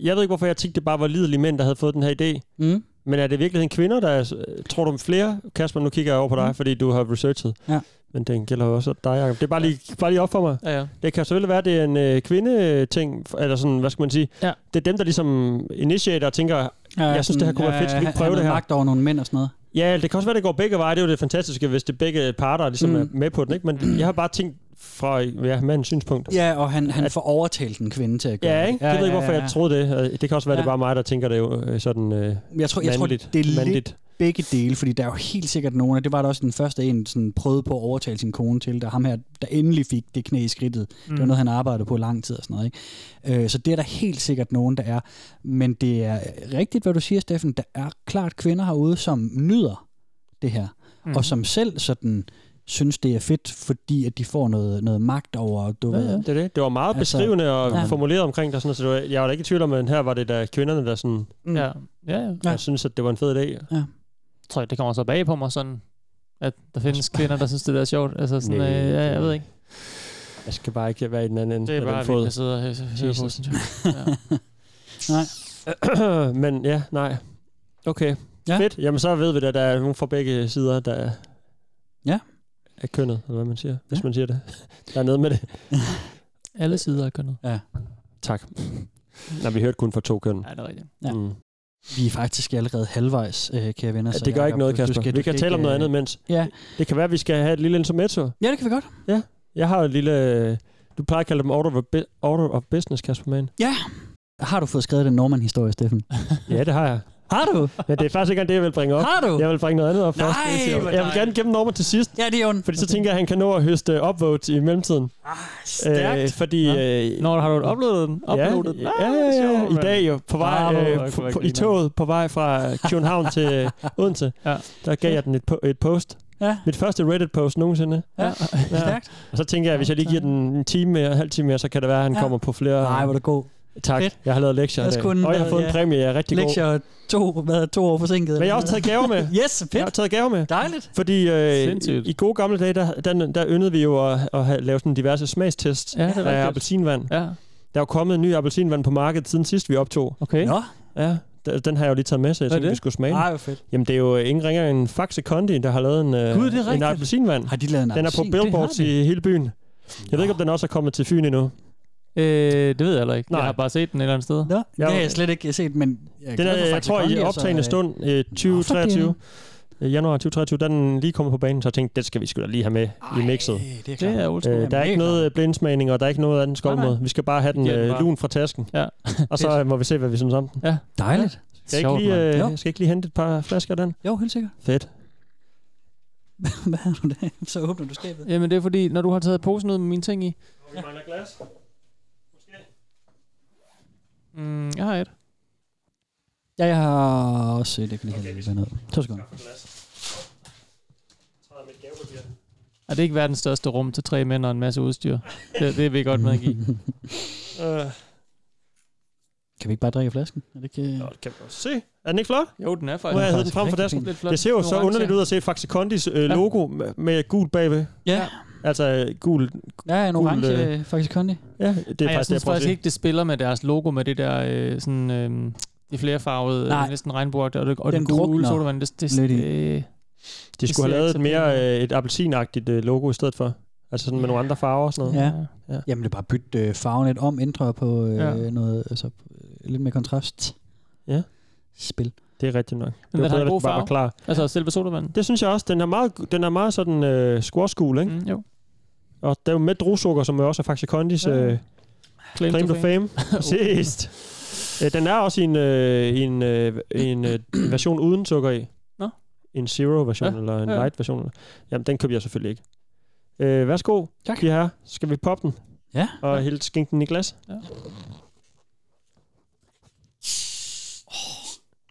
Speaker 4: jeg ved ikke, hvorfor jeg tænkte, det bare var lidelige mænd, der havde fået den her idé.
Speaker 3: Mm.
Speaker 4: Men er det virkelig en kvinder, der er, tror du flere? Kasper, nu kigger jeg over på dig, fordi du har researchet.
Speaker 3: Mm. Ja.
Speaker 4: Men den gælder jo også dig, Jacob. Det er bare lige, bare lige op for mig.
Speaker 5: Ja, ja.
Speaker 4: Det kan selvfølgelig være, at det er en øh, kvindeting, f- eller sådan, hvad skal man sige?
Speaker 5: Ja.
Speaker 4: Det er dem, der ligesom initiater og tænker, ja, jeg synes, det her kunne være fedt, skal vi ikke prøve det her?
Speaker 3: magt over nogle mænd og sådan noget.
Speaker 4: Ja, det kan også være, det går begge veje. Det er jo det fantastiske, hvis det begge parter ligesom mm.
Speaker 3: Mm.
Speaker 4: er med på den. Ikke? Men jeg har bare tænkt fra ja, mandens synspunkt.
Speaker 3: Ja, og han, han får overtalt en kvinde til at gøre
Speaker 4: Ja,
Speaker 3: det.
Speaker 4: ikke? Jeg Altså, ved ikke, hvorfor jeg troede det. Og Det kan også være, ja. det er bare mig, der tænker det jo øh, sådan øh,
Speaker 3: Men Jeg tror, jeg tror
Speaker 4: mandligt.
Speaker 3: det er
Speaker 4: mandligt.
Speaker 3: lidt, begge dele, fordi der er jo helt sikkert nogen, og det var der også den første en, sådan prøvede på at overtale sin kone til, der ham her, der endelig fik det knæ i skridtet. Mm. Det var
Speaker 5: Mm.
Speaker 3: noget, han arbejdede på lang tid og sådan noget. Ikke? Øh, så det er der helt sikkert nogen, der er. Men det er rigtigt, hvad du siger, Steffen. Der er klart kvinder herude, som nyder det her, mm.
Speaker 5: Mhm.
Speaker 3: og som selv sådan synes, det er fedt, fordi at de får noget, noget magt over, du
Speaker 4: Ja,
Speaker 3: ved,
Speaker 4: ja. Det, er det. det var meget altså, beskrivende og
Speaker 3: Ja.
Speaker 4: ja. formuleret omkring det, og sådan, noget, så det var, jeg var da ikke i tvivl om, at her var det da kvinderne, der sådan,
Speaker 5: Mm. Ja. Ja, ja.
Speaker 4: Jeg synes, at det var en fed idé.
Speaker 3: Ja.
Speaker 5: Jeg tror, det kommer så bag på mig sådan, at der findes kvinder, der synes, det der er sjovt. Altså sådan,
Speaker 4: Nej,
Speaker 5: øh, ja, jeg ved ikke.
Speaker 4: Jeg skal bare ikke være i den anden ende.
Speaker 5: Det er
Speaker 4: af den
Speaker 5: bare
Speaker 4: fod.
Speaker 5: vildt, at sidde og hø- høre på,
Speaker 4: Jesus.
Speaker 5: synes jeg.
Speaker 4: Nej. Men ja, nej. Okay.
Speaker 3: Ja.
Speaker 4: Fedt. Jamen så ved vi da, at der er nogen fra begge sider, der er,
Speaker 3: Ja.
Speaker 4: er kønnet, eller hvad man siger, hvis man siger det. Der er noget med det.
Speaker 5: Alle sider er kønnet.
Speaker 3: Ja.
Speaker 4: Tak. Når vi hørte kun fra to køn.
Speaker 5: Ja, det er rigtigt.
Speaker 3: Ja.
Speaker 4: Mm.
Speaker 3: Vi er faktisk allerede halvvejs, øh, kære venner.
Speaker 4: Ja,
Speaker 3: så
Speaker 4: Altså, det gør
Speaker 3: Jacob,
Speaker 4: ikke
Speaker 3: du-
Speaker 4: noget,
Speaker 3: du
Speaker 4: Kasper.
Speaker 3: skal-
Speaker 4: Skal,
Speaker 3: du
Speaker 4: vi
Speaker 3: skal
Speaker 4: kan tale om
Speaker 3: ikke,
Speaker 4: noget
Speaker 3: øh,
Speaker 4: andet mens.
Speaker 3: Ja.
Speaker 4: Det kan være, at vi skal have et lille intermezzo.
Speaker 3: Ja, det kan vi godt.
Speaker 4: Ja. Jeg har et lille... øh, Du plejer at kalde dem order of, bu- order of business, Kasper Mann.
Speaker 3: Ja. Har du fået skrevet den Norman-historie, Steffen?
Speaker 4: Ja, det har jeg.
Speaker 3: Har du?
Speaker 4: Men det er faktisk ikke engang det, jeg vil bringe op.
Speaker 3: Har du?
Speaker 4: Jeg vil bringe noget andet op først.
Speaker 3: Nej,
Speaker 4: Jeg
Speaker 3: hvor
Speaker 4: vil
Speaker 3: dejligt.
Speaker 4: gerne gemme Norman til sidst.
Speaker 3: Ja, det er ondt.
Speaker 4: Fordi så tænker jeg, at han kan nå at høste upvotes i mellemtiden. Ah,
Speaker 5: stærkt.
Speaker 4: fordi... Øh,
Speaker 5: Når har du uploadet den?
Speaker 4: Ja,
Speaker 5: Uploadet den?
Speaker 4: ja,
Speaker 5: Ah,
Speaker 4: ja, ja, ja.
Speaker 5: sjovt,
Speaker 4: I
Speaker 5: mand. Ah,
Speaker 4: dag jo på vej
Speaker 5: Bravo,
Speaker 4: øh,
Speaker 5: hvor
Speaker 4: på,
Speaker 5: jeg
Speaker 4: på, i
Speaker 5: griner.
Speaker 4: toget på vej fra København til øh, Odense.
Speaker 5: Ja.
Speaker 4: Der gav jeg den et, po- et post.
Speaker 3: Ja.
Speaker 4: Mit første Reddit-post nogensinde.
Speaker 3: Ja, stærkt.
Speaker 4: Og så tænker jeg, at hvis jeg lige giver den en time mere, en halv time mere, så kan det være, at han
Speaker 3: Ja.
Speaker 4: kommer på flere...
Speaker 3: Nej, hvor er det god.
Speaker 4: Tak.
Speaker 3: Fedt.
Speaker 4: Jeg har lavet lektier i
Speaker 3: Jeg
Speaker 4: dag.
Speaker 3: skulle-
Speaker 4: Og jeg har fået
Speaker 3: ja.
Speaker 4: en præmie. Jeg er rigtig god.
Speaker 3: Lektier to, hvad, to år forsinket.
Speaker 4: Men jeg har også taget gaver med.
Speaker 3: yes, fedt. Jeg
Speaker 4: har taget gaver med.
Speaker 3: Dejligt.
Speaker 4: Fordi øh,
Speaker 5: Sindssygt.
Speaker 4: i gode gamle dage, der, der, der yndede vi jo at, at have, lave sådan diverse smagstest
Speaker 5: Ja, det er
Speaker 4: af
Speaker 5: rigtigt.
Speaker 4: appelsinvand.
Speaker 5: Ja.
Speaker 4: Der er jo kommet en ny appelsinvand på markedet siden sidst, vi optog.
Speaker 5: Okay.
Speaker 3: Nå.
Speaker 4: Ja, d- den har jeg jo lige taget med, så jeg
Speaker 5: Hvad er
Speaker 4: tænkte,
Speaker 5: det?
Speaker 4: vi skulle smage den.
Speaker 5: Ej, hvor fedt.
Speaker 4: Jamen, det er jo øh, ingen ringer end Faxe Kondi, der har lavet en, øh,
Speaker 5: Gud, det er
Speaker 4: en
Speaker 5: rigtigt.
Speaker 4: appelsinvand.
Speaker 3: Har de lavet en
Speaker 4: Den er på
Speaker 3: appelsin? Det har
Speaker 4: billboards
Speaker 3: de.
Speaker 4: i hele byen. Jeg ved ikke, om den også er kommet til Fyn endnu.
Speaker 5: Øh, det ved jeg heller ikke.
Speaker 4: Nej.
Speaker 5: Jeg har bare set den et eller andet sted.
Speaker 3: Nå, det har jeg slet ikke set, men... Jeg,
Speaker 4: Den er, jeg tror, i optagende stund øh, 2023, øh, januar 2023, der er den lige kommet på banen, så jeg tænkte, det skal vi sgu da lige have med Ej, i mixet.
Speaker 3: Det er,
Speaker 5: klart. Det er old school.
Speaker 4: Øh, der er ikke noget øh, blindsmagning, og der er ikke noget andet
Speaker 5: Nej, nej.
Speaker 4: skovmåde. Vi skal bare have den
Speaker 5: Giver den
Speaker 4: øh,
Speaker 5: bare.
Speaker 4: lun fra tasken,
Speaker 5: ja.
Speaker 4: og så øh, må vi se, hvad vi synes om den.
Speaker 5: Ja.
Speaker 3: Dejligt.
Speaker 4: Skal jeg, ikke lige, øh, skal jeg ikke lige hente et par flasker af den?
Speaker 3: Jo, helt sikkert.
Speaker 4: Fedt.
Speaker 3: Hvad har du der? Så åbner du skabet.
Speaker 5: Jamen det er fordi, når du har taget posen ud med mine ting i...
Speaker 4: Vi mangler glas.
Speaker 5: Mm, jeg har et.
Speaker 3: Ja, jeg har også set, jeg kan lige okay, have noget. To sekunder.
Speaker 5: Er det ikke verdens største rum til tre mænd og en masse udstyr? Det, det vil jeg godt medgive.
Speaker 4: Øh,
Speaker 3: Kan vi ikke bare drikke af flasken? Er det ikke...
Speaker 4: Nå, det kan vi også se. Er den ikke flot?
Speaker 5: Jo, den øh, er faktisk.
Speaker 4: Nu har jeg
Speaker 5: Den er
Speaker 4: hævet den frem
Speaker 5: faktisk
Speaker 4: for
Speaker 5: rigtig
Speaker 4: tasken.
Speaker 5: fin. Lidt flot.
Speaker 4: Det ser jo
Speaker 5: Den
Speaker 4: så
Speaker 5: orange.
Speaker 4: underligt ud at se Faxe Kondis øh, logo med, med gul bagved.
Speaker 3: Ja.
Speaker 4: Altså øh, gul...
Speaker 3: Ja, en
Speaker 4: gul,
Speaker 3: orange
Speaker 4: øh,
Speaker 3: øh, faktisk kondi.
Speaker 4: Ja, det er faktisk
Speaker 5: Ej, jeg
Speaker 4: det, jeg
Speaker 5: synes
Speaker 4: prøver at
Speaker 5: faktisk
Speaker 4: sige.
Speaker 5: ikke, det spiller med deres logo med det der øh, sådan, øh, de flerefarvede,
Speaker 3: Nej.
Speaker 5: Nej. næsten regnbuer, og, det, og
Speaker 3: Den
Speaker 5: den, den gule
Speaker 3: drukner
Speaker 5: sodavand. Det, det,
Speaker 3: lidt i.
Speaker 5: øh,
Speaker 4: De
Speaker 5: det
Speaker 4: skulle
Speaker 5: ser
Speaker 4: have lavet
Speaker 5: ikke
Speaker 4: et
Speaker 5: så pænt ud.
Speaker 4: mere øh, et appelsinagtigt øh, logo i stedet for. Altså sådan med nogle andre farver og sådan noget.
Speaker 3: Ja. ja. Jamen det er bare bytte øh, farven lidt om, ændre på øh,
Speaker 4: Ja.
Speaker 3: ja. noget, altså øh, lidt mere kontrast.
Speaker 4: Ja.
Speaker 3: Spil.
Speaker 4: Det er rigtigt nok.
Speaker 5: Men
Speaker 4: var
Speaker 5: den har
Speaker 4: bedre,
Speaker 5: en god
Speaker 4: hvis den bare
Speaker 5: farve.
Speaker 4: var klar.
Speaker 5: Altså selve sodavanden.
Speaker 4: Det synes jeg også. Den er meget, den er meget sådan øh, squashgul, ikke?
Speaker 5: Mm, jo.
Speaker 4: Og der er jo med druesukker, som jo også er Faxe Kondis
Speaker 5: Ja.
Speaker 4: øh, claim, claim to fame. Præcis. Øh, Den er også i en, øh, i en, øh, i en øh, version uden sukker i.
Speaker 5: Nå.
Speaker 4: En zero-version, ja.
Speaker 5: Ja,
Speaker 4: eller en
Speaker 5: ja, ja.
Speaker 4: light-version. Jamen, den køber jeg selvfølgelig ikke. Øh, værsgo,
Speaker 3: tak.
Speaker 4: de her. Skal vi poppe den?
Speaker 3: Ja.
Speaker 4: Og helt skænke den i glas?
Speaker 5: Ja.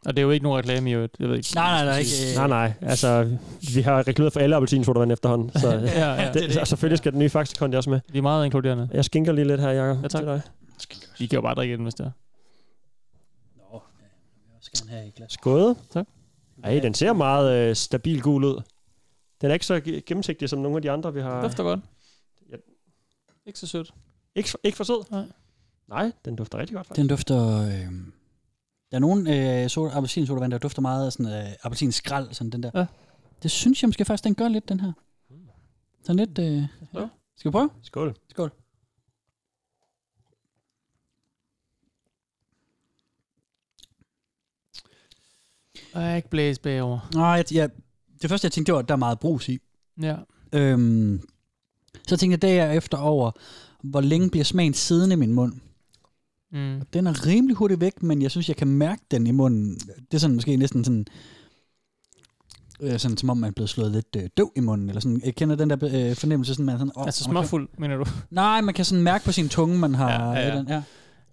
Speaker 5: Og det er jo ikke nogen reklame i øvrigt. Jeg ved ikke.
Speaker 3: Nej, nej, der er ikke, øh,
Speaker 4: Nej, nej. Altså, vi har reklameret for alle appelsinsodavand efterhånden. Så,
Speaker 5: Ja, ja.
Speaker 4: Det, det, og selvfølgelig skal den nye faktisk kondi også med.
Speaker 5: De er meget inkluderende.
Speaker 4: Jeg skinker lige lidt her, Jacob. Ja, tak. Til dig.
Speaker 5: I kan jo bare drikke den, hvis det er.
Speaker 3: øh, Skal han have et glas?
Speaker 4: Skåde.
Speaker 5: Tak.
Speaker 4: Ej, den ser meget øh, stabil gul ud. Den er ikke så ge- gennemsigtig som nogle af de andre, vi har.
Speaker 5: Det dufter godt.
Speaker 4: Ja.
Speaker 5: Ikke så sødt.
Speaker 4: Ikke, for- ikke for sød?
Speaker 5: Nej.
Speaker 4: Nej, den dufter rigtig godt. faktisk.
Speaker 3: Den dufter... Øh, der er nogen øh, soda, appelsinsodavand, der dufter meget af sådan, øh, appelsinskrald, sådan den der.
Speaker 5: Ja.
Speaker 3: Det synes jeg måske faktisk, den gør lidt, den her. Sådan lidt... Øh, ja. Skal vi prøve?
Speaker 4: Skål.
Speaker 3: Skål.
Speaker 5: Og jeg er ikke blæse bagover.
Speaker 3: Nej, jeg, jeg, det første, jeg tænkte, det var, at der er meget brus i.
Speaker 5: Ja.
Speaker 3: Øhm, så tænkte jeg derefter over, hvor længe bliver smagen siddende i min mund.
Speaker 5: Mm.
Speaker 3: Og Den er rimelig hurtigt væk, men jeg synes, jeg kan mærke den i munden. Det er sådan måske næsten sådan Øh, sådan som om man er blevet slået lidt øh, døv i munden, eller sådan. Jeg kender den der øh, fornemmelse, sådan man er sådan... Oh,
Speaker 5: Altså småfuld, mener du?
Speaker 3: Nej, man kan sådan mærke på sin tunge, man har... et eller andet-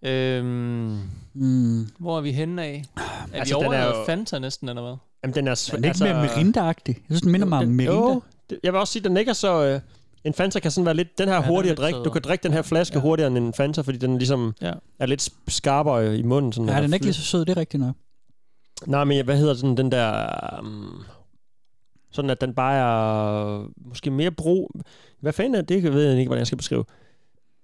Speaker 5: ja. Øhm,
Speaker 3: mm.
Speaker 5: Hvor er vi henne af? Er altså,
Speaker 4: Altså,
Speaker 5: vi
Speaker 4: den
Speaker 5: over
Speaker 4: er
Speaker 5: er
Speaker 4: jo-
Speaker 5: Fanta næsten, eller hvad?
Speaker 4: Jamen, den er... altså-
Speaker 3: Er den ikke mere merinda-agtig? Jeg synes, den minder mig om merinda.
Speaker 4: Jo, det- jeg vil også sige, at den ikke er så... Øh, en Fanta kan sådan være lidt... Den her
Speaker 5: Ja,
Speaker 4: ja,
Speaker 5: den er
Speaker 4: hurtigere
Speaker 5: lidt
Speaker 4: drikke. Du
Speaker 5: sødere.
Speaker 4: kan drikke den her flaske ja. hurtigere end en Fanta, fordi den ligesom
Speaker 5: ja.
Speaker 4: er lidt sp- skarpere i munden. Sådan
Speaker 3: Ja,
Speaker 4: når
Speaker 3: den er
Speaker 4: der
Speaker 3: ikke lige så sød, det er rigtigt nok.
Speaker 4: fly- Nej, men jeg- hvad hedder den, den der... Um, sådan, at den bare er øh, måske mere brug... Hvad fanden er det? Jeg ved ikke, hvordan jeg skal beskrive.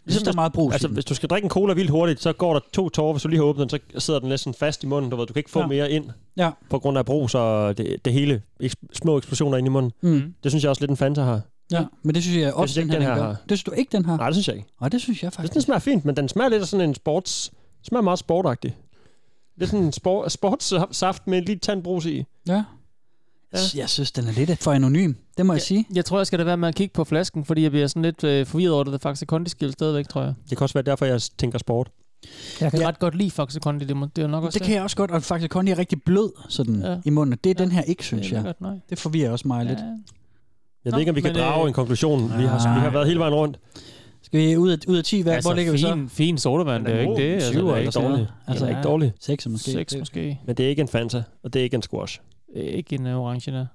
Speaker 4: Jeg
Speaker 3: synes, der er meget brug i
Speaker 4: Altså,
Speaker 3: den.
Speaker 4: hvis du skal drikke en cola vildt hurtigt, så går der to tårer. Hvis du lige har åbnet den, så sidder den næsten fast i munden. Du, ved, du kan ikke få
Speaker 3: Ja.
Speaker 4: ja. mere ind
Speaker 3: Ja.
Speaker 4: på grund af brug, så det, det hele eks- små eksplosioner ind i munden.
Speaker 3: Mm.
Speaker 4: Det synes jeg også lidt en Fanta har.
Speaker 3: Ja, men det synes jeg også,
Speaker 4: synes ikke,
Speaker 3: den,
Speaker 4: den
Speaker 3: her
Speaker 4: her
Speaker 3: gør.
Speaker 4: har.
Speaker 3: Det synes du ikke, den har?
Speaker 4: Nej, det synes jeg ikke.
Speaker 3: Nej, det synes jeg faktisk.
Speaker 4: Jeg synes, den smager fint, men den smager lidt af sådan en sports... smager meget sportagtig. Lidt sådan en spor, sportssaft med en lille tand brus i.
Speaker 3: Ja.
Speaker 4: Ja.
Speaker 3: Jeg synes, den er lidt for anonym. Det må jeg sige.
Speaker 5: Jeg tror, jeg skal da være med at kigge på flasken, fordi jeg bliver sådan lidt øh, forvirret over, at der faktisk er kondiskil stadigvæk, tror jeg.
Speaker 4: Det kan også være derfor, jeg tænker sport.
Speaker 5: Jeg kan ja. ret godt lide Faxe Kondi, det, må, det er nok også
Speaker 3: Det kan jeg også godt, og faktisk kun er rigtig blød sådan ja. i munden. og Det er ja. den her ikke, synes
Speaker 5: Det er
Speaker 3: jeg.
Speaker 5: lækkert, nej.
Speaker 3: Det forvirrer også mig ja. lidt.
Speaker 4: Jeg ved ikke, om vi kan drage
Speaker 5: øh,
Speaker 4: en konklusion. Vi har, vi har været hele vejen rundt.
Speaker 3: øh, Skal vi ud af, ud af 10? Hvad,
Speaker 5: Altså,
Speaker 3: hvor ligger vi
Speaker 5: fin, fin sodavand, det er jo ikke det. Altså, det er ikke dårligt.
Speaker 4: Altså,
Speaker 5: Ja.
Speaker 4: ikke dårligt.
Speaker 3: Seks måske.
Speaker 5: Seks måske.
Speaker 4: Men det er ikke en Fanta, og det er ikke en squash.
Speaker 5: Ikke en øh, orange, der.
Speaker 3: så?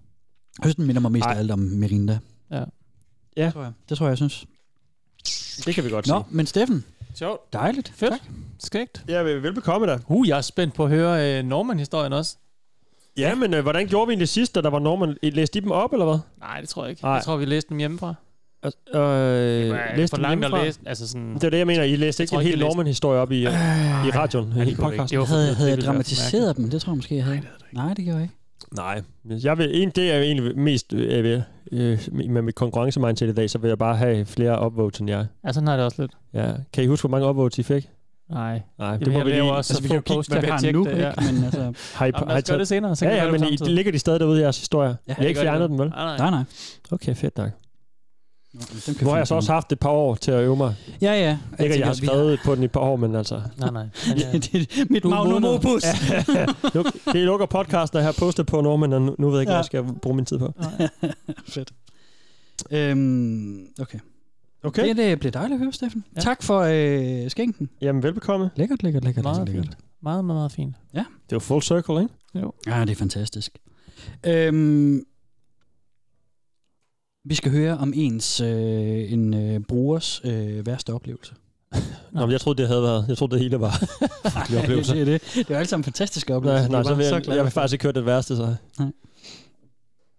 Speaker 3: Jeg synes, den minder mig mest af alt om Mirinda.
Speaker 5: Ja.
Speaker 4: Ja.
Speaker 3: Tror jeg. Det tror jeg, jeg synes.
Speaker 4: Det kan vi godt
Speaker 3: Nå,
Speaker 4: sige.
Speaker 3: men Steffen.
Speaker 5: Sjovt.
Speaker 3: Dejligt.
Speaker 5: Fedt. Tak. Skægt.
Speaker 4: Ja, velbekomme dig.
Speaker 5: Uh, jeg er spændt på at høre øh, Norman-historien også.
Speaker 4: Ja, men øh, hvordan gjorde vi egentlig sidst, da der var Norman? Læste de dem op, eller hvad?
Speaker 5: Nej, det tror jeg ikke.
Speaker 4: Nej.
Speaker 5: Jeg tror, vi læste dem hjemmefra.
Speaker 4: Øh,
Speaker 5: var øh,
Speaker 4: læste
Speaker 5: for langt
Speaker 4: dem
Speaker 5: at
Speaker 4: hjemmefra?
Speaker 5: læse. Altså sådan,
Speaker 4: Det er det, jeg mener. I læste
Speaker 5: Jeg
Speaker 4: ikke
Speaker 5: tror
Speaker 4: en
Speaker 5: ikke,
Speaker 4: hel
Speaker 5: jeg læste-
Speaker 4: Norman-historie op i, øh, i radioen, i
Speaker 5: gjorde vi ikke.
Speaker 4: podcasten.
Speaker 5: Det var for-
Speaker 3: Havde, havde jeg
Speaker 5: ville være
Speaker 3: dramatiseret dem? Det tror jeg måske, jeg havde. Nej, det gjorde jeg ikke.
Speaker 4: Nej, jeg vil, en, det er jo egentlig mest øh, ved, øh, med mit konkurrencemindset i dag, så vil jeg bare have flere upvotes end jer.
Speaker 5: Ja, sådan har jeg det også lidt.
Speaker 4: Ja. Kan I huske, hvor mange upvotes I fik?
Speaker 5: Nej.
Speaker 4: Nej, det
Speaker 5: Jamen,
Speaker 4: må
Speaker 5: jeg
Speaker 4: vi
Speaker 5: laver
Speaker 4: lige...
Speaker 5: også Altså, vi så kan jo få kigge, posts, hvad jeg vi kan har tjekke nu, det, ja. ikke? Men altså-
Speaker 4: har I,
Speaker 5: Jamen, lad
Speaker 4: har I
Speaker 5: os gøre
Speaker 4: taget-
Speaker 5: det senere, så kan vi
Speaker 4: ja,
Speaker 5: lave
Speaker 4: ja,
Speaker 5: det
Speaker 4: men I,
Speaker 5: samtidig.
Speaker 4: ligger de stadig derude, jeres historier? Ja,
Speaker 5: det
Speaker 4: jeg ikke
Speaker 5: gør de
Speaker 4: fjernet
Speaker 5: vel.
Speaker 4: dem, vel?
Speaker 5: Nej, nej.
Speaker 3: Nej, nej.
Speaker 4: Okay, fedt nok.
Speaker 3: Den
Speaker 4: Nu har jeg så også haft et par år til at øve mig.
Speaker 3: Ja, ja.
Speaker 5: Altså,
Speaker 4: Ikke, at
Speaker 3: tænker,
Speaker 4: jeg har
Speaker 3: vi-
Speaker 4: skrevet på den i et par år, men altså...
Speaker 5: Nej, nej.
Speaker 3: Mit magnum opus.
Speaker 4: Nu, det lukker podcasten, jeg har postet på Norman, og nu, nu ved jeg ikke,
Speaker 3: Ja.
Speaker 4: hvad jeg skal bruge min tid på.
Speaker 3: Fedt. Øhm, okay.
Speaker 4: Okay.
Speaker 3: Det, det bliver dejligt at høre, Steffen. Ja. Tak for øh, skænken.
Speaker 4: Jamen, velbekomme.
Speaker 3: Lækkert, lækkert, lækkert.
Speaker 5: Meget
Speaker 3: lækkert.
Speaker 5: fint. Meget, meget, meget fint.
Speaker 3: Ja.
Speaker 4: Det var full circle, ikke?
Speaker 5: Jo.
Speaker 3: Ja, det er fantastisk. Øhm, vi skal høre om ens øh, en øh, brugers øh, værste oplevelse.
Speaker 4: Nå, men jeg troede, det havde været. Jeg troede, det hele var. det
Speaker 3: Ja, det, det, er det. det er jo alle sammen fantastiske oplevelser.
Speaker 4: Nej, nej,
Speaker 3: Vi er bare
Speaker 4: så vil jeg,
Speaker 3: glade
Speaker 4: jeg vil
Speaker 3: for
Speaker 4: faktisk ikke høre det værste, så.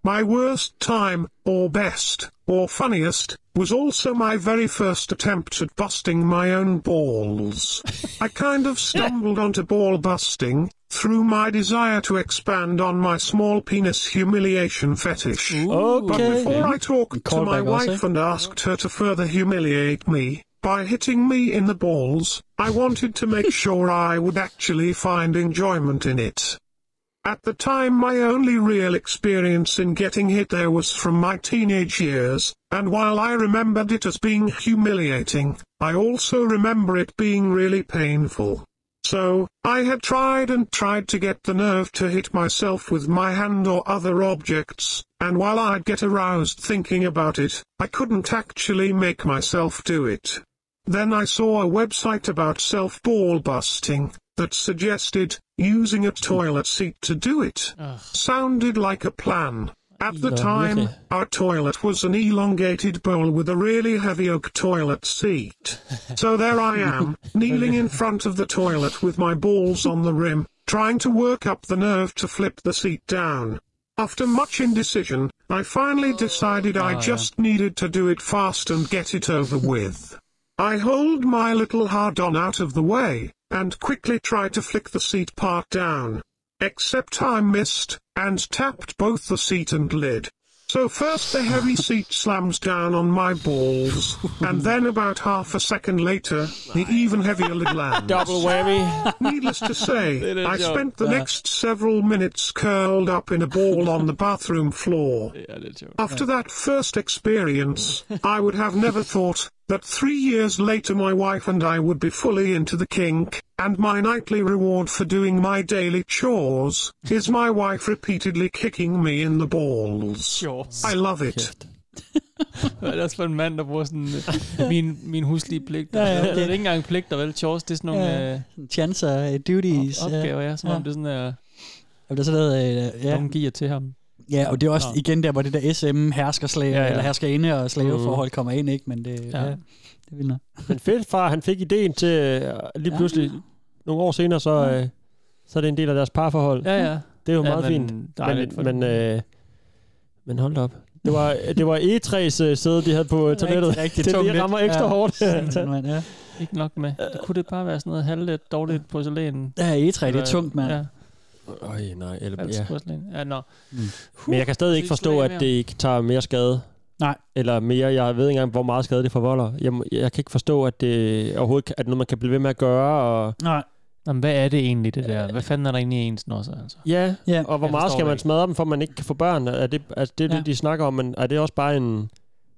Speaker 20: My worst time, or best, or funniest, was also my very first attempt at busting my own balls. I kind of stumbled onto ball busting through my desire to expand on my small penis humiliation fetish. But
Speaker 4: Okay.
Speaker 20: before I talked to my
Speaker 4: Callback
Speaker 20: wife
Speaker 4: også.
Speaker 20: and asked her to further humiliate me by hitting me in the balls, I wanted to make sure I would actually find enjoyment in it. At the time, my only real experience in getting hit there was from my teenage years, and while I remembered it as being humiliating, I also remember it being really painful. So, I had tried and tried to get the nerve to hit myself with my hand or other objects, and while I'd get aroused thinking about it, I couldn't actually make myself do it. Then I saw a website about self ball busting that suggested using a toilet seat to do it. Sounded like a plan. At the
Speaker 4: Yeah,
Speaker 20: time,
Speaker 4: really.
Speaker 20: our toilet was an elongated bowl with a really heavy oak toilet seat. So there I am, kneeling in front of the toilet with my balls on the rim, trying to work up the nerve to flip the seat down. After much indecision, I finally decided I
Speaker 21: Ah, yeah.
Speaker 20: just needed to do it fast and get it over with. I hold my little hard on out of the way, and quickly try to flick the seat part down. Except I missed, and tapped both the seat and lid. So first the heavy seat slams down on my balls, and then about half a second later, the even heavier lid lands.
Speaker 4: Double whammy.
Speaker 20: Needless to
Speaker 4: Det
Speaker 20: say,
Speaker 4: er
Speaker 20: I
Speaker 4: sjovt.
Speaker 20: spent the
Speaker 4: Ja.
Speaker 20: next several minutes curled up in a ball on the bathroom floor.
Speaker 5: Ja, det er sjovt.
Speaker 20: After that first experience, I would have never thought that three years later my wife and I would be fully into the kink, and my nightly reward for doing my daily chores is my wife repeatedly kicking me in the balls. I love it.
Speaker 5: Hvad er det også for en mand, der bruger sådan øh, min, min huslige pligt?
Speaker 3: Ja,
Speaker 5: Ja,
Speaker 3: ja,
Speaker 5: ja, det er
Speaker 3: det-
Speaker 5: ikke engang pligter, vel? Chores, det er sådan nogle ja,
Speaker 3: øh, chancer, øh, duties.
Speaker 5: op- opgaver, ja, som om det er sådan, øh,
Speaker 3: Jamen, der er sådan noget, øh, ja.
Speaker 5: nogen giver til ham.
Speaker 3: Ja, og det er også
Speaker 5: Nå.
Speaker 3: igen der, hvor det der SM herskerslag, ja,
Speaker 5: Ja,
Speaker 3: ja.
Speaker 5: ja. Uh.
Speaker 3: eller herskerinde og slaveforhold kommer ind, ikke? Men det, ja.
Speaker 4: Ja.
Speaker 3: ja, det er vildt nok.
Speaker 4: Men fedt, far, han fik ideen til øh, lige pludselig ja. nogle år senere, så, øh, så er det en del af deres parforhold.
Speaker 5: Ja, ja.
Speaker 4: Det er jo
Speaker 5: Ja,
Speaker 4: meget
Speaker 5: men
Speaker 4: fint.
Speaker 5: dejligt for
Speaker 4: Men, men, øh, men hold da op. Det var, det var E3's øh, sæde, de havde på øh, toilettet.
Speaker 5: Rigtig, rigtig
Speaker 4: det,
Speaker 5: tungt
Speaker 4: det
Speaker 5: net.
Speaker 4: rammer ekstra
Speaker 5: Ja.
Speaker 4: hårdt.
Speaker 5: Sindssygt, mand, ja. Ikke nok med. Det kunne det bare være sådan noget halvlet, dårligt porcelæn?
Speaker 3: Ja, egetræ, det er
Speaker 5: Eller-
Speaker 3: tungt, mand.
Speaker 5: Ja.
Speaker 4: Øj, nej. Eller,
Speaker 5: Falsk
Speaker 4: ja.
Speaker 5: porcelæn. Ja, nå.
Speaker 3: Mm.
Speaker 4: Men jeg kan stadig ikke
Speaker 5: Så I
Speaker 4: forstå,
Speaker 5: skulle
Speaker 4: at
Speaker 5: af
Speaker 4: det
Speaker 5: mere?
Speaker 4: ikke tager mere skade.
Speaker 3: Nej.
Speaker 4: Eller mere, jeg ved ikke engang, hvor meget skade det forvolder. Jeg, må- jeg kan ikke forstå, at det overhovedet kan- at noget, man kan blive ved med at gøre. Og,
Speaker 3: Nej.
Speaker 5: Jamen, hvad er det egentlig, det der? Hvad fanden er der egentlig i ens nosser, altså?
Speaker 4: Ja,
Speaker 3: ja.
Speaker 4: og hvor
Speaker 5: Jeg
Speaker 4: meget
Speaker 5: forstår
Speaker 4: skal
Speaker 5: det
Speaker 4: man
Speaker 5: ikke.
Speaker 4: smadre dem, for at man ikke kan få børn? Er det, altså, det er det,
Speaker 5: Ja.
Speaker 4: de snakker om, men er det også bare en...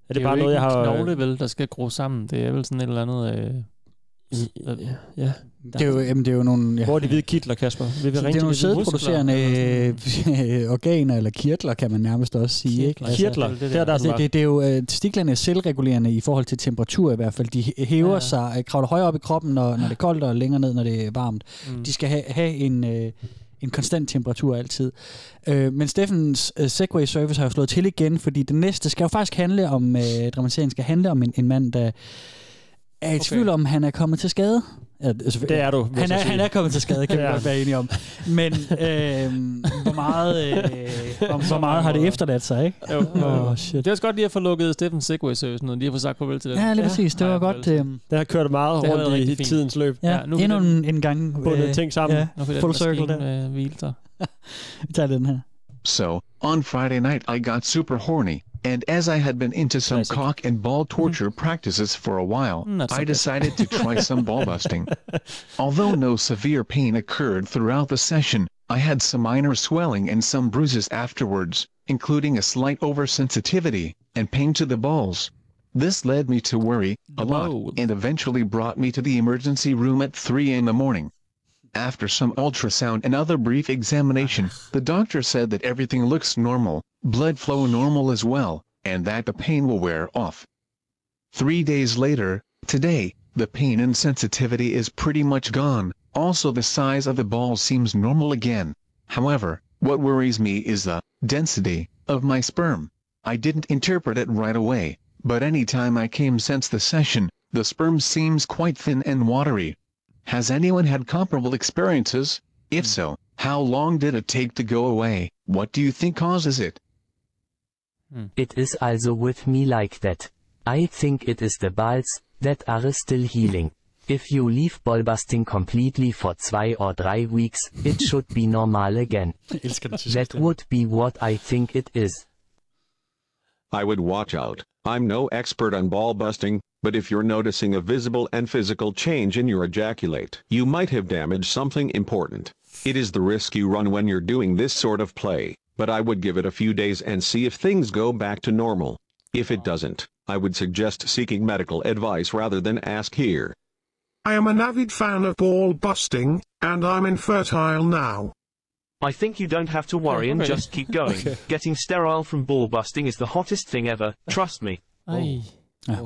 Speaker 4: Er det,
Speaker 5: er
Speaker 4: bare
Speaker 5: jo
Speaker 4: noget,
Speaker 5: ikke
Speaker 4: jeg har...
Speaker 5: en knogle, vel, der skal gro sammen. Det er vel sådan et eller andet... Øh,
Speaker 4: ja.
Speaker 3: Det er jo, jamen, det er jo nogle... Ja.
Speaker 4: Hvor er de hvide kitler, Kasper? Vil vi
Speaker 3: Så
Speaker 4: ringe
Speaker 3: det er
Speaker 4: til
Speaker 3: nogle
Speaker 4: de hvide muskler?
Speaker 3: sædproducerende øh, organer, eller kirtler, kan man nærmest også sige. Ikke?
Speaker 4: Kirtler, det er der, den
Speaker 3: altså,
Speaker 4: var.
Speaker 3: det, det, er jo, øh, stiklerne er selvregulerende i forhold til temperatur i hvert fald. De hæ- hæver ja. sig, øh, kravler højere op i kroppen, når, når det er koldt, og længere ned, når det er varmt.
Speaker 5: Mm.
Speaker 3: Mm. De skal ha- have en, øh, en konstant temperatur altid. Øh, men Steffens øh, Segway Service har jo slået til igen, fordi det næste skal jo faktisk handle om, øh, dramatiseringen skal handle om en, en mand, der er i okay. tvivl om, han er kommet til skade. Ja, altså,
Speaker 4: Det er du,
Speaker 3: Han
Speaker 4: vil
Speaker 3: er,
Speaker 4: jeg så sige.
Speaker 3: han er kommet til skade, kan vi
Speaker 4: Ja.
Speaker 3: godt være enige om. Men øh, hvor meget, øh, om, hvor meget har det efterladt sig, ikke?
Speaker 5: Jo, jo.
Speaker 3: Åh, shit.
Speaker 5: Det er også godt lige at få lukket Steffen Segway Service ned, lige at få sagt farvel til den.
Speaker 3: Ja, lige præcis. Det var godt. Øh,
Speaker 4: Den har kørt meget
Speaker 5: Det har været
Speaker 4: rundt i
Speaker 5: rigtig fint.
Speaker 4: tidens løb.
Speaker 3: ja,
Speaker 5: Ja, nu
Speaker 3: ja,
Speaker 5: kan
Speaker 3: endnu
Speaker 5: den-
Speaker 3: en, en gang. øh,
Speaker 4: Bundet ting sammen.
Speaker 3: Ja,
Speaker 5: Nu kan den
Speaker 3: full circle
Speaker 5: maskine,
Speaker 3: der.
Speaker 5: Øh, hvile sig.
Speaker 3: Vi tager den her.
Speaker 6: So, on Friday night, I got super horny, and as I had been into some cock and ball torture practices for a while,
Speaker 4: Mm-hmm. Mm, that's
Speaker 6: I
Speaker 4: okay.
Speaker 6: decided to try some ball busting. Although no severe pain occurred throughout the session, I had some minor swelling and some bruises afterwards, including a slight oversensitivity and pain to the balls. This led me to worry a lot and eventually brought me to the emergency room at 3 in the morning. After some ultrasound and other brief examination, the doctor said that everything looks normal, blood flow normal as well, and that the pain will wear off. Three days later, today, the pain and sensitivity is pretty much gone, also the size of the ball seems normal again. However, what worries me is the density of my sperm. I didn't interpret it right away, but any time I came since the session, the sperm seems quite thin and watery. Has anyone had comparable experiences? If so, how long did it take to go away? What do you think causes it?
Speaker 21: It is also with me like that. I think it is the balls that are still healing. If you leave ball busting completely for zwei or three weeks, it should be normal again. that would be what I think it is.
Speaker 9: I would watch out. I'm no expert on ball busting, but if you're noticing a visible and physical change in your ejaculate, you might have damaged something important. It is the risk you run when you're doing this sort of play, but I would give it a few days and see if things go back to normal. If it doesn't, I would suggest seeking medical advice rather than ask here.
Speaker 20: I am an avid fan of ball busting, and I'm infertile now.
Speaker 12: I think you don't have to worry and
Speaker 20: Okay.
Speaker 12: just keep going.
Speaker 20: Okay.
Speaker 12: Getting sterile from ball busting is the hottest thing ever, trust me.
Speaker 5: Ej.
Speaker 3: Ja.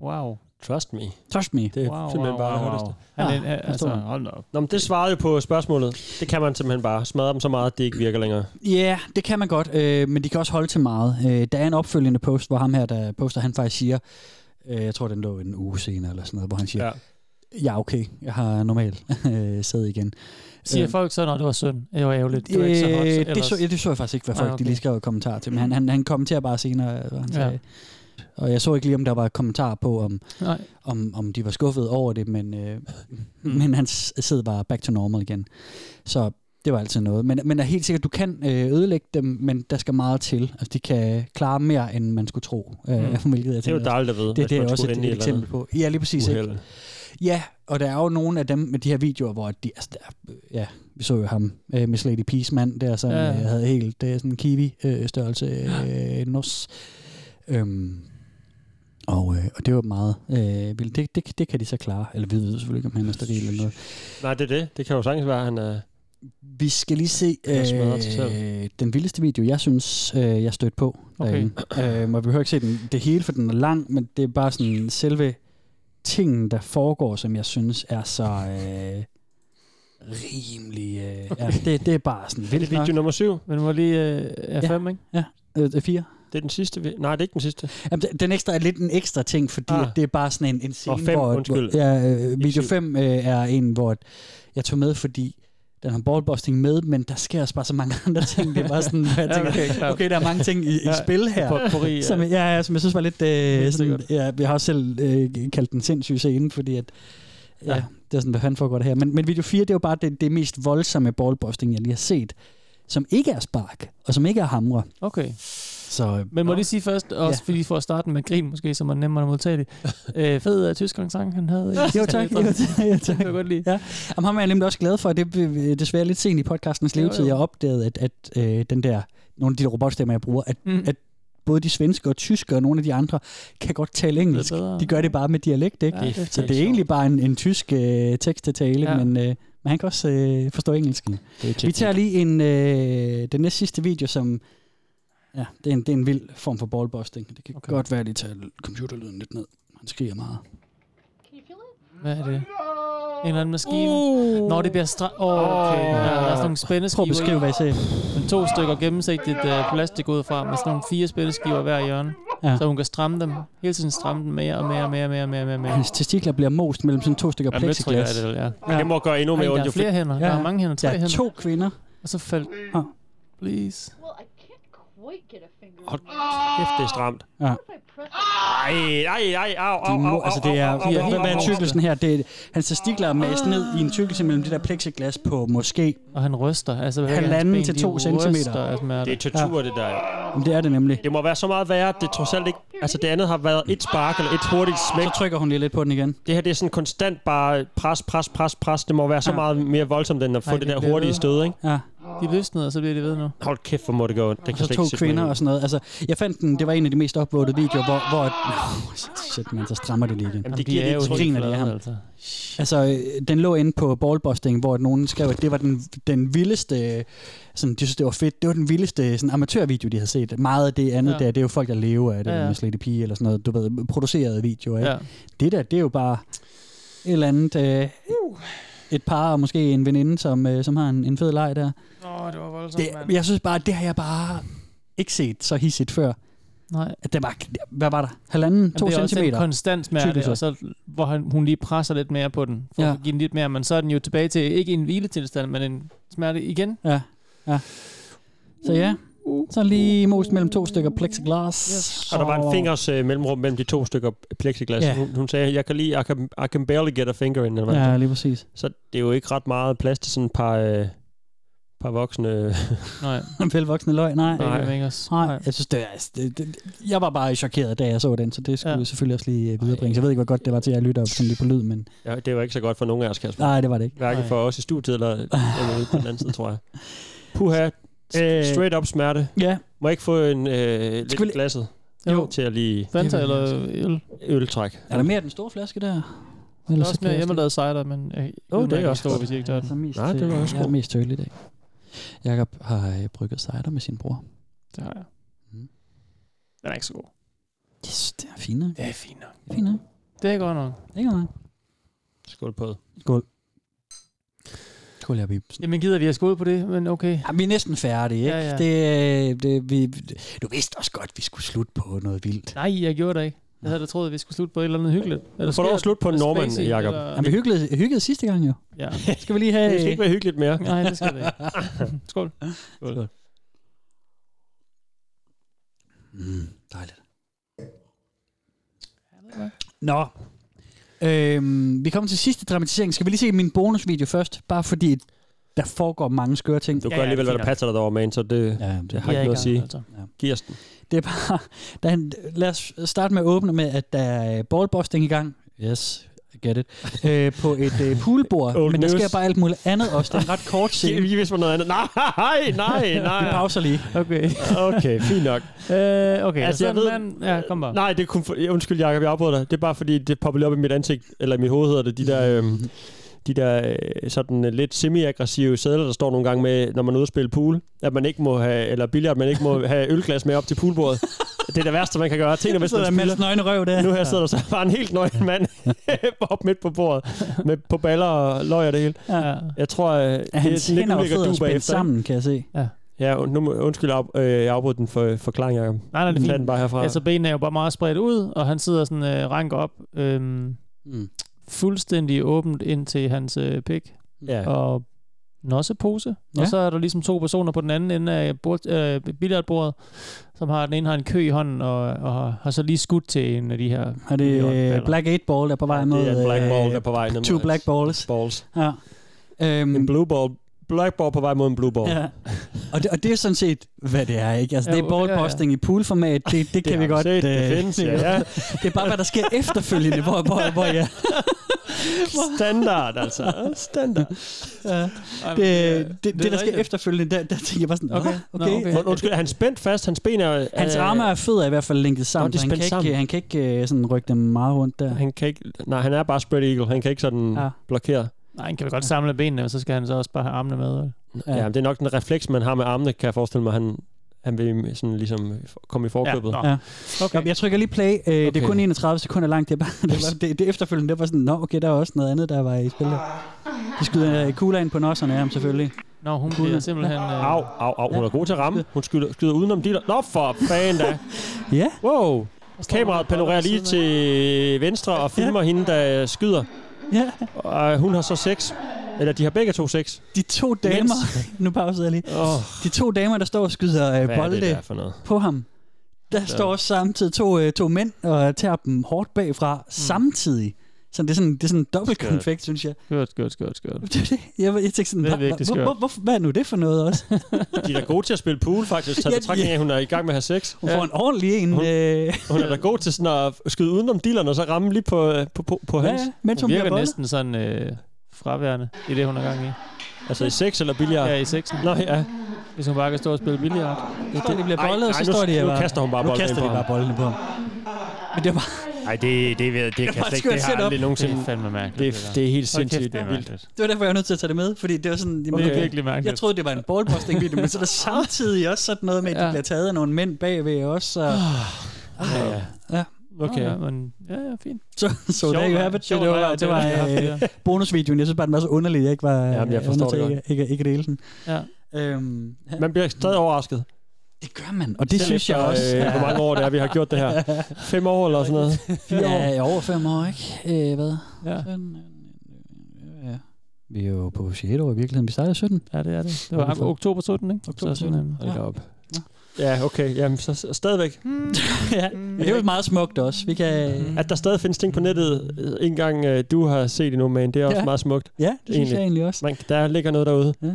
Speaker 5: Wow.
Speaker 4: Trust me.
Speaker 3: Trust me.
Speaker 4: Det er
Speaker 5: Wow,
Speaker 4: simpelthen
Speaker 5: wow,
Speaker 4: bare
Speaker 5: wow,
Speaker 4: hottest.
Speaker 5: wow. Han er- Ja, altså, forstår. hold da op.
Speaker 4: Nå, men det svarede jo på spørgsmålet. Det kan man simpelthen bare. Smadre dem så meget, at det ikke virker længere.
Speaker 5: Mm.
Speaker 3: Ja, yeah, det kan man godt, øh, men de kan også holde til meget. Øh, der er en opfølgende post, hvor ham her, der poster, han faktisk siger, øh, jeg tror, den lå en uge senere eller sådan noget, hvor han siger,
Speaker 4: ja,
Speaker 3: ja okay, jeg har normalt øh, sæd igen.
Speaker 5: Siger
Speaker 3: Øh,
Speaker 5: folk så, når det var synd? Det var ærgerligt. Det var ikke så
Speaker 3: øh,
Speaker 5: hot.
Speaker 3: det, så, ja, det så jeg faktisk ikke, hvad folk
Speaker 5: Ah,
Speaker 3: okay.
Speaker 5: okay.
Speaker 3: de lige skrev i kommentarer til, men han, han, han kommenterer bare senere, hvad han
Speaker 5: Ja.
Speaker 3: ja. sagde. Og jeg så ikke lige, om der var kommentarer på, om,
Speaker 5: Nej. Mm.
Speaker 3: om, om de var skuffet over det, men, øh, men hans sæd var back to normal igen. Så det var altid noget. Men, men er helt sikkert, du kan øh, ødelægge dem, men der skal meget til. Altså, de kan klare mere, end man skulle tro. Øh,
Speaker 4: Mm.
Speaker 3: hvilket jeg
Speaker 4: Det er jo
Speaker 3: tænker også-
Speaker 4: dejligt at vide,
Speaker 3: Det,
Speaker 4: hvis
Speaker 3: det er
Speaker 4: man
Speaker 3: også
Speaker 4: skulle
Speaker 3: et,
Speaker 4: ind i
Speaker 3: et
Speaker 4: et eller
Speaker 3: eksempel på.
Speaker 4: andet
Speaker 3: Ja, lige præcis.
Speaker 4: uheld.
Speaker 3: Ikke? Ja, og der er jo nogle af dem med de her videoer, hvor de, altså, der, ja, vi så jo ham, øh, Miss Lady Peace mand der, som
Speaker 5: Ja.
Speaker 3: ja. øh, havde øh, helt, det er sådan en kiwi-størrelse øh, nos. Øhm, Og, øh, og det var meget øh, vildt. Det, det, det kan de så klare. Eller vi ved selvfølgelig ikke, om han er steril eller noget.
Speaker 4: Nej, det er det. Det kan jo sagtens være, at han er...
Speaker 3: Vi skal lige se
Speaker 4: Han smadrer sig selv.
Speaker 3: øh, den vildeste video, jeg synes, øh, jeg stødte på.
Speaker 4: Okay.
Speaker 3: derinde. Øh, og vi behøver ikke se den, det hele, for den er lang, men det er bare sådan selve tingen, der foregår, som jeg synes er så øh, rimelig... Øh, ja, det, det er bare sådan
Speaker 4: Er det
Speaker 3: vildt
Speaker 4: video nummer 7?
Speaker 3: Men var lige øh,
Speaker 4: er fem, ikke?
Speaker 3: Ja, øh, er 4.
Speaker 4: Det er den sidste. vi- Nej, det er ikke den sidste.
Speaker 3: Jamen, den- den ekstra er lidt en ekstra ting, fordi
Speaker 4: Ah.
Speaker 3: ah. det er bare sådan en, en scene,
Speaker 4: Og fem,
Speaker 3: hvor,
Speaker 4: undskyld.
Speaker 3: hvor ja, øh, video
Speaker 4: syv.
Speaker 3: 5 øh, er en, hvor at jeg tog med, fordi den har ballbusting med, men der sker også bare så mange andre ting. Det er bare sådan, hvor jeg
Speaker 4: Ja,
Speaker 3: tænker,
Speaker 4: okay,
Speaker 3: okay,
Speaker 4: klart.
Speaker 3: okay, der er mange ting i, i
Speaker 4: Ja,
Speaker 3: spil her,
Speaker 4: potpourri, ja.
Speaker 3: som, jeg- ja, ja, som jeg synes var lidt... Øh, sådan, ja, jeg har også selv øh, kaldt den sindssyg scene, fordi at... Ja,
Speaker 4: Ja.
Speaker 3: ja. det er sådan, hvad fanden foregår det her. Men, men video 4, det er jo bare det, det mest voldsomme ballbusting, jeg lige har set, som ikke er spark, og som ikke er hamre.
Speaker 5: Okay.
Speaker 3: Så, øh,
Speaker 5: Men må jeg lige sige først, også ja. fordi for at starte med grin måske, så man nemmere at modtage det. Øh, fed uh, tysk sang han havde.
Speaker 3: Jo
Speaker 5: i
Speaker 3: tak, jo, tak, jo, tak.
Speaker 5: Det kan jeg godt lide.
Speaker 3: Ja. Jamen, ham er jeg nemlig også glad for. Det blev øh, desværre lidt sent i podcastens
Speaker 5: Jo, jo.
Speaker 3: levetid, jeg opdagede, at, at øh, den der, nogle af de der robotstemmer, jeg bruger, at,
Speaker 5: Mm.
Speaker 3: mm. at både de svenske og tyske og nogle af de andre, kan godt tale engelsk.
Speaker 5: bedre.
Speaker 3: De gør det bare med dialekt, ikke?
Speaker 5: Ja, det er
Speaker 3: så det
Speaker 5: faktisk
Speaker 3: er egentlig bare en, en tysk øh, tekst til tale,
Speaker 5: Ja.
Speaker 3: ja. men, øh, men han kan også øh, forstå engelsk. Vi tager lige en, øh, den næste sidste video, som... Ja, det er, en, det er en vild form for ballbusting. Det kan okay. godt være, at de tager computerlyden lidt ned. Han skriger meget.
Speaker 5: Hvad er det? En eller anden maskine. Uh. Nå, det bliver stra... Oh, okay. Ja, der er sådan nogle spændeskiver. Prøv at
Speaker 3: beskrive, hvad I ser.
Speaker 5: Men to stykker gennemsigtigt uh, plastik ud fra, med sådan nogle fire spændeskiver hver hjørne.
Speaker 3: Ja.
Speaker 5: Ja. Så hun kan stramme dem. Hele tiden stramme dem mere og mere og mere og mere og mere. og mere, og mere.
Speaker 3: Hans testikler bliver most mellem sådan to stykker
Speaker 5: Ja,
Speaker 3: plexiglas.
Speaker 5: møtrikker er det vel, ja. Det må gøre endnu
Speaker 3: Ej,
Speaker 5: mere
Speaker 3: der
Speaker 5: ondt,
Speaker 3: er
Speaker 5: jo
Speaker 3: flere
Speaker 5: flere-
Speaker 3: hænder.
Speaker 5: Ja.
Speaker 3: Der er mange hænder. Tre
Speaker 5: Der er
Speaker 3: hænder.
Speaker 5: to
Speaker 3: kvinder.
Speaker 5: Og så faldt...
Speaker 3: Ah.
Speaker 5: Please.
Speaker 4: Hold kæft, det er stramt.
Speaker 3: Ja.
Speaker 4: Ej, ej, ej, au,
Speaker 3: De
Speaker 4: au,
Speaker 3: må,
Speaker 4: au,
Speaker 3: altså det er,
Speaker 4: au, au,
Speaker 3: vi
Speaker 4: au,
Speaker 3: har helt
Speaker 4: au,
Speaker 3: med
Speaker 4: au, au.
Speaker 3: tykkelsen her. Det er, hans testikler er mast ned i en tykkelse mellem det der plexiglas på måske.
Speaker 5: Og han ryster. Altså, hvad
Speaker 3: halvanden til to centimeter.
Speaker 4: Det er tortur, det der. jo.
Speaker 3: Jamen, det er det nemlig.
Speaker 4: Det må være så meget værre, at det trods alt ikke... Altså det andet har været et spark eller et hurtigt smæk. Så
Speaker 3: trykker hun lige lidt på den igen.
Speaker 4: Det her det er sådan konstant bare pres, pres, pres, pres. Det må være så meget mere voldsomt, end at få
Speaker 5: Ej,
Speaker 4: det
Speaker 5: det
Speaker 4: der
Speaker 5: bliver
Speaker 4: hurtige
Speaker 5: ved.
Speaker 4: stød, ikke?
Speaker 3: Ja.
Speaker 5: De løsnede, og så bliver de ved nu.
Speaker 4: Hold kæft, hvor må det gå. Det kan
Speaker 3: Og så
Speaker 4: slet
Speaker 3: to
Speaker 4: ikke sætte mig
Speaker 3: kvinder
Speaker 4: ind i.
Speaker 3: og sådan noget. Altså, jeg fandt den, det var en af de mest upvotede videoer, hvor... hvor oh, shit, shit, man, så strammer det lige igen.
Speaker 4: Jamen, det giver de er lidt jo tryk.
Speaker 3: griner det af ham.
Speaker 4: Altså.
Speaker 3: Altså, øh, den lå inde på ballbusting, hvor nogen skrev, at det var den, den vildeste, øh, sådan, de synes, det var fedt, det var den vildeste sådan, amatørvideo, de havde set. Meget af det andet
Speaker 5: Ja.
Speaker 3: ja. der, det er jo folk, der lever af det,
Speaker 5: Ja,
Speaker 3: ja,
Speaker 5: ja.
Speaker 3: ja. med Slette Pige eller sådan noget, du ved, producerede videoer. Ikke?
Speaker 5: Ja.
Speaker 3: Ja. Det der, det er jo bare et eller andet, øh,
Speaker 5: Uh.
Speaker 3: et par og måske en veninde, som, øh, som har en, en fed leg der.
Speaker 5: Åh, det var voldsomt,
Speaker 3: Det, jeg synes bare, det har jeg bare ikke set så hissigt før.
Speaker 5: Nej.
Speaker 3: At det var, hvad var der? Halvanden, to
Speaker 5: Jamen, det er også
Speaker 3: centimeter?
Speaker 5: en konstant smerte,
Speaker 3: Tykkelse.
Speaker 5: og så, hvor han, hun lige presser lidt mere på den, for ja.
Speaker 3: Ja.
Speaker 5: at give den lidt mere, men så er den jo tilbage til ikke en hviletilstand, men en smerte igen.
Speaker 3: Ja, ja. Så ja, så lige most mellem to stykker plexiglas. Yes.
Speaker 4: Og der var en fingers øh, mellemrum mellem de to stykker plexiglas.
Speaker 3: Ja.
Speaker 4: Yeah. Hun, hun sagde, jeg kan lige, I can, I can barely get a finger in. Eller hvad
Speaker 3: Ja,
Speaker 4: det er.
Speaker 3: lige præcis.
Speaker 4: Så det er jo ikke ret meget plads til sådan et par, øh, par voksne...
Speaker 5: Nej.
Speaker 3: Velvoksne løg, nej.
Speaker 4: Nej. Ikke
Speaker 3: nej. Jeg synes, det er, altså, det, det, jeg var bare chokeret, da jeg så den, så det skulle ja. jeg selvfølgelig også lige øh, viderebringe. Så Jeg ved ikke, hvor godt det var til, at jeg lytter sådan lidt på lyd, men
Speaker 4: Ja, det var ikke så godt for nogen af os, Kasper.
Speaker 3: Nej, det var det ikke.
Speaker 4: Hverken
Speaker 3: Nej.
Speaker 4: for os i studiet eller, eller ude på den anden side, tror jeg. Puha. Øh, Straight up smerte.
Speaker 3: Øh, Ja.
Speaker 4: Må jeg ikke få en øh, lidt vi... glasset?
Speaker 5: Jo.
Speaker 4: Til at lige...
Speaker 5: Fanta eller øl?
Speaker 4: Øltræk.
Speaker 3: er der mere af den store flaske der?
Speaker 5: Der er
Speaker 3: Ellers
Speaker 5: også
Speaker 3: så
Speaker 5: mere
Speaker 3: kan jeg
Speaker 5: hjemmelavet cider, men øh, jeg
Speaker 3: Jo, det er
Speaker 5: ikke
Speaker 3: også
Speaker 5: stor,
Speaker 3: godt.
Speaker 5: hvis I ikke tager den.
Speaker 3: Nej, det var også Jeg er mest tøjlig i dag. Jakob har øh, brygget cider med sin bror.
Speaker 5: Det har jeg. Mm. Den er ikke så god.
Speaker 3: Yes, det er fint nok.
Speaker 5: Det er fint nok.
Speaker 3: Fint nok.
Speaker 5: Det er godt nok.
Speaker 3: Det er godt nok.
Speaker 4: Skål på.
Speaker 3: Skål. Skål, jeg Bibsen.
Speaker 5: Jamen gider vi at skåle på det, men okay.
Speaker 3: Ja, vi er næsten færdige, ikke?
Speaker 5: Ja, ja.
Speaker 3: Det, øh, det, vi, du vidste også godt, at vi skulle slutte på noget vildt.
Speaker 5: Nej, jeg gjorde det ikke. Jeg havde da troet, at vi skulle slutte på et eller andet hyggeligt. Er der
Speaker 4: Får lov at
Speaker 5: skært?
Speaker 4: slutte på en
Speaker 5: Er der
Speaker 4: nordmand,
Speaker 5: spacey,
Speaker 4: Jacob?
Speaker 5: eller-
Speaker 3: Jamen, vi hyggede, hyggede sidste gang jo.
Speaker 5: Ja.
Speaker 3: Skal vi lige have...
Speaker 4: Det skal ikke være hyggeligt mere.
Speaker 5: Nej, det skal det ikke. Skål.
Speaker 3: Skål. Mm, dejligt. Nå. Øhm, vi kommer til sidste dramatisering. Skal vi lige se min bonusvideo først? Bare fordi, der foregår mange skøre ting.
Speaker 4: Du gør alligevel, hvad der passer dig derovre, man, så det,
Speaker 3: ja,
Speaker 4: det har
Speaker 3: Vi er
Speaker 4: ikke
Speaker 3: i
Speaker 4: noget at
Speaker 3: gang,
Speaker 4: sige.
Speaker 3: altså. Ja.
Speaker 4: Giv os den.
Speaker 3: Det er bare... Der er en, lad os starte med at åbne med, at der er ballbusting i øh, gang. Yes. get it, øh, på et øh, poolbord,
Speaker 4: Old
Speaker 3: men der
Speaker 4: news.
Speaker 3: sker bare alt muligt andet også. Det er en ret kort scene.
Speaker 4: Vi vidste noget andet. Nej, nej, nej.
Speaker 3: Vi pauser lige.
Speaker 5: Okay.
Speaker 4: Okay, fint nok.
Speaker 5: Øh, okay,
Speaker 4: Altså,
Speaker 5: altså,
Speaker 4: jeg
Speaker 5: jeg
Speaker 4: ved-
Speaker 5: man, ja, kom bare.
Speaker 4: Nej, det er kun for, ja, undskyld, Jacob, jeg afbryder dig. Det er bare fordi, det popper lige op i mit ansigt, eller i mit hoved hedder det, de der, øhm, de der øh, sådan øh, lidt semi-aggressive sædler, der står nogle gange med, når man er ude at spille pool, at man ikke må have, eller billiard, man ikke må have ølglas med op til poolbordet. Det er det værste, man kan gøre. Tænk dig, hvis
Speaker 3: Sidder
Speaker 4: man
Speaker 3: der med
Speaker 4: spiller.
Speaker 3: hans nøgne røv der.
Speaker 4: Nu her sidder der så bare en helt nøgen mand op midt på bordet, med på baller og løg og det hele.
Speaker 5: Ja.
Speaker 4: Jeg tror, øh, det er
Speaker 3: Hans
Speaker 4: sådan lidt
Speaker 3: hænder og
Speaker 4: ulækkert
Speaker 3: fødder
Speaker 4: du bagefter.
Speaker 3: spændt sammen, kan jeg se.
Speaker 5: Ja.
Speaker 4: Ja, und- nu, må- undskyld, jeg af- øh, jeg afbrød den for, forklaring, Jacob.
Speaker 5: Nej, nej, det er
Speaker 4: Tag
Speaker 5: fint.
Speaker 4: den bare herfra.
Speaker 5: Altså, benene er jo bare meget spredt ud, og han sidder sådan øh, ranker op øhm,
Speaker 3: mm.
Speaker 5: fuldstændig åbent ind til hans øh, pik.
Speaker 4: Ja.
Speaker 5: Og nossepose. Ja.
Speaker 4: Ja.
Speaker 5: Og så er der ligesom to personer på den anden ende af bord, øh, billardbordet, som har den ene har en kø i hånden, og, og har, har så lige skudt til en af de her...
Speaker 3: Er det øh,
Speaker 5: billardballer.
Speaker 3: Black 8 Ball, der er på vej øh, mod...
Speaker 5: det er en Black Ball,
Speaker 4: der er på vej ned
Speaker 3: Two
Speaker 4: mod-
Speaker 3: Black Balls.
Speaker 4: Balls.
Speaker 3: Ja. Øhm,
Speaker 4: en blue ball. Black ball på vej mod en blue ball.
Speaker 3: Ja. Og, det, og det er sådan set, hvad det er, ikke? Altså,
Speaker 4: Ja,
Speaker 3: det er
Speaker 4: jo, ja, ja.
Speaker 3: ballposting i poolformat, det, det, kan
Speaker 4: har
Speaker 3: vi
Speaker 4: vi
Speaker 3: godt...
Speaker 4: set, det
Speaker 3: øh,
Speaker 4: findes, ja, ja.
Speaker 3: Det er bare, hvad der sker efterfølgende, hvor, hvor, hvor ja.
Speaker 4: Standard, altså. Standard.
Speaker 3: Ja. Det, det, det, det, der sker efterfølgende, der, der tænker jeg bare sådan, okay, okay. okay.
Speaker 4: Und- Undskyld, er han spændt fast? Hans ben er...
Speaker 3: Hans
Speaker 4: øh,
Speaker 3: arme og fødder er i hvert fald linket sammen,
Speaker 4: Nå, de er
Speaker 3: så han kan,
Speaker 4: spændt
Speaker 3: ikke,
Speaker 4: sammen.
Speaker 3: han kan ikke øh, sådan rykke dem meget rundt der.
Speaker 4: Han kan ikke, nej, han er bare spread eagle. Han kan ikke sådan
Speaker 3: Ja.
Speaker 4: ja. blokere.
Speaker 5: Nej, han kan vel godt samle benene, men så skal han så også bare have armene med. vel?
Speaker 4: Ja. ja. men det er nok den refleks, man har med armene, kan jeg forestille mig. Han, han vil sådan ligesom komme i forkøbet.
Speaker 3: Ja. Ja. Okay. Jeg trykker lige play. Øh, okay. Det er kun 31 sekunder langt. Det, er bare, det, var, det, det efterfølgende, det var sådan, nå, okay, der er også noget andet, der var i spil. der." De skyder øh, kugler ind på nosserne af ham, selvfølgelig.
Speaker 5: Nå, hun
Speaker 3: Kugler.
Speaker 5: bliver simpelthen...
Speaker 3: Ja.
Speaker 5: Øh,
Speaker 4: Au, au, au. Hun er god til at ramme. Hun skyder, skyder udenom de der. Nå, for fanden da.
Speaker 3: ja.
Speaker 4: Wow. Kameraet panorerer lige til venstre og filmer ja. hende, der skyder.
Speaker 3: Ja.
Speaker 4: Og øh, hun har så seks. Eller de har begge to seks.
Speaker 3: De to damer, nu pausede jeg lige.
Speaker 4: Oh.
Speaker 3: De to damer, der står og skyder øh,
Speaker 4: Hvad er det
Speaker 3: bolde
Speaker 4: der for noget?
Speaker 3: på ham. Der
Speaker 4: Ja.
Speaker 3: står også samtidig to, øh, to mænd og tager dem hårdt bagfra mm. samtidig. Så det er sådan, det er sådan en dobbelt
Speaker 5: Skørt.
Speaker 3: konfekt, synes jeg.
Speaker 5: Skørt, skørt, skørt, skørt.
Speaker 3: Jeg, jeg tænkte sådan,
Speaker 5: Det
Speaker 3: hva-
Speaker 5: er virkelig
Speaker 3: hva-
Speaker 5: skørt.
Speaker 3: hvor, hvor, hvad er nu det for noget også?
Speaker 4: De er da gode til at spille pool, faktisk. Tag
Speaker 3: Ja,
Speaker 4: ja, betragtning af, at hun er i gang med at have sex.
Speaker 3: Hun får en ordentlig en. øh. Hun,
Speaker 4: hun er da god til sådan at skyde udenom dealeren, og så ramme lige på, øh, på, på, på hans.
Speaker 5: mens hun, hun virker næsten sådan øh, fraværende i det, hun er gang i.
Speaker 4: Altså i sex eller billiard?
Speaker 5: Ja, i sexen.
Speaker 4: Nå, ja.
Speaker 5: Hvis hun bare kan stå og spille billiard.
Speaker 3: Hvis det bliver boldet, så står de her
Speaker 4: nu
Speaker 3: bare.
Speaker 4: kaster hun bare
Speaker 3: nu
Speaker 4: bolden
Speaker 3: kaster
Speaker 4: ind
Speaker 3: de
Speaker 4: på ham.
Speaker 3: bare bolden på ham. Men det var bare...
Speaker 4: Nej, det, det, det, det
Speaker 3: var
Speaker 4: kan
Speaker 3: et
Speaker 4: slet ikke.
Speaker 3: skørt
Speaker 4: Det har
Speaker 3: setup.
Speaker 4: aldrig nogensinde...
Speaker 3: Det er
Speaker 5: fandme mærkeligt,
Speaker 4: Det,
Speaker 5: det der.
Speaker 4: er- det er helt
Speaker 5: Hold kæft,
Speaker 4: sindsigt
Speaker 5: det er
Speaker 4: vildt.
Speaker 5: mærkeligt.
Speaker 3: Det var derfor, jeg var nødt til at tage det med, fordi det var sådan...
Speaker 5: Det er virkelig mærkeligt.
Speaker 3: Jeg troede, det var en ballposting-video, men så er der samtidig også sådan noget med, at de bliver taget af nogle mænd bagved også. Så...
Speaker 4: Ah.
Speaker 3: Ah,
Speaker 5: Ja, ja.
Speaker 3: ja.
Speaker 5: Okay. Ja, men, ja, ja, fint.
Speaker 3: Så, så
Speaker 5: Sjovt
Speaker 3: der you
Speaker 5: vej-
Speaker 3: have it. Det
Speaker 5: sjovt vej
Speaker 3: var,
Speaker 5: at
Speaker 3: det var
Speaker 5: tage det.
Speaker 3: øh, bonusvideoen. Jeg synes bare, den var så underlig, at jeg ikke var
Speaker 4: Jamen, jeg
Speaker 3: øh,
Speaker 4: forstår
Speaker 3: under
Speaker 4: det
Speaker 3: til
Speaker 4: godt.
Speaker 3: ikke, ikke, ikke at dele den.
Speaker 5: Ja.
Speaker 3: Øhm, ja.
Speaker 4: Man bliver stadig overrasket.
Speaker 3: Det gør man, og det
Speaker 4: Selv
Speaker 3: synes jeg
Speaker 4: efter,
Speaker 3: også.
Speaker 4: Øh, hvor mange år det er, vi har gjort det her. Fem år eller sådan noget? Fire år?
Speaker 3: Ja, i over fem år, ikke? Øh, hvad?
Speaker 5: Ja.
Speaker 4: øh,
Speaker 3: ja. Vi er jo på 6. år i virkeligheden. Vi startede i 17.
Speaker 5: Ja, det er det. Det var
Speaker 3: Hvorfor?
Speaker 5: oktober 17, ikke?
Speaker 3: Oktober
Speaker 5: Så sådan,
Speaker 3: 17.
Speaker 5: øh,
Speaker 3: Ja.
Speaker 4: op. Ja, okay. Jamen, så så stadigvæk.
Speaker 3: Mm.
Speaker 4: Mm.
Speaker 3: ja, men det er jo meget smukt også. Vi kan...
Speaker 4: At der stadig findes ting på nettet, øh, ikke engang øh, du har set endnu, men det er også
Speaker 3: Ja.
Speaker 4: meget smukt.
Speaker 3: Ja, det synes jeg egentlig også.
Speaker 4: Man, der ligger noget derude
Speaker 3: ja.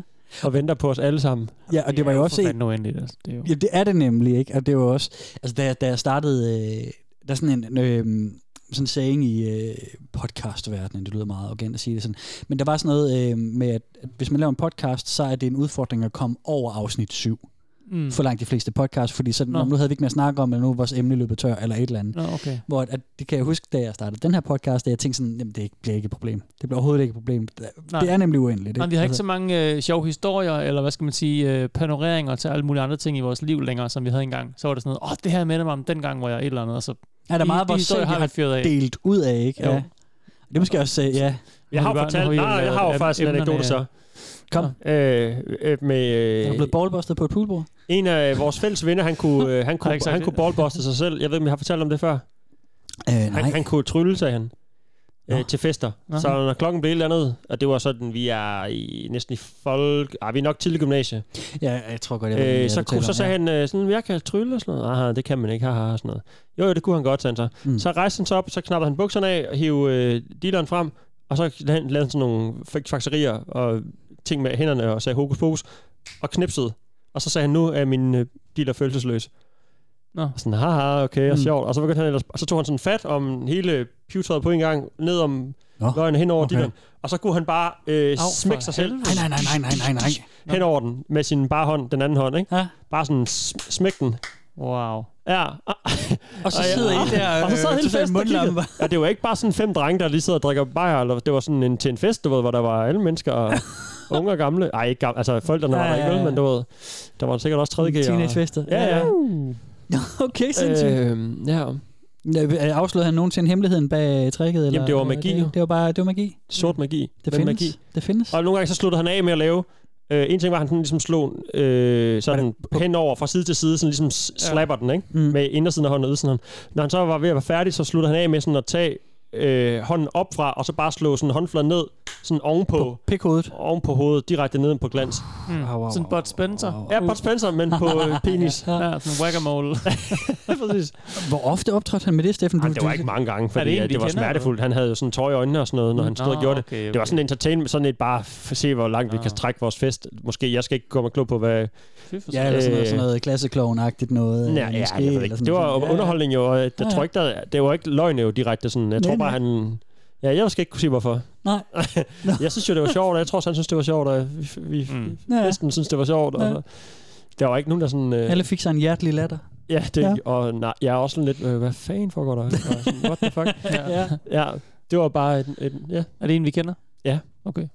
Speaker 4: og venter på os alle sammen.
Speaker 3: Ja, og det var jo også...
Speaker 5: fanden uendeligt, altså. Det er jo...
Speaker 3: Ja, det er det nemlig, ikke? Og det var også... Altså, da, da jeg startede... Øh, der er sådan en... Øh, sådan en saying i øh, podcastverdenen, det lyder meget arrogant at sige det sådan, men der var sådan noget øh, med, at, at hvis man laver en podcast, så er det en udfordring at komme over afsnit 7
Speaker 5: Mm.
Speaker 3: mm. for langt de fleste podcasts, fordi så,
Speaker 5: Nå.
Speaker 3: nå, nu havde vi ikke mere at snakke om, eller nu var vores emne løbet tør, eller et eller andet.
Speaker 5: Nå, okay.
Speaker 3: Hvor at, at, det kan jeg huske, da jeg startede den her podcast, da jeg tænkte sådan, jamen det ikke- bliver ikke et problem. Det bliver overhovedet ikke et problem. Det,
Speaker 5: Nej.
Speaker 3: det er nemlig uendeligt.
Speaker 5: Men vi har ikke
Speaker 3: Altså,
Speaker 5: så mange øh, sjove historier, eller hvad skal man sige, øh, panoreringer til alle mulige andre ting i vores liv længere, som vi havde engang. Så var det sådan noget, åh, det her minder mig om dengang, hvor jeg et eller andet, og så...
Speaker 3: er der
Speaker 5: de-
Speaker 3: meget,
Speaker 5: de
Speaker 3: hvor
Speaker 5: historier
Speaker 3: selv har,
Speaker 5: vi fyret
Speaker 3: har
Speaker 5: af.
Speaker 3: delt ud af, ikke?
Speaker 5: Jo.
Speaker 3: Ja. Det er måske også, øh, ja.
Speaker 4: Jeg har
Speaker 5: Nu har vi
Speaker 4: fortalt,
Speaker 5: bare- nu
Speaker 4: nej,
Speaker 5: har vi jo
Speaker 4: jeg har jo
Speaker 5: lavet
Speaker 4: faktisk en
Speaker 5: emnerne-
Speaker 4: anekdote så.
Speaker 3: Kom.
Speaker 4: Øh, øh, med, øh,
Speaker 3: Han er blevet ballbustet på et poolbord.
Speaker 4: En af øh, vores fælles venner, han kunne, øh, han
Speaker 5: Har jeg
Speaker 4: kunne,
Speaker 5: ikke sagt
Speaker 4: han
Speaker 5: det?
Speaker 4: kunne ballbuste sig selv. Jeg ved ikke, om jeg har fortalt om det før.
Speaker 3: Øh,
Speaker 4: han, han kunne trylle, sagde han, øh, til fester.
Speaker 5: Nå.
Speaker 4: Så når klokken blev et eller andet, og det var sådan, vi er i, næsten i folk... Ah, vi er nok tidlig gymnasie.
Speaker 3: Ja, jeg tror godt, jeg ved,
Speaker 4: Øh,
Speaker 3: hvad
Speaker 4: så,
Speaker 3: du
Speaker 4: kunne,
Speaker 3: taler
Speaker 4: så
Speaker 3: om,
Speaker 4: sagde han øh, sådan, jeg kan trylle og sådan noget. Aha, det kan man ikke, haha, og sådan noget. Jo, jo, det kunne han godt, sagde han så.
Speaker 3: Mm.
Speaker 4: Så rejste han sig op, så knappede han bukserne af, og hive øh, dealeren frem, og så la- lavede han sådan nogle fik- fakserier og ting med hænderne, og sagde hokus pokus, og knipsede. Og så sagde han, nu er min øh, dealer følelsesløs.
Speaker 5: Nå.
Speaker 4: Og sådan, haha, okay, og
Speaker 3: Mm.
Speaker 4: sjovt. Og så, begyndte han ellers, og så tog han sådan fat om hele pivetøjet på en gang, ned om Nå. løgn hen over okay.
Speaker 3: okay.
Speaker 4: dilleren. Og så kunne han bare øh,
Speaker 3: Au,
Speaker 4: smække
Speaker 3: for
Speaker 4: sig selv.
Speaker 3: helvede. Nej, nej, nej, nej, nej, nej, nej.
Speaker 4: Hen over den med sin bare hånd, den anden hånd, ikke? Ja. Bare sådan sm- smæk den.
Speaker 5: Wow.
Speaker 4: Ja.
Speaker 3: Og så
Speaker 4: jeg-
Speaker 3: sidder I der,
Speaker 4: og så sad
Speaker 3: øh,
Speaker 4: hele
Speaker 3: til den
Speaker 4: festen og kiggede.
Speaker 3: mundlampe.
Speaker 4: Ja, det var ikke bare sådan fem drenge, der lige sidder og drikker bajer. Eller, det var sådan en, til en fest, du ved, hvor der var alle mennesker, og unge og gamle. Ej, ikke gamle. Altså, forældrene var
Speaker 3: Ja,
Speaker 4: der ikke,
Speaker 3: ja,
Speaker 4: vel,
Speaker 3: ja.
Speaker 4: men du ved, der var sikkert også 3G.
Speaker 3: Teenagefester.
Speaker 4: Ja, ja.
Speaker 3: Okay, sindssygt.
Speaker 4: Øhm, ja.
Speaker 3: ja. Afslød han nogensinde hemmeligheden bag øh, tricket? Eller?
Speaker 4: Jamen, det var magi, jo.
Speaker 3: Det, det var bare det var magi.
Speaker 4: Sort magi.
Speaker 3: Det
Speaker 4: Hvem
Speaker 3: findes.
Speaker 4: magi?
Speaker 3: Det findes.
Speaker 4: Og nogle gange så sluttede han af med at lave... Øh, en ting var, at han sådan ligesom slog øh, sådan henover fra side til side, sådan ligesom s- slapper den, ikke? Mm. Med indersiden af hånden og ydersiden af hånden. Når han så var ved at være færdig, så sluttede han af med sådan at tage øh, hånden op fra, og så bare slå sådan håndfladen ned, sådan ovenpå... På
Speaker 3: pikhovedet.
Speaker 4: Ovenpå hovedet, direkte ned på glans.
Speaker 5: Mm.
Speaker 3: Au, au,
Speaker 5: Sådan Bud Spencer.
Speaker 4: Ja, Bud Spencer, men på øh, penis.
Speaker 5: ja, ja, sådan whack-a-mole.
Speaker 4: Præcis.
Speaker 3: Hvor ofte optrådte han med det, Steffen? Du,
Speaker 4: Jamen, det var ikke mange gange,
Speaker 3: Er
Speaker 4: fordi
Speaker 3: det en,
Speaker 4: det,
Speaker 3: vi
Speaker 4: det var
Speaker 3: kender, eller
Speaker 4: smertefuldt. Han havde jo sådan tøj i øjnene og sådan noget, når han stod
Speaker 3: Nå,
Speaker 4: og gjorde det.
Speaker 3: okay,
Speaker 4: Det var sådan en entertainment, sådan et bare for at se, hvor langt vi kan trække vores fest. Måske, jeg skal ikke komme og klog på, hvad...
Speaker 3: Ja, eller sådan noget, sådan noget klasseklovn-agtigt noget.
Speaker 4: Nej,
Speaker 3: øh,
Speaker 4: Øh. ja,
Speaker 3: måske,
Speaker 4: jeg ved
Speaker 3: eller
Speaker 4: ikke.
Speaker 3: sådan
Speaker 4: Det var
Speaker 3: noget. Ja, ja.
Speaker 4: underholdning jo, og jeg
Speaker 3: Ja, ja.
Speaker 4: tror ikke, der, det var ikke løgn jo direkte sådan. Jeg
Speaker 3: Nej,
Speaker 4: tror bare,
Speaker 3: nej.
Speaker 4: han... Ja, jeg skal ikke kunne sige, hvorfor.
Speaker 3: Nej.
Speaker 4: jeg synes jo, det var sjovt, og jeg tror også, han synes, det var sjovt, og vi, vi mm.
Speaker 3: Ja.
Speaker 4: festen synes, det var sjovt.
Speaker 3: Ja.
Speaker 4: Og der var ikke nogen, der sådan... Øh,
Speaker 3: Alle fik sig en hjertelig latter.
Speaker 4: Ja, det,
Speaker 3: Ja.
Speaker 4: ja. og nej, jeg er også sådan lidt, øh, hvad fanden foregår der? Og sådan, What the fuck?
Speaker 3: Ja.
Speaker 4: ja. det var bare et, et ja.
Speaker 5: Er det en, vi kender?
Speaker 4: Ja.
Speaker 5: Okay.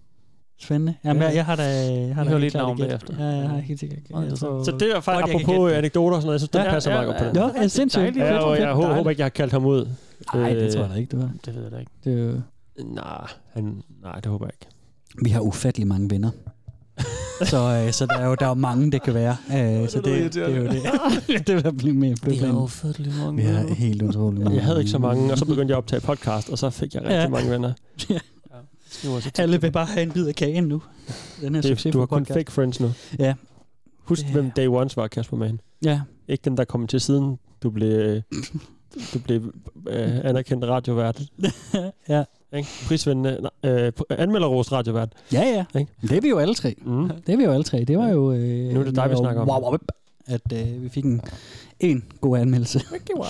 Speaker 3: Spændende. Jamen,
Speaker 5: Ja.
Speaker 3: jeg, jeg har da... Jeg har
Speaker 5: Vi
Speaker 3: da
Speaker 5: hører
Speaker 3: helt
Speaker 5: lidt
Speaker 3: klart
Speaker 5: navn
Speaker 3: et gæt.
Speaker 5: bagefter.
Speaker 3: Ja, jeg har helt sikkert. et gæt. Jeg tror-
Speaker 4: Så det er
Speaker 3: godt, jeg
Speaker 4: faktisk
Speaker 3: kan
Speaker 4: apropos
Speaker 3: gætte.
Speaker 4: anekdoter og sådan noget, jeg synes, den
Speaker 3: Ja,
Speaker 4: passer
Speaker 3: ja,
Speaker 4: meget godt på
Speaker 3: ja.
Speaker 4: den.
Speaker 3: Nå, ja, sindssygt.
Speaker 4: Dejligt. Ja, og jeg håber håber ikke, jeg har kaldt ham ud.
Speaker 3: Nej, det
Speaker 4: Øh,
Speaker 3: tror jeg da ikke, det var.
Speaker 5: Det ved jeg da ikke.
Speaker 3: Det er jo...
Speaker 4: Nej, han, nej, det håber jeg ikke.
Speaker 3: Vi har ufattelig mange venner. så, øh, så der er jo der er jo mange, det kan være. Øh, så det, det, er jo det. det vil blive mere
Speaker 5: Vi har
Speaker 3: befriende.
Speaker 5: ufattelig mange.
Speaker 3: Vi har helt utrolig mange.
Speaker 4: Jeg havde ikke så mange, og så begyndte jeg at optage podcast, og så fik jeg rigtig
Speaker 3: Ja.
Speaker 4: ja. mange venner.
Speaker 3: Alle vil bare have en bid af kagen nu. Den her
Speaker 4: Det, du har
Speaker 3: succesfulde
Speaker 4: kun
Speaker 3: podcast.
Speaker 4: fake friends nu.
Speaker 3: Ja.
Speaker 4: Husk, hvem Day Ones var, Kasper Mann.
Speaker 3: Ja.
Speaker 4: Ikke dem, der kom til siden, du blev, øh, du blev øh, anerkendt radiovært.
Speaker 3: ja.
Speaker 4: Ikke? Prisvindende, nej, øh, anmelderros radiovært.
Speaker 3: Ja, ja. Det er vi jo alle tre.
Speaker 4: Mm.
Speaker 3: Det er vi jo alle tre. Det var jo... Øh, nu
Speaker 4: er det dig, vi snakker om.
Speaker 3: Wow, wow, at øh, vi fik en, en god anmeldelse.
Speaker 5: Wow.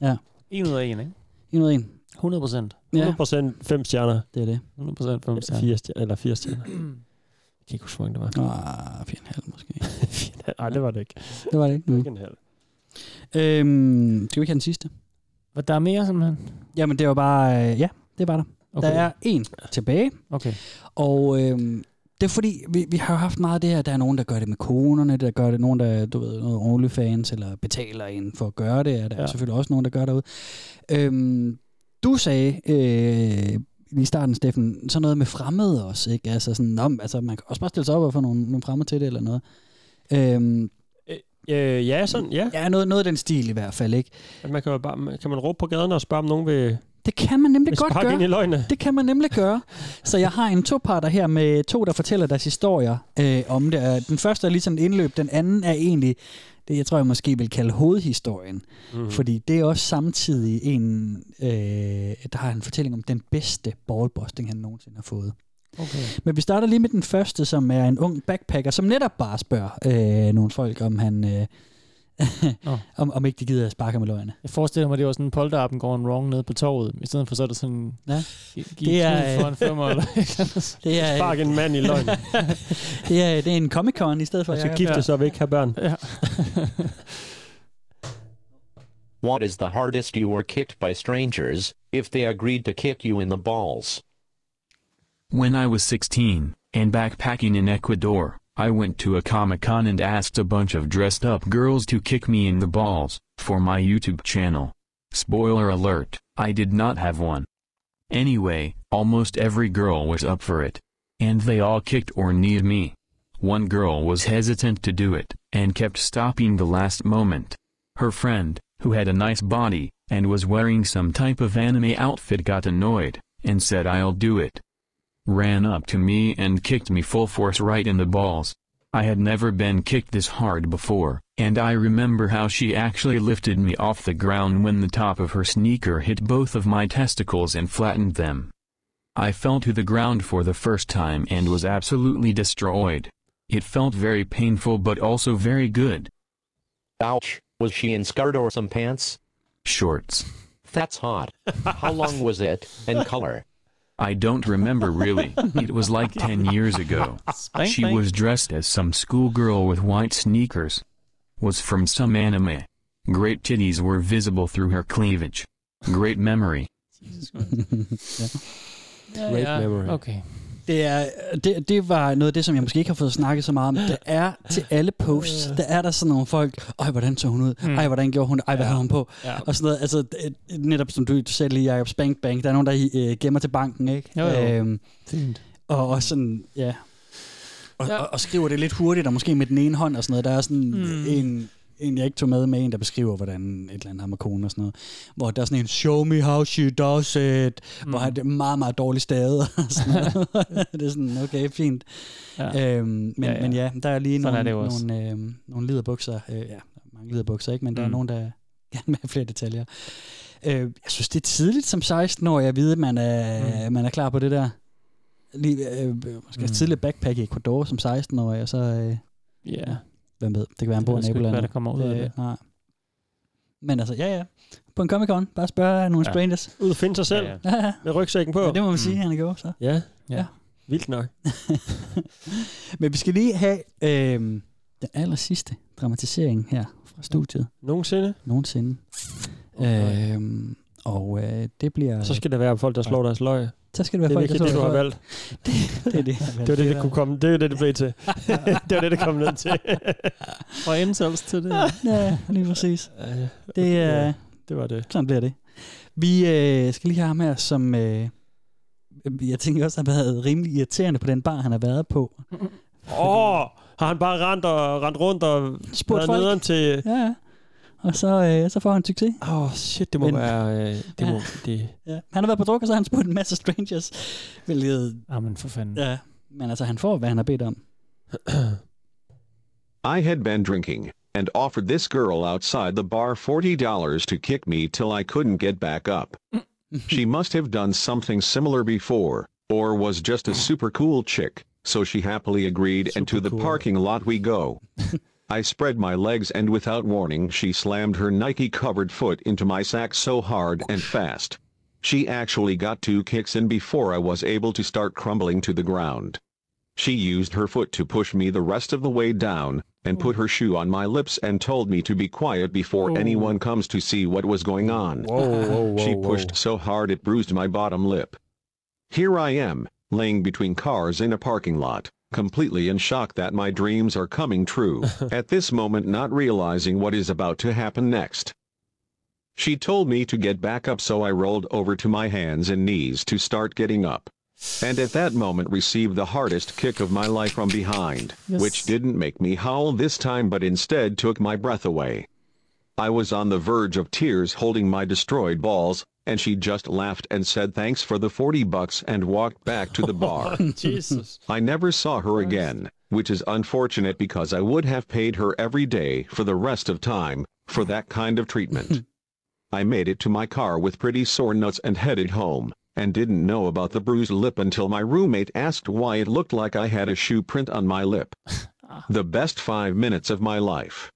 Speaker 3: Ja.
Speaker 5: En ud af en, ikke?
Speaker 3: En ud af en.
Speaker 5: 100 procent.
Speaker 3: Ja.
Speaker 4: 100% 5 stjerner.
Speaker 3: Det er det.
Speaker 5: 100% 5
Speaker 4: stjerner.
Speaker 5: stjerner.
Speaker 4: 4 stjerner, eller 4 stjerner. Jeg kan ikke huske, hvor mange det
Speaker 3: var. Ah, 4,5 måske.
Speaker 4: Nej, det var det ikke.
Speaker 3: Det var det ikke.
Speaker 4: Det var ikke en halv.
Speaker 3: Øhm, skal vi ikke have den sidste?
Speaker 5: Og der er mere, simpelthen?
Speaker 3: Jamen, det var bare... Øh, ja, det var der. Okay.
Speaker 5: Okay.
Speaker 3: Der er en tilbage.
Speaker 5: Okay.
Speaker 3: Og øhm, det er fordi, vi, vi har jo haft meget af det her, der er nogen, der gør det med konerne, der gør det, nogen, der du ved, noget OnlyFans, eller betaler en for at gøre det, og der ja. er
Speaker 5: Ja.
Speaker 3: selvfølgelig også nogen, der gør derude. Øhm, du sagde øh, i starten, Steffen, sådan noget med fremmede også, ikke? Altså, sådan, om, altså man kan også bare stille sig op og få nogle, nogle fremmede til det, eller noget. Øhm,
Speaker 4: Øh, ja, sådan, ja.
Speaker 3: Ja, noget, noget af den stil i hvert fald, ikke?
Speaker 4: At man kan, jo bare, kan man råbe på gaden og spørge, om nogen vil...
Speaker 3: Det kan man nemlig
Speaker 4: Hvis
Speaker 3: godt
Speaker 4: pakke
Speaker 3: gøre.
Speaker 4: ind i løgene.
Speaker 3: Det kan man nemlig gøre. Så jeg har en toparter her med to, der fortæller deres historier øh, om det. Og Den første er lige sådan en indløb, den anden er egentlig det, jeg tror, jeg måske vil kalde hovedhistorien. Mm.
Speaker 5: Mhm.
Speaker 3: Fordi det er også samtidig en, øh, der har en fortælling om den bedste ballbusting, han nogensinde har fået.
Speaker 5: Okay.
Speaker 3: Men vi starter lige med den første, som er en ung backpacker, som netop bare spørger øh, nogle folk, om han... Øh, om, om ikke de gider at sparke med løgene.
Speaker 5: Jeg forestiller mig, det var sådan en polterappen går en wrong nede på toget, i stedet for så er det sådan...
Speaker 3: Ja.
Speaker 5: Gi-
Speaker 3: Det
Speaker 5: giv det
Speaker 3: er,
Speaker 5: er, for en femmer eller et eller andet.
Speaker 3: Det er- Spark en mand i løgnen. det, er, øh, det er en Comic-Con i stedet for.
Speaker 4: Man skal
Speaker 3: Jacob.
Speaker 4: gifte sig og vil ikke have børn.
Speaker 5: Ja.
Speaker 11: What is the hardest you were kicked by strangers, if they agreed to kick you in the balls?
Speaker 10: When I was 16 and backpacking in Ecuador, I went to a Comic Con and asked a bunch of dressed up girls to kick me in the balls for my YouTube channel. Spoiler alert, I did not have one. Anyway, almost every girl was up for it. And they all kicked or kneed me. One girl was hesitant to do it, and kept stopping the last moment. Her friend, who had a nice body, and was wearing some type of anime outfit got annoyed, and said I'll do it ran up to me and kicked me full force right in the balls. I had never been kicked this hard before, and I remember how she actually lifted me off the ground when the top of her sneaker hit both of my testicles and flattened them. I fell to the ground for the first time and was absolutely destroyed. It felt very painful but also very good.
Speaker 11: Ouch, was she in skirt or some pants?
Speaker 10: Shorts.
Speaker 11: That's hot. How long was it, and color?
Speaker 10: I don't remember really. It was like 10 years ago.
Speaker 5: Spank,
Speaker 10: she
Speaker 5: spank.
Speaker 10: was dressed as some schoolgirl with white sneakers. Was from some anime. Great titties were visible through her cleavage. Great memory.
Speaker 3: Ja,
Speaker 5: Great ja, memory. okay.
Speaker 3: Det, er, det, det var noget af det, som jeg måske ikke har fået snakket så meget om. Der er til alle posts, der er der sådan nogle folk, ej, hvordan så hun ud? Ej, hvordan gjorde hun det? Ej, hvad havde hun på?
Speaker 5: Ja.
Speaker 3: Og sådan noget. Altså, det- netop som du sagde lige, Jacobs Bank Bank, der er nogen, der øh, gemmer til banken, ikke?
Speaker 5: Jo, jo.
Speaker 3: Øhm,
Speaker 5: Fint.
Speaker 3: Og, og sådan, ja. Og, ja. Og, og skriver det lidt hurtigt, og måske med den ene hånd og sådan noget. Der er sådan
Speaker 5: Mm.
Speaker 3: mm. en, en, jeg ikke tog med, med en, der beskriver, hvordan et eller andet har med konen og sådan noget. Hvor der er sådan en, show me how she does it, mm. hvor han det er meget, meget dårligt stavet og sådan noget. det er sådan, okay, fint.
Speaker 5: Ja.
Speaker 3: Ja. Øhm, men,
Speaker 5: Ja,
Speaker 3: ja,
Speaker 5: ja.
Speaker 3: ja. men ja, der er lige
Speaker 5: Sådan er
Speaker 3: nogle,
Speaker 5: det jo også.
Speaker 3: nogle, øh, nogle liderbukser. Øh, ja, der er mange liderbukser, ikke? Men der er
Speaker 5: Mm.
Speaker 3: nogen, der gerne vil have flere detaljer. Øh, jeg synes, det er tidligt som 16-årig at vide, at man er, mm. man er klar på det der. Lige, øh, øh, måske
Speaker 5: Mm.
Speaker 3: mm. tidligt backpack i Ecuador som 16-årig, og så... Øh,
Speaker 5: Ja.
Speaker 3: Hvem ved? Det kan være, han
Speaker 5: Det
Speaker 3: bor
Speaker 5: ved
Speaker 3: i
Speaker 5: jeg sgu ikke, hvad
Speaker 3: nabolandet.
Speaker 5: der kommer ud af det.
Speaker 3: Øh, Nej. Men altså, ja, ja. På en Comic-Con, bare spørge nogle
Speaker 4: Ja.
Speaker 3: ja. strangers.
Speaker 4: Ud og finde sig selv.
Speaker 3: Ja, ja. ja.
Speaker 4: Med rygsækken på.
Speaker 3: Ja, det må man mm. sige, han er god, så.
Speaker 4: Ja.
Speaker 3: Ja.
Speaker 4: Vildt nok.
Speaker 3: Men vi skal lige have øh, den aller sidste dramatisering her fra studiet.
Speaker 4: Nogensinde?
Speaker 3: Nogensinde. Okay. Øhm, og øh, det bliver...
Speaker 4: Så skal der være folk, der slår deres løg.
Speaker 3: Så skal det være folk,
Speaker 4: det,
Speaker 3: der
Speaker 4: er virkelig det,
Speaker 3: slår
Speaker 4: du har
Speaker 3: deres
Speaker 4: valgt.
Speaker 3: Det, det er det, jeg har valgt.
Speaker 4: det var det, det kunne komme. Det er det, det blev til. det var det, det kom ned til.
Speaker 5: Fra insults til det.
Speaker 3: ja, lige præcis. Det,
Speaker 4: Ja,
Speaker 3: øh,
Speaker 4: det var det.
Speaker 3: Sådan bliver det. Vi øh, skal lige have ham her, som øh, jeg tænker også har været rimelig irriterende på den bar, han har været på.
Speaker 4: Åh, oh, har han bare rendt, og, rendt rundt og
Speaker 3: Spurgt
Speaker 4: været
Speaker 3: folk.
Speaker 4: nederen til...
Speaker 3: Ja, ja. Og så, øh, så får han succes.
Speaker 4: Åh, oh, shit, det må være... Øh, det må, det,
Speaker 3: Ja. Han har været på druk, og så har han spurgt en masse strangers, hvilket...
Speaker 5: Jamen, for fanden.
Speaker 3: Ja, men altså, han får, hvad han har bedt om.
Speaker 9: I had been drinking and offered this girl outside the bar $40 to kick me till I couldn't get back up. she must have done something similar before, or was just a super cool chick, so she happily agreed and to the parking lot we go. I spread my legs and without warning she slammed her Nike covered foot into my sack so hard and fast. She actually got two kicks in before I was able to start crumbling to the ground. She used her foot to push me the rest of the way down, and put her shoe on my lips and told me to be quiet before anyone comes to see what was going on.
Speaker 4: Oh. whoa,
Speaker 9: she
Speaker 4: whoa,
Speaker 9: pushed so hard it bruised my bottom lip. Here I am, laying between cars in a parking lot, completely in shock that my dreams are coming true, at this moment not realizing what is about to happen next. She told me to get back up, so I rolled over to my hands and knees to start getting up. And at that moment, received the hardest kick of my life from behind,
Speaker 1: Yes.
Speaker 9: which didn't make me howl this time but instead took my breath away. I was on the verge of tears holding my destroyed balls, and she just laughed and said thanks for the 40 bucks and walked back to the bar.
Speaker 4: Jesus.
Speaker 9: I never saw her again, which is unfortunate because I would have paid her every day for the rest of time for that kind of treatment. I made it to my car with pretty sore nuts and headed home, and didn't know about the bruised lip until my roommate asked why it looked like I had a shoe print on my lip. the best five minutes of my life.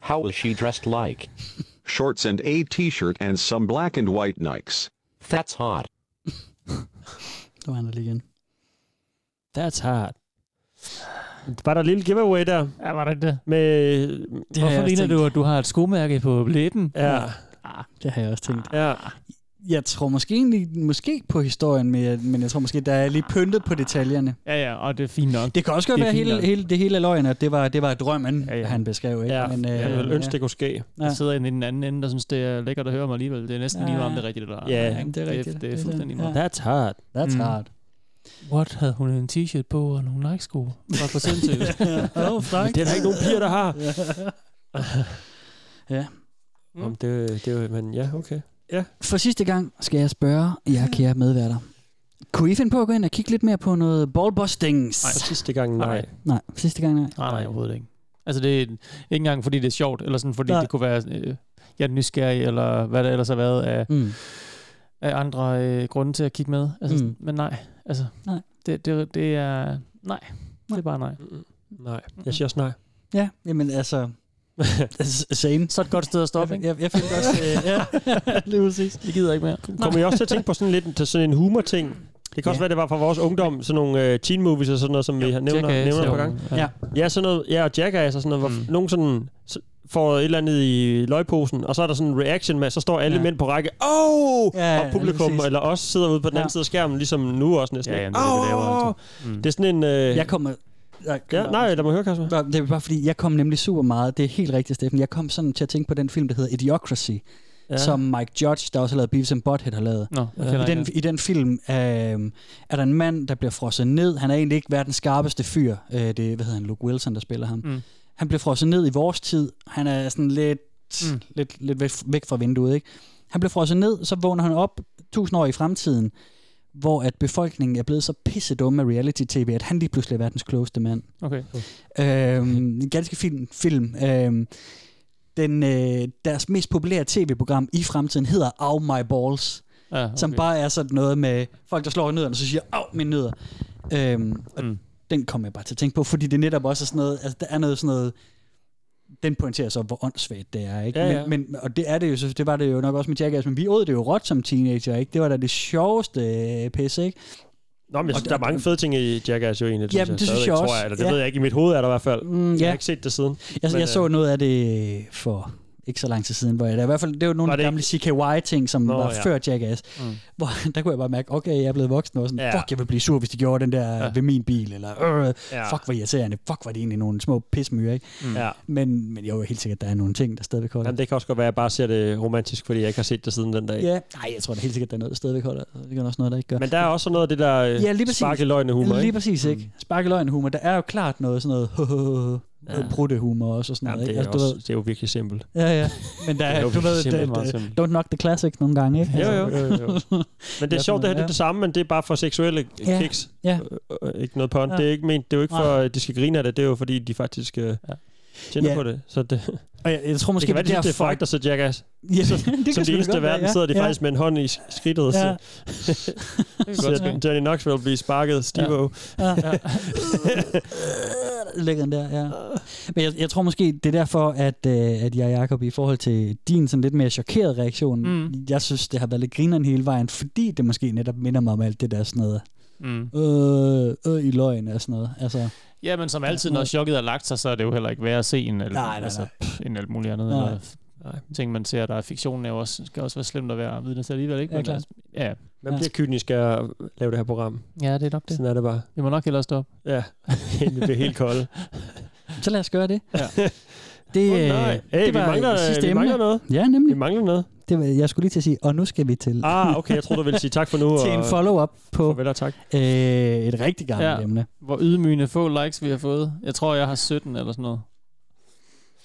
Speaker 11: How was she dressed like?
Speaker 9: Shorts and a t shirt and some black and white Nikes.
Speaker 11: That's hot.
Speaker 3: Så var han der lige igen.
Speaker 4: That's hard. Var der et lille giveaway der?
Speaker 5: Ja, var der det?
Speaker 4: Med,
Speaker 5: Det Hvorfor ligner du, at du har et skomærke på Ah, blæben?
Speaker 4: Ja.
Speaker 3: Det har jeg også tænkt.
Speaker 4: Ja.
Speaker 3: Jeg tror måske egentlig, måske på historien, men jeg, men jeg tror måske, der er lige pyntet på detaljerne.
Speaker 5: Ja, ja, og det er fint nok.
Speaker 3: Det kan også godt
Speaker 5: Det er
Speaker 3: være
Speaker 5: fint
Speaker 3: hele,
Speaker 5: nok.
Speaker 3: hele, det hele er løgn, at det var, det var drømmen, ja, ja. han beskrev. Ikke? øh,
Speaker 4: øh, Ja, jeg ville ønske, det kunne ske.
Speaker 3: Ja.
Speaker 5: Jeg sidder inde i den anden ende, der synes, det er lækkert at høre mig alligevel. Det er næsten
Speaker 3: Ja,
Speaker 5: lige meget, om
Speaker 3: ja.
Speaker 5: det er rigtigt eller ej.
Speaker 4: Ja,
Speaker 5: ikke?
Speaker 4: jamen, det er rigtigt.
Speaker 5: Det, det er
Speaker 4: Det er
Speaker 5: fuldstændig
Speaker 4: den.
Speaker 5: meget.
Speaker 4: Ja. That's hard.
Speaker 3: That's hard.
Speaker 5: What? Havde hun en t-shirt på og nogle Nike-sko? Var for sindssygt.
Speaker 3: Åh, frækt.
Speaker 4: Det er der ikke nogen piger, der har.
Speaker 3: ja.
Speaker 4: Mm. Om det, det, var- men ja, okay. Ja.
Speaker 3: For sidste gang skal jeg spørge jer, kære medværter. Kunne I finde på at gå ind og kigge lidt mere på noget ballbustings?
Speaker 4: Nej, for sidste gang nej.
Speaker 3: Nej, for sidste gang nej.
Speaker 5: Nej, nej, overhovedet ikke. Altså, det er ikke engang, fordi det er sjovt, eller sådan, fordi nej.
Speaker 3: Nej.
Speaker 5: det kunne være, øh, jeg er nysgerrig, eller hvad der ellers har været af,
Speaker 3: mm.
Speaker 5: af andre øh, grunde til at kigge med. Altså, mm.
Speaker 3: Mm.
Speaker 5: Men nej, altså,
Speaker 3: Nej.
Speaker 5: Det, det, det er, nej, nej, det er bare nej.
Speaker 4: Nej, jeg siger også nej.
Speaker 3: Ja, jamen altså, Same.
Speaker 5: Så et godt sted at stoppe, ikke?
Speaker 3: Jeg, jeg fik også... Øh, ja.
Speaker 5: Lige præcis. Det gider jeg ikke mere.
Speaker 4: Kommer jeg også til at tænke på sådan lidt til sådan en humor-ting? Det kan også
Speaker 5: Ja.
Speaker 4: være, det var fra vores ungdom, sådan nogle øh, teen movies og sådan noget, som vi har nævner,
Speaker 5: Jackass
Speaker 4: nævner
Speaker 5: og-
Speaker 4: på gang.
Speaker 5: ja.
Speaker 4: ja, sådan noget, ja, og Jackass og sådan noget, hvor mm. nogen sådan s- får et eller andet i løgposen, og så er der sådan en reaction med, så står alle
Speaker 5: Ja.
Speaker 4: ja. mænd på række, oh!
Speaker 5: Ja, ja,
Speaker 4: og publikum,
Speaker 5: præcis.
Speaker 4: eller os sidder ude på den
Speaker 5: Ja.
Speaker 4: anden side af skærmen, ligesom nu også næsten.
Speaker 5: Ja,
Speaker 4: Ja,
Speaker 5: jamen,
Speaker 4: jamen,
Speaker 5: det er det, det laver,
Speaker 4: oh!
Speaker 5: altså.
Speaker 4: det, det er sådan en... Øh,
Speaker 3: Jeg kommer... Jeg,
Speaker 4: ja, nej, lad mig høre, Kasper.
Speaker 3: Det er bare fordi, jeg kom nemlig super meget. Det er helt rigtigt, Steffen. Jeg kom sådan til at tænke på den film, der hedder Idiocracy,
Speaker 4: Ja.
Speaker 3: ja. som Mike Judge, der også har lavet Beavis and Butthead, har lavet.
Speaker 5: Nå, jeg kender
Speaker 3: I, den,
Speaker 5: ikke
Speaker 3: I den film øh, er der en mand, der bliver frosset ned. Han er egentlig ikke verdens skarpeste fyr. Øh, det er, hvad hedder han, Luke Wilson, der spiller ham.
Speaker 5: Mm.
Speaker 3: Mm. Han bliver frosset ned i vores tid. Han er sådan lidt, mm. lidt, lidt væk, væk fra vinduet, ikke? Han bliver frosset ned, så vågner han op tusind år i fremtiden, hvor at befolkningen er blevet så pisse dumme af reality-tv, at han lige pludselig er verdens klogeste mand.
Speaker 5: Okay.
Speaker 3: Øhm, en ganske fin film. Øhm, den, øh, deres mest populære tv-program i fremtiden hedder Ow My Balls,
Speaker 5: Ja, okay.
Speaker 3: som bare er sådan noget med folk, der slår i nødderne, og så siger, Au, mine nødder. Øhm, og mm. den kom jeg bare til at tænke på, fordi det netop også er sådan noget, altså der er noget sådan noget, den pointerer så, hvor åndssvagt det er, ikke?
Speaker 5: Ja, ja.
Speaker 3: Men, men, og det er det jo, så det var det jo nok også med Jackass, men vi åd det jo råt som teenager, ikke? Det var da det sjoveste øh, pisse, ikke?
Speaker 4: Nå, men jeg synes,
Speaker 3: Og-
Speaker 4: der er mange fede ting i Jackass jo egentlig.
Speaker 3: Jamen, det synes
Speaker 4: stadigvæk,
Speaker 3: jeg
Speaker 4: tror
Speaker 3: også.
Speaker 4: Eller det
Speaker 3: Ja.
Speaker 4: ved jeg ikke. I mit hoved er der i hvert fald.
Speaker 3: Mm,
Speaker 4: Jeg
Speaker 3: ja.
Speaker 4: har ikke set det siden.
Speaker 3: Jeg,
Speaker 4: Men, øh,
Speaker 3: jeg så noget af det for ikke så lang tid siden, hvor jeg der i hvert fald, det var nogle af de gamle CKY-ting, som
Speaker 5: Nå,
Speaker 3: Nå, var
Speaker 5: ja.
Speaker 3: ja. før Jackass,
Speaker 5: Mm.
Speaker 3: mm. hvor der kunne jeg bare mærke, okay, jeg er blevet voksen, og sådan,
Speaker 5: Ja.
Speaker 3: ja. fuck, jeg vil blive sur, hvis de gjorde den der ja. ved min bil, eller øh,
Speaker 5: Ja.
Speaker 3: ja. fuck, hvor irriterende, fuck, var det egentlig nogle små pismyrer, ikke?
Speaker 4: Mm. Ja.
Speaker 3: Men, men jeg er jo helt sikkert, der er nogle ting, der stadigvæk holder.
Speaker 4: Jamen, det kan også godt være, at jeg bare ser det romantisk, fordi jeg ikke har set det siden den dag.
Speaker 3: Ja, nej, jeg tror da helt sikkert, der er noget, der stadigvæk holder. Det kan også noget, der ikke gør.
Speaker 4: Men der er også noget af det der øh,
Speaker 3: Ja, lige præcis.
Speaker 4: sparkeløgne humor,
Speaker 3: Lige
Speaker 4: ikke?
Speaker 3: præcis, ikke? Mm. Sparkeløgne humor. Der er jo klart noget sådan noget ja. pruttehumor også og sådan
Speaker 4: Jamen,
Speaker 3: noget.
Speaker 4: det,
Speaker 3: ikke? Altså,
Speaker 4: er
Speaker 3: du
Speaker 4: også,
Speaker 3: ved-
Speaker 4: det er jo virkelig simpelt.
Speaker 3: Ja, ja. Men der
Speaker 4: Det er
Speaker 3: er,
Speaker 4: jo
Speaker 3: du ved,
Speaker 4: simpelthen
Speaker 3: det,
Speaker 4: meget
Speaker 3: det,
Speaker 4: simpelt.
Speaker 3: don't knock the classics nogle gange, ikke? Altså.
Speaker 4: Jo, jo, jo, jo. Men det er
Speaker 3: Ja,
Speaker 4: sjovt, det her det er
Speaker 3: ja.
Speaker 4: det samme, men det er bare for seksuelle
Speaker 3: Ja,
Speaker 4: kiks.
Speaker 3: ja.
Speaker 4: Øh, øh, Ikke noget pun.
Speaker 3: Ja.
Speaker 4: Det er ikke ment. Det er jo ikke for,
Speaker 3: Nej.
Speaker 4: at de skal grine af det. Det er jo fordi, de faktisk øh, tænder
Speaker 3: Ja.
Speaker 4: på det. Så det,
Speaker 3: Og jeg, jeg tror måske,
Speaker 4: det kan være,
Speaker 3: det er
Speaker 4: de synes, det
Speaker 3: derfor-
Speaker 4: er frækt at se Jackass.
Speaker 3: Ja,
Speaker 4: Så-
Speaker 3: det kan
Speaker 4: Som
Speaker 3: sgu
Speaker 4: det
Speaker 3: da
Speaker 4: eneste i
Speaker 3: godt være,
Speaker 4: verden
Speaker 3: ja.
Speaker 4: sidder de
Speaker 3: Ja.
Speaker 4: faktisk med en hånd i sk- skridtet og
Speaker 3: Ja.
Speaker 4: siger,
Speaker 3: godt
Speaker 4: siger,
Speaker 3: ske.
Speaker 4: at Johnny Knoxville bliver sparket stivo.
Speaker 3: Ja. Lægger den der, ja.
Speaker 5: Øh.
Speaker 3: Men jeg, jeg tror måske, det er derfor, at, øh, at jeg, Jacob, i forhold til din sådan lidt mere chokerede reaktion,
Speaker 5: Mm.
Speaker 3: mm. jeg synes, det har været lidt grineren hele vejen, fordi det måske netop minder mig om alt det der sådan noget,
Speaker 5: Mm.
Speaker 3: øh, øh, i løgn og sådan noget. Altså,
Speaker 5: Ja, men som altid, når chokket er lagt sig, så er det jo heller ikke værd at se en, eller, nej, nej, altså, pff, en alt muligt andet.
Speaker 3: Nej.
Speaker 5: Eller, nej. Ting, man ser, der er fiktion, er jo også, skal også være slemt at være vidne til alligevel, ikke?
Speaker 3: Ja, klart.
Speaker 5: altså, ja.
Speaker 4: Man bliver kynisk af at lave det her program.
Speaker 5: Ja, det er nok det.
Speaker 4: Sådan er det bare.
Speaker 5: Vi må nok hellere stoppe.
Speaker 4: Ja, det bliver helt kolde.
Speaker 3: så lad os gøre det.
Speaker 5: Ja.
Speaker 3: Det,
Speaker 4: Åh,
Speaker 3: øh,
Speaker 4: nej. Hey,
Speaker 3: det
Speaker 4: vi
Speaker 3: var
Speaker 4: mangler,
Speaker 3: sidste
Speaker 4: vi
Speaker 3: emne.
Speaker 4: mangler noget.
Speaker 3: Ja, nemlig.
Speaker 4: Vi mangler noget.
Speaker 3: Det var, jeg skulle lige til at sige, og nu skal vi til,
Speaker 4: Ah, okay, jeg troede, du ville sige tak for nu.
Speaker 3: til en
Speaker 4: og-
Speaker 3: follow-up på
Speaker 4: farvel og tak.
Speaker 3: Øh, et rigtig gammelt ja. emne.
Speaker 5: Hvor ydmygende få likes vi har fået. Jeg tror, jeg har 17 eller sådan noget.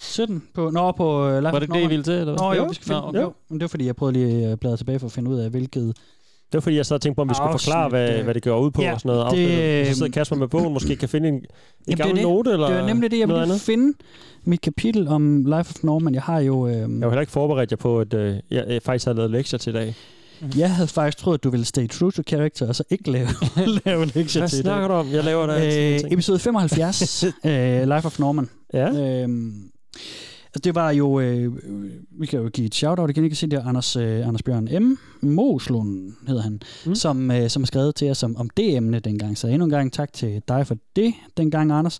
Speaker 3: 17 på, nå, på øh,
Speaker 5: Var det det, I ville til? Eller? hvad?
Speaker 3: Nå, jo, vi skal finde,
Speaker 5: Nå,
Speaker 3: nå,
Speaker 5: okay.
Speaker 3: jo. Men det var fordi, jeg prøvede lige at bladre tilbage for at finde ud af, hvilket...
Speaker 4: Det var fordi, jeg sad og tænkte på, om vi skulle forklare, hvad, hvad det går ud på ja, og sådan noget. Det, så sidder Kasper med bogen, måske kan finde en, en
Speaker 3: øhm, Jamen,
Speaker 4: gammel
Speaker 3: det, er
Speaker 4: note
Speaker 3: det.
Speaker 4: eller
Speaker 3: det var nemlig det, jeg
Speaker 4: noget
Speaker 3: ville
Speaker 4: andet.
Speaker 3: lige finde mit kapitel om Life of Norman. Jeg har jo... Øh,
Speaker 4: Jeg var heller ikke forberedt jer på, at øh, jeg øh, faktisk havde lavet lektier til i dag.
Speaker 3: Mm-hmm. Jeg havde faktisk troet, at du ville stay true to character, og så ikke lave, lave lektier
Speaker 4: Hvad
Speaker 3: til det.
Speaker 4: snakker du om? Jeg laver da altid nogle
Speaker 3: øh,
Speaker 4: ting.
Speaker 3: Episode 75, øh, Life of Norman.
Speaker 4: Ja.
Speaker 3: Øhm, altså, det var jo, øh, øh, vi kan jo give et shout-out igen, I kan se det er Anders, øh, Anders Bjørn M. Moslund hedder han, mm. som, øh, som har skrevet til os om, om det emne dengang. Så endnu en gang tak til dig for det dengang, Anders.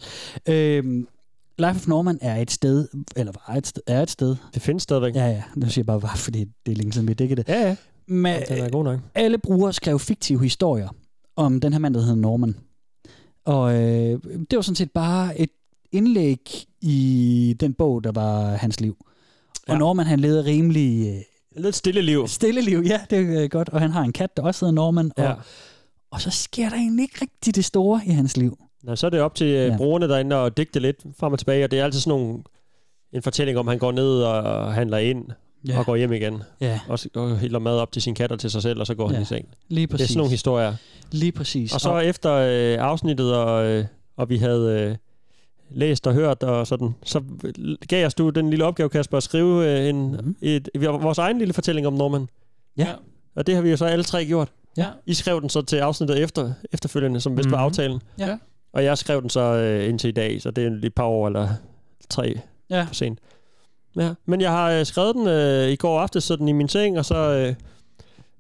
Speaker 3: Øhm, Life of Norman er et sted, eller var et sted, er et sted.
Speaker 4: Det findes stadigvæk.
Speaker 3: Ja, ja. Nu siger jeg bare, var, fordi det er længe siden, vi dækkede det.
Speaker 4: Ja, ja.
Speaker 3: Men,
Speaker 4: Den er god nok.
Speaker 3: alle brugere skrev fiktive historier om den her mand, der hedder Norman. Og øh, det var sådan set bare et indlæg i den bog, der var hans liv. Og ja. Norman, han levede rimelig... Øh,
Speaker 4: Lidt stille liv.
Speaker 3: Stille liv, ja, det er øh, godt. Og han har en kat, der også hedder Norman. Ja.
Speaker 4: Ja.
Speaker 3: Og, og så sker der egentlig ikke rigtig det store i hans liv.
Speaker 4: Nå, så er det op til ja. brugerne derinde at digte lidt frem og tilbage, og det er altid sådan nogle, en fortælling om, at han går ned og handler ind
Speaker 3: Ja.
Speaker 4: ja. og går hjem igen.
Speaker 3: Ja.
Speaker 4: Og, s- og hælder mad op til sin kat og til sig selv, og så går ja.
Speaker 3: Ja.
Speaker 4: han i seng.
Speaker 3: Lige
Speaker 4: Det er
Speaker 3: præcis.
Speaker 4: sådan nogle historier.
Speaker 3: Lige præcis.
Speaker 4: Og så
Speaker 3: Og-
Speaker 4: efter øh, afsnittet, og, øh, og vi havde øh, læst og hørt og sådan, så gav os du den lille opgave, Kasper, at skrive øh, en, mm-hmm. et, vi har vores egen lille fortælling om Norman.
Speaker 3: Mhm. Ja.
Speaker 4: Og det har vi jo så alle tre gjort.
Speaker 3: Ja. Mhm.
Speaker 4: I skrev den så til afsnittet efter, efterfølgende, som vist mm-hmm. var aftalen.
Speaker 3: Ja.
Speaker 4: Og jeg skrev den så øh, indtil i dag, så det er et par år eller tre
Speaker 3: Ja.
Speaker 4: for sent. Ja, men jeg har øh, skrevet den øh, i går aftes sådan i min seng, og så øh,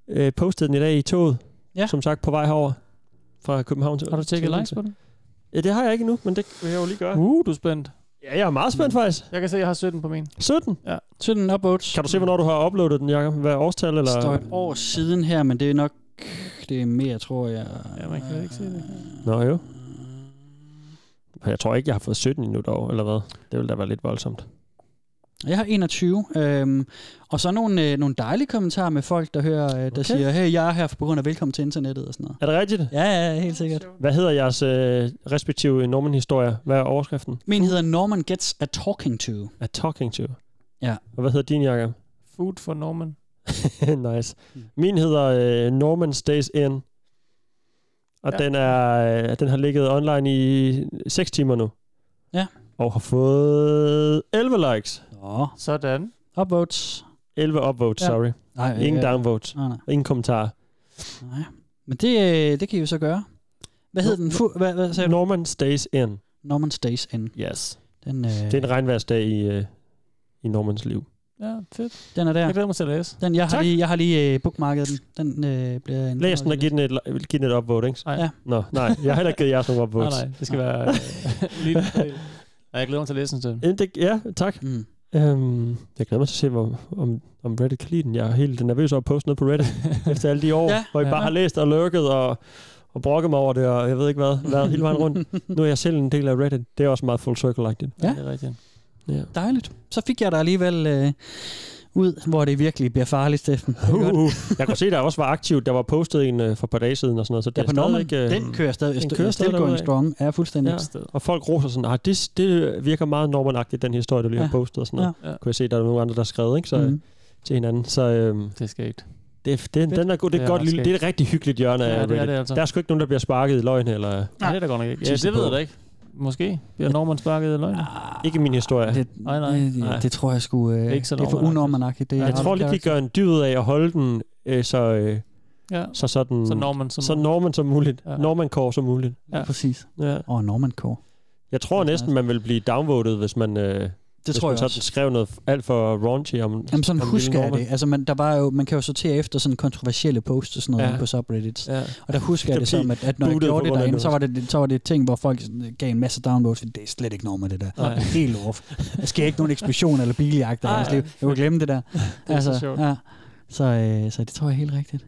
Speaker 4: øh, postet den i dag i toget.
Speaker 5: Ja.
Speaker 4: Som sagt på vej herover fra København til
Speaker 5: Har du tjekket
Speaker 4: til
Speaker 5: likes på
Speaker 4: Odense.
Speaker 5: den?
Speaker 4: Ja, det har jeg ikke nu, men det vil jeg jo lige gøre.
Speaker 5: Uh, du er spændt. Mm.
Speaker 4: Ja, jeg er meget spændt faktisk.
Speaker 5: Jeg kan se, at jeg har 17 på min.
Speaker 4: 17?
Speaker 5: Ja.
Speaker 3: 17 upvotes.
Speaker 4: Kan du se, hvornår du har uploadet den, Jacob? Hvad årstal
Speaker 3: Det
Speaker 4: eller?
Speaker 3: står et år siden her, men det er nok... Det er mere, tror jeg. Øh, Ja, man kan ikke se det.
Speaker 4: Nå jo. Jeg tror ikke, jeg har fået 17 endnu dog, eller hvad? Det ville da være lidt voldsomt.
Speaker 3: Jeg har 21. Øhm, og så nogle, øh, nogle dejlige kommentarer med folk, der hører, øh, der okay. siger, hey, jeg er her på grund af velkommen til internettet og sådan noget.
Speaker 4: Er det rigtigt?
Speaker 3: Ja, ja, helt sikkert.
Speaker 4: Hvad hedder jeres øh, respektive Norman-historier? Hvad er overskriften?
Speaker 3: Min hedder Norman Gets a Talking To.
Speaker 4: A Talking To.
Speaker 3: Ja.
Speaker 4: Og hvad hedder din, Jacob?
Speaker 5: Food for Norman.
Speaker 4: nice. Min hedder øh, Norman Stays In. Og
Speaker 5: Ja.
Speaker 4: ja. den, er, øh, den har ligget online i 6 timer nu.
Speaker 3: Ja.
Speaker 4: Og har fået 11 likes.
Speaker 3: Nå.
Speaker 5: Sådan.
Speaker 3: Upvotes.
Speaker 4: 11 upvotes,
Speaker 3: Ja.
Speaker 4: ja. sorry.
Speaker 3: Nej,
Speaker 4: Ingen
Speaker 3: ja.
Speaker 4: downvotes.
Speaker 3: Nej, nej.
Speaker 4: Ingen kommentarer.
Speaker 3: Nej. Men det, øh, det kan I jo så gøre. Hvad hed den? Fu- hvad, hvad sagde du?
Speaker 4: Norman Stays In.
Speaker 3: Norman Stays In.
Speaker 4: Yes.
Speaker 3: Den, øh,
Speaker 4: Det er en regnværsdag i, øh, i Normans liv.
Speaker 5: Ja, fedt.
Speaker 3: Den er der.
Speaker 5: Jeg glæder mig til at læse.
Speaker 3: Den, jeg har
Speaker 5: Tak.
Speaker 3: lige, jeg har lige øh, bookmarket den. Den øh, bliver en...
Speaker 4: Læs den og giv den et, li- giv den et upvote, ikke?
Speaker 3: Nej. Ja.
Speaker 4: Nå, nej. Jeg har heller ikke givet jeres nogen upvotes.
Speaker 5: Nej, nej, det skal være øh, lige en fordel. Ja, jeg glæder mig til at læse den til.
Speaker 4: Jamen, det- Ja, tak.
Speaker 3: Mm.
Speaker 4: Øhm, jeg glæder mig til at se, hvor, om, om Reddit kan lide den. Jeg er helt nervøs over at poste noget på Reddit efter alle de år,
Speaker 3: Ja.
Speaker 4: ja. hvor jeg
Speaker 3: Ja.
Speaker 4: bare har læst og lurket og, og brokket mig over det, og jeg ved ikke hvad, været hele vejen rundt. Nu er jeg selv en del af Reddit. Det er også meget full circle-agtigt.
Speaker 3: Ja.
Speaker 5: Det er rigtigt.
Speaker 4: Ja.
Speaker 3: Dejligt. Så fik jeg dig alligevel øh, ud, hvor det virkelig bliver farligt, Steffen. Det er godt.
Speaker 4: Uh, jeg kunne se, der også var aktivt. Der var postet en øh, for et par dage siden og sådan noget. Så det
Speaker 3: Ja,
Speaker 4: er
Speaker 3: på
Speaker 4: stadig
Speaker 3: Norman.
Speaker 4: ikke, øh,
Speaker 3: Den kører stadig.
Speaker 4: den
Speaker 3: St-
Speaker 4: kører
Speaker 3: still
Speaker 4: stadig
Speaker 3: going
Speaker 4: derudad.
Speaker 3: strong. Ja, fuldstændig.
Speaker 4: Og folk roser sådan, ah, det, det virker meget normandagtigt, den historie, du lige har
Speaker 3: Ja.
Speaker 4: postet og sådan noget.
Speaker 5: Ja.
Speaker 4: Ja. Kunne jeg se, der er nogle andre, der har skrevet ikke? Så,
Speaker 3: Mhm.
Speaker 4: mm. til hinanden. Så, øhm,
Speaker 5: det er skægt.
Speaker 4: Det, det, den er god.
Speaker 5: Det
Speaker 4: Det er, det
Speaker 5: er
Speaker 4: er godt
Speaker 5: ret
Speaker 4: lille, det er et rigtig hyggeligt hjørne
Speaker 5: Ja,
Speaker 4: af
Speaker 5: det er
Speaker 4: Reddit.
Speaker 5: det altså.
Speaker 4: Der er sgu ikke nogen, der bliver sparket i løgn. Eller,
Speaker 5: Nej, det er da godt nok ikke. Ja,
Speaker 4: Tisse
Speaker 5: det ved
Speaker 4: på.
Speaker 5: jeg da ikke. Måske bliver Norman sparket i løgn.
Speaker 4: Ah, Ikke min historie.
Speaker 3: Det,
Speaker 5: nej, nej.
Speaker 3: Det,
Speaker 5: nej.
Speaker 3: det tror jeg skulle... Øh,
Speaker 5: Det
Speaker 3: det
Speaker 5: er
Speaker 3: er,
Speaker 5: ikke så
Speaker 3: det er for
Speaker 5: normalt.
Speaker 3: unormanagtigt. Det er
Speaker 4: jeg tror lige, de gør en dyd ud af at holde den øh, så, øh,
Speaker 5: Ja.
Speaker 4: så sådan...
Speaker 5: Så Norman som
Speaker 4: så
Speaker 5: muligt.
Speaker 4: Norman som muligt.
Speaker 5: Ja.
Speaker 4: Ja. Norman Core som muligt.
Speaker 5: Ja.
Speaker 3: Præcis.
Speaker 4: Ja.
Speaker 3: Og Norman Core.
Speaker 4: Jeg tror næsten, man vil blive downvoted, hvis man... Øh, det hvis
Speaker 3: tror
Speaker 4: man
Speaker 3: jeg
Speaker 4: sådan
Speaker 3: også.
Speaker 4: skrev noget alt for raunchy om
Speaker 3: Jamen sådan
Speaker 4: om
Speaker 3: husker
Speaker 4: lille
Speaker 3: jeg det.
Speaker 4: Norman.
Speaker 3: Altså man, der var jo, man kan jo sortere efter sådan kontroversielle posts og sådan noget
Speaker 4: Ja.
Speaker 3: ja. på subreddits.
Speaker 4: Ja.
Speaker 3: Og der husker jeg
Speaker 4: Der
Speaker 3: det som,
Speaker 4: blev
Speaker 3: at, at når jeg
Speaker 4: bootet på
Speaker 3: gjorde det
Speaker 4: grund af
Speaker 3: derinde,
Speaker 4: noget.
Speaker 3: så var det, så var det ting, hvor folk sådan gav en masse downloads, fordi det er slet ikke normer det der.
Speaker 4: Nej.
Speaker 3: Det er helt off. Der sker ikke nogen eksplosion eller biljagt der
Speaker 4: Nej.
Speaker 3: deres liv. Jeg kunne glemme det der. Altså,
Speaker 4: så sjovt.
Speaker 3: Ja. Så, øh, så det tror jeg er helt rigtigt.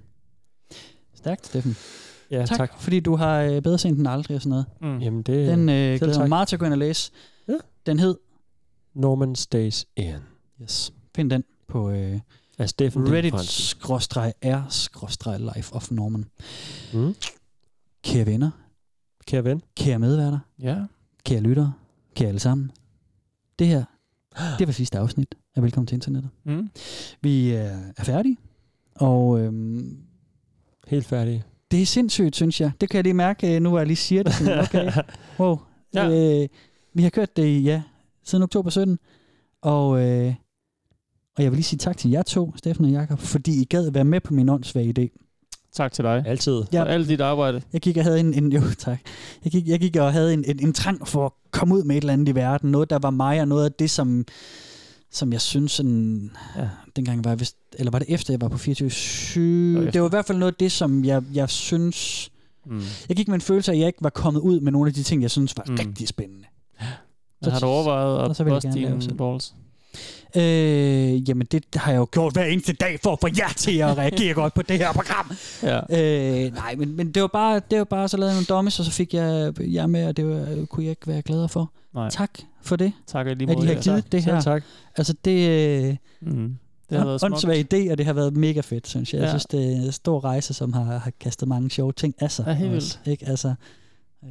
Speaker 3: Stærkt, Steffen.
Speaker 4: Ja, tak.
Speaker 3: Fordi du har øh, bedre sent end aldrig og sådan noget.
Speaker 5: Mm.
Speaker 4: Jamen, det,
Speaker 3: Den øh,
Speaker 4: selv
Speaker 3: glæder
Speaker 4: tak.
Speaker 3: mig meget til at gå ind og læse.
Speaker 4: Ja.
Speaker 3: Den hed,
Speaker 4: Norman Stays In.
Speaker 3: yes, find den på øh,
Speaker 4: Af Steffen Dine Frandsen.
Speaker 3: reddit-r-life of Norman.
Speaker 4: Mm.
Speaker 3: Kære venner,
Speaker 4: Kære ven.
Speaker 3: kære medværter,
Speaker 5: Ja.
Speaker 3: kære lyttere, kære alle sammen. Det her, det var sidste afsnit af Velkommen til Internettet.
Speaker 5: Mm.
Speaker 3: Vi øh, er færdige, og øhm,
Speaker 4: Helt færdige.
Speaker 3: det er sindssygt, synes jeg. Det kan jeg lige mærke, øh, nu hvor jeg lige siger det. Sådan, okay, wow. Ja. Øh, vi har kørt det i, ja, siden oktober 17, og, øh, og jeg vil lige sige tak til jer to, Steffen og Jakob, fordi I gad være med på min åndssvage idé.
Speaker 5: Tak til dig.
Speaker 4: Altid.
Speaker 5: Ja. Og alt dit arbejde.
Speaker 3: Jeg gik og havde en, en jo, tak. Jeg gik, jeg gik og havde en, en, en trang for at komme ud med et eller andet i verden. Noget, der var mig, og noget af det, som, som jeg synes sådan... Ja. Dengang var jeg vist, eller var det efter, jeg var på 24
Speaker 5: Det var
Speaker 3: Det var i hvert fald noget af det, som jeg, jeg synes...
Speaker 5: Mm.
Speaker 3: Jeg gik med en følelse af, at jeg ikke var kommet ud med nogle af de ting, jeg synes var
Speaker 5: Mm.
Speaker 3: mm. rigtig spændende.
Speaker 5: Så har du overvejet
Speaker 3: og
Speaker 5: at
Speaker 3: så vil jeg
Speaker 5: poste
Speaker 3: gerne lave
Speaker 5: dine
Speaker 3: sådan.
Speaker 5: balls?
Speaker 3: Øh, jamen, det har jeg jo gjort hver eneste dag for at få jer til at reagere godt på det her program.
Speaker 5: Ja.
Speaker 3: Øh, nej, men, men det var bare, det var bare så lavede jeg nogle dommes, og så fik jeg jer med, og det var, øh, kunne jeg ikke være gladere for.
Speaker 5: Nej.
Speaker 3: Tak for det,
Speaker 5: Tak og i lige
Speaker 3: at I
Speaker 5: måde,
Speaker 3: har
Speaker 5: ja.
Speaker 3: givet
Speaker 5: Tak.
Speaker 3: det her.
Speaker 5: Selv tak.
Speaker 3: Altså, det, øh,
Speaker 5: Mm.
Speaker 3: det har været
Speaker 5: smukt.
Speaker 3: åndssvagt idé, og det har været mega fedt, synes jeg. Ja.
Speaker 5: Ja.
Speaker 3: Jeg synes, det er en stor rejse, som har, har kastet mange sjove ting af sig.
Speaker 5: Ja, helt
Speaker 3: også, Ikke? Altså,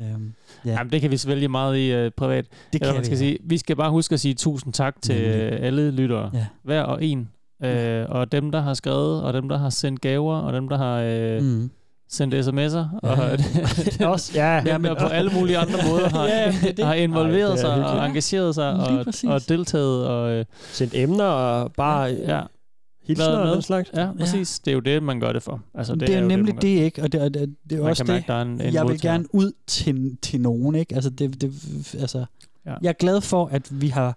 Speaker 3: øhm, ja.
Speaker 5: Jamen, det kan vi svælge meget i øh, privat.
Speaker 3: Det
Speaker 5: Eller,
Speaker 3: kan
Speaker 5: man
Speaker 3: vi,
Speaker 5: skal
Speaker 3: ja.
Speaker 5: sige. Vi skal bare huske at sige tusind tak til øh, alle lyttere.
Speaker 3: Ja.
Speaker 5: Hver og en. Øh, og dem, der har skrevet, og dem, der har sendt gaver, og dem, der har øh,
Speaker 3: mm.
Speaker 5: sendt sms'er. Og
Speaker 4: Også, ja.
Speaker 5: dem, der på alle mulige andre måder har,
Speaker 4: Ja, det er det.
Speaker 5: har
Speaker 4: Ej,
Speaker 5: involveret
Speaker 4: det er
Speaker 5: sig
Speaker 4: hyggeligt.
Speaker 5: og engageret sig
Speaker 4: Lige
Speaker 5: og,
Speaker 4: præcis.
Speaker 5: og deltaget. Og, øh,
Speaker 4: Sendt emner og bare
Speaker 5: ja.
Speaker 4: hilsner
Speaker 5: Været
Speaker 4: og
Speaker 5: med.
Speaker 4: den slags.
Speaker 5: Ja, præcis. Det er jo det, man gør det for. Altså,
Speaker 3: det, det er jo
Speaker 5: man
Speaker 3: nemlig
Speaker 5: gør
Speaker 3: det, ikke? Og det, og det, det er
Speaker 5: Man
Speaker 3: også
Speaker 5: kan mærke,
Speaker 3: det,
Speaker 5: der er en- en
Speaker 3: jeg vil
Speaker 5: modtager.
Speaker 3: gerne ud til, til nogen, ikke? Altså, det, det, altså
Speaker 5: Ja.
Speaker 3: ja. jeg er glad for, at vi har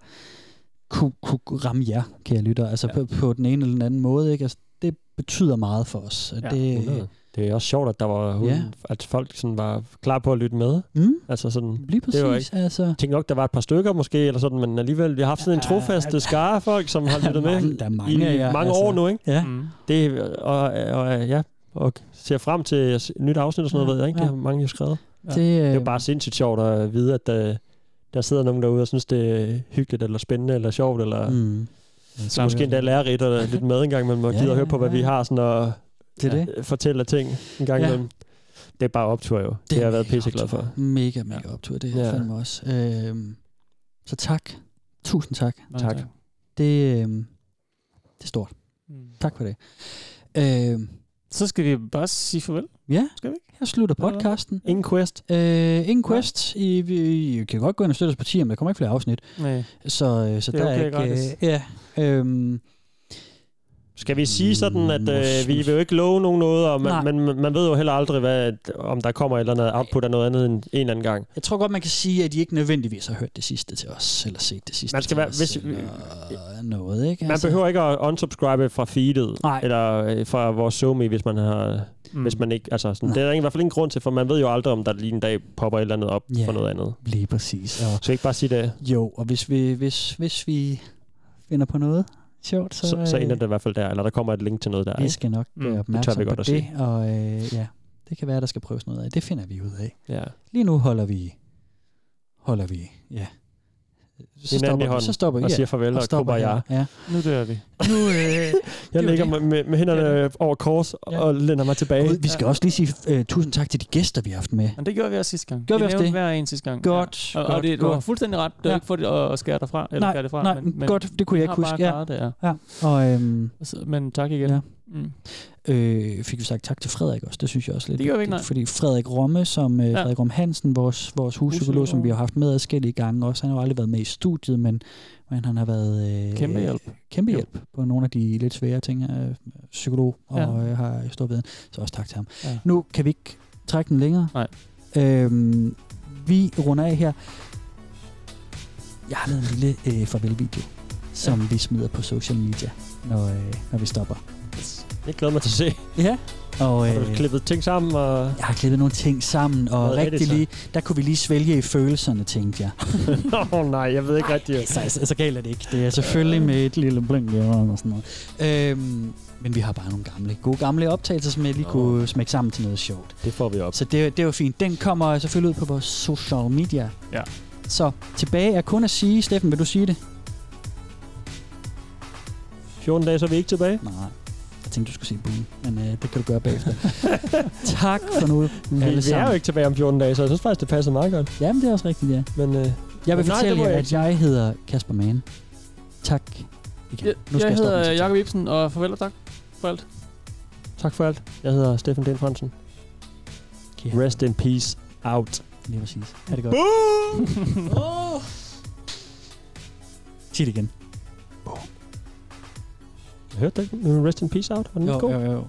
Speaker 3: kunne, kunne ramme jer, kære lytter, altså ja. på, på den ene eller den anden måde. Ikke? Altså, det betyder meget for os. og
Speaker 4: Ja,
Speaker 3: det,
Speaker 4: 100. Det er også sjovt, at der var hun,
Speaker 3: Ja.
Speaker 4: ja. at folk sådan var klar på at lytte med.
Speaker 3: Mm.
Speaker 4: Altså sådan,
Speaker 3: Lige
Speaker 4: Det var
Speaker 3: præcis.
Speaker 4: ikke,
Speaker 3: altså,
Speaker 4: tænkte nok, der var et par stykker måske, eller sådan, men alligevel, vi har haft sådan en trofaste skare af folk, som har lyttet med
Speaker 3: Der er mange af
Speaker 4: i
Speaker 3: jer,
Speaker 4: mange
Speaker 3: altså.
Speaker 4: år nu, ikke?
Speaker 3: Ja.
Speaker 4: Mm. Det, og, og, ja, og ser frem til et nyt afsnit og sådan noget,
Speaker 3: Ja,
Speaker 4: ved jeg, ikke?
Speaker 3: ja.
Speaker 4: Det har mange jo skrevet.
Speaker 3: Det,
Speaker 4: det er jo
Speaker 3: øh,
Speaker 4: bare sindssygt sjovt at vide, at der, der sidder nogen derude og synes, det er hyggeligt, eller spændende, eller sjovt, eller
Speaker 3: Mm.
Speaker 4: så måske endda lærerigt, eller lidt med en gang, men man
Speaker 3: Ja,
Speaker 4: gider
Speaker 3: ja,
Speaker 4: at høre på, hvad
Speaker 3: ja.
Speaker 4: vi har sådan og
Speaker 3: Det er
Speaker 4: ja, fortælle af ting en gang
Speaker 3: Ja.
Speaker 4: imellem. Det er bare optur jo. Det, det har jeg været pisseglad for.
Speaker 3: Mega, mega optur, det er ja.
Speaker 4: Ja.
Speaker 3: fandme også. Øhm, så tak. Tusind tak.
Speaker 4: Mange Tak. tak.
Speaker 3: Det, øhm, det er stort. Mm. Tak for det. Øhm,
Speaker 5: Så skal vi bare sige farvel.
Speaker 3: Ja,
Speaker 5: skal vi ikke?
Speaker 3: Her slutter podcasten.
Speaker 4: Ingen quest.
Speaker 3: Øh, ingen quest. I, vi, I kan godt gå ind og støtte os på 10, men der kommer ikke flere afsnit.
Speaker 4: Nej.
Speaker 3: Så, øh, så
Speaker 4: Det er
Speaker 3: der
Speaker 4: okay,
Speaker 3: er ikke...
Speaker 4: gratis.
Speaker 3: Øh, ja. Øhm,
Speaker 4: Skal vi sige sådan, at øh, vi vil jo ikke love nogen noget, og
Speaker 3: Nej.
Speaker 4: man, men man ved jo heller aldrig, hvad, om der kommer et eller andet output af noget andet end en eller anden gang.
Speaker 3: jeg tror godt, man kan sige, at I ikke nødvendigvis har hørt det sidste til os, eller set det sidste
Speaker 4: Man skal
Speaker 3: til
Speaker 4: være,
Speaker 3: os, øh.
Speaker 4: hvis,
Speaker 3: eller noget, ikke? Altså,
Speaker 4: man behøver ikke at unsubscribe fra feedet,
Speaker 3: Nej.
Speaker 4: eller øh, fra vores Zomi, hvis man har... Mm. Hvis man ikke, altså sådan, det er der ingen, i hvert fald ingen grund til, for man ved jo aldrig, om der lige en dag popper et eller andet op
Speaker 3: Ja,
Speaker 4: yeah. for noget andet.
Speaker 3: Lige præcis. Og,
Speaker 4: Så ikke bare sige det,
Speaker 3: jo, og hvis vi, hvis, hvis vi finder på noget sjovt, så... øh,
Speaker 4: så, så, så ender det i hvert fald der, eller der kommer et link til noget der.
Speaker 3: Vi
Speaker 4: ikke? Mm,
Speaker 3: skal nok være
Speaker 4: det tør
Speaker 3: opmærksom
Speaker 4: vi
Speaker 3: det
Speaker 4: godt
Speaker 3: på det,
Speaker 4: at sige.
Speaker 3: og øh, ja, det kan være, der skal prøves noget af. Det finder vi ud af.
Speaker 4: Ja.
Speaker 3: Lige nu holder vi, holder vi, ja.
Speaker 4: Hinanden i hånden
Speaker 3: så stopper vi,
Speaker 4: og
Speaker 3: ja,
Speaker 4: siger farvel og
Speaker 3: stopper
Speaker 4: kumbaya.
Speaker 3: her. Ja.
Speaker 5: Nu dør vi.
Speaker 3: Nu, øh,
Speaker 4: Jeg ligger med, med, med hænderne over kors ja. og lænder mig tilbage.
Speaker 3: vi skal også lige sige øh, tusind tak til de gæster, vi har haft med.
Speaker 5: Men det gjorde vi også sidste gang.
Speaker 3: Gjorde vi også
Speaker 5: nævnte
Speaker 3: det?
Speaker 5: hver en sidste gang.
Speaker 3: Godt,
Speaker 5: Ja. Og, og
Speaker 3: godt,
Speaker 5: det, du har
Speaker 3: godt.
Speaker 5: fuldstændig ret. Du ja.
Speaker 3: Ja.
Speaker 5: ikke for det at skære dig fra. Eller
Speaker 3: nej,
Speaker 5: skære det fra,
Speaker 3: nej, godt, det kunne jeg ikke
Speaker 5: vi har
Speaker 3: huske.
Speaker 5: Bare klaret det, ja.
Speaker 3: ja. Og, øhm,
Speaker 5: men tak igen.
Speaker 3: Ja.
Speaker 5: Mm.
Speaker 3: Øh, fik vi sagt tak til Frederik også, det synes jeg også lidt
Speaker 5: Det gjorde vi ikke,
Speaker 3: vigtigt,
Speaker 5: nej.
Speaker 3: Fordi Frederik Romme, som, øh, ja.
Speaker 5: Ja.
Speaker 3: Frederik Rom Hansen, vores, vores huspsykolog, som vi har haft med adskillige gange også, han har jo aldrig været med i studiet, men, men han har været... Øh,
Speaker 5: Kæmpe hjælp.
Speaker 3: Kæmpe hjælp på nogle af de lidt svære ting, øh, psykolog og
Speaker 5: Ja.
Speaker 3: øh, har stor viden, så også tak til ham.
Speaker 5: Ja.
Speaker 3: Nu kan vi ikke trække den længere.
Speaker 5: Nej.
Speaker 3: Øhm, vi runder af her. Jeg har lavet en lille øh, farvel-video, som ja. vi smider på social media, når, øh, når vi stopper.
Speaker 4: Jeg glæder mig til at se.
Speaker 3: Ja. Og,
Speaker 4: Har du
Speaker 3: øh,
Speaker 4: klippet ting sammen? Og...
Speaker 3: Jeg har klippet nogle ting sammen, og
Speaker 4: Hvad er det
Speaker 3: rigtig
Speaker 4: så?
Speaker 3: lige, der kunne vi lige svælge i følelserne, tænkte jeg.
Speaker 4: Åh oh, nej, jeg ved ikke rigtigt.
Speaker 3: Så, så, så galt er det ikke. Det er selvfølgelig med et lille blink i øjnene og sådan noget. Øhm, men vi har bare nogle gamle, gode gamle optagelser, som jeg lige kunne smække sammen til noget sjovt.
Speaker 4: Det får vi op.
Speaker 3: Så det, det var fint. Den kommer selvfølgelig ud på vores social media.
Speaker 5: Ja.
Speaker 3: Så tilbage er kun at sige, Steffen, vil du sige det?
Speaker 4: 14 Øh, dage, så er vi ikke tilbage?
Speaker 3: Nej. Jeg tænkte, du skulle sige boom, men øh, det kan du gøre bagefter. tak for nu,
Speaker 4: Vi,
Speaker 3: alle
Speaker 4: vi er
Speaker 3: sammen.
Speaker 4: jo ikke tilbage om 14 dage, så jeg synes faktisk, det passer meget godt.
Speaker 3: Jamen, det er også rigtigt, ja.
Speaker 4: Men, øh,
Speaker 3: Jeg vil
Speaker 4: men nej,
Speaker 3: fortælle
Speaker 4: det må
Speaker 3: jer,
Speaker 4: jeg
Speaker 3: at jeg hedder Kasper Mann. Tak. Igen.
Speaker 5: Jeg,
Speaker 3: nu skal
Speaker 5: jeg
Speaker 3: jeg stoppe.
Speaker 5: hedder Jakob Ibsen, og farvel og tak for alt.
Speaker 4: Tak for alt. Jeg hedder Steffen Den Fransen.
Speaker 3: Yeah.
Speaker 4: Rest in peace. Out.
Speaker 3: Lige præcis. Ha' det godt.
Speaker 4: Boom!
Speaker 3: Sig det igen.
Speaker 4: Jeg hørte det ikke. Rest in peace out. Var den
Speaker 3: Jo,
Speaker 4: ikke god?
Speaker 3: jo, jo.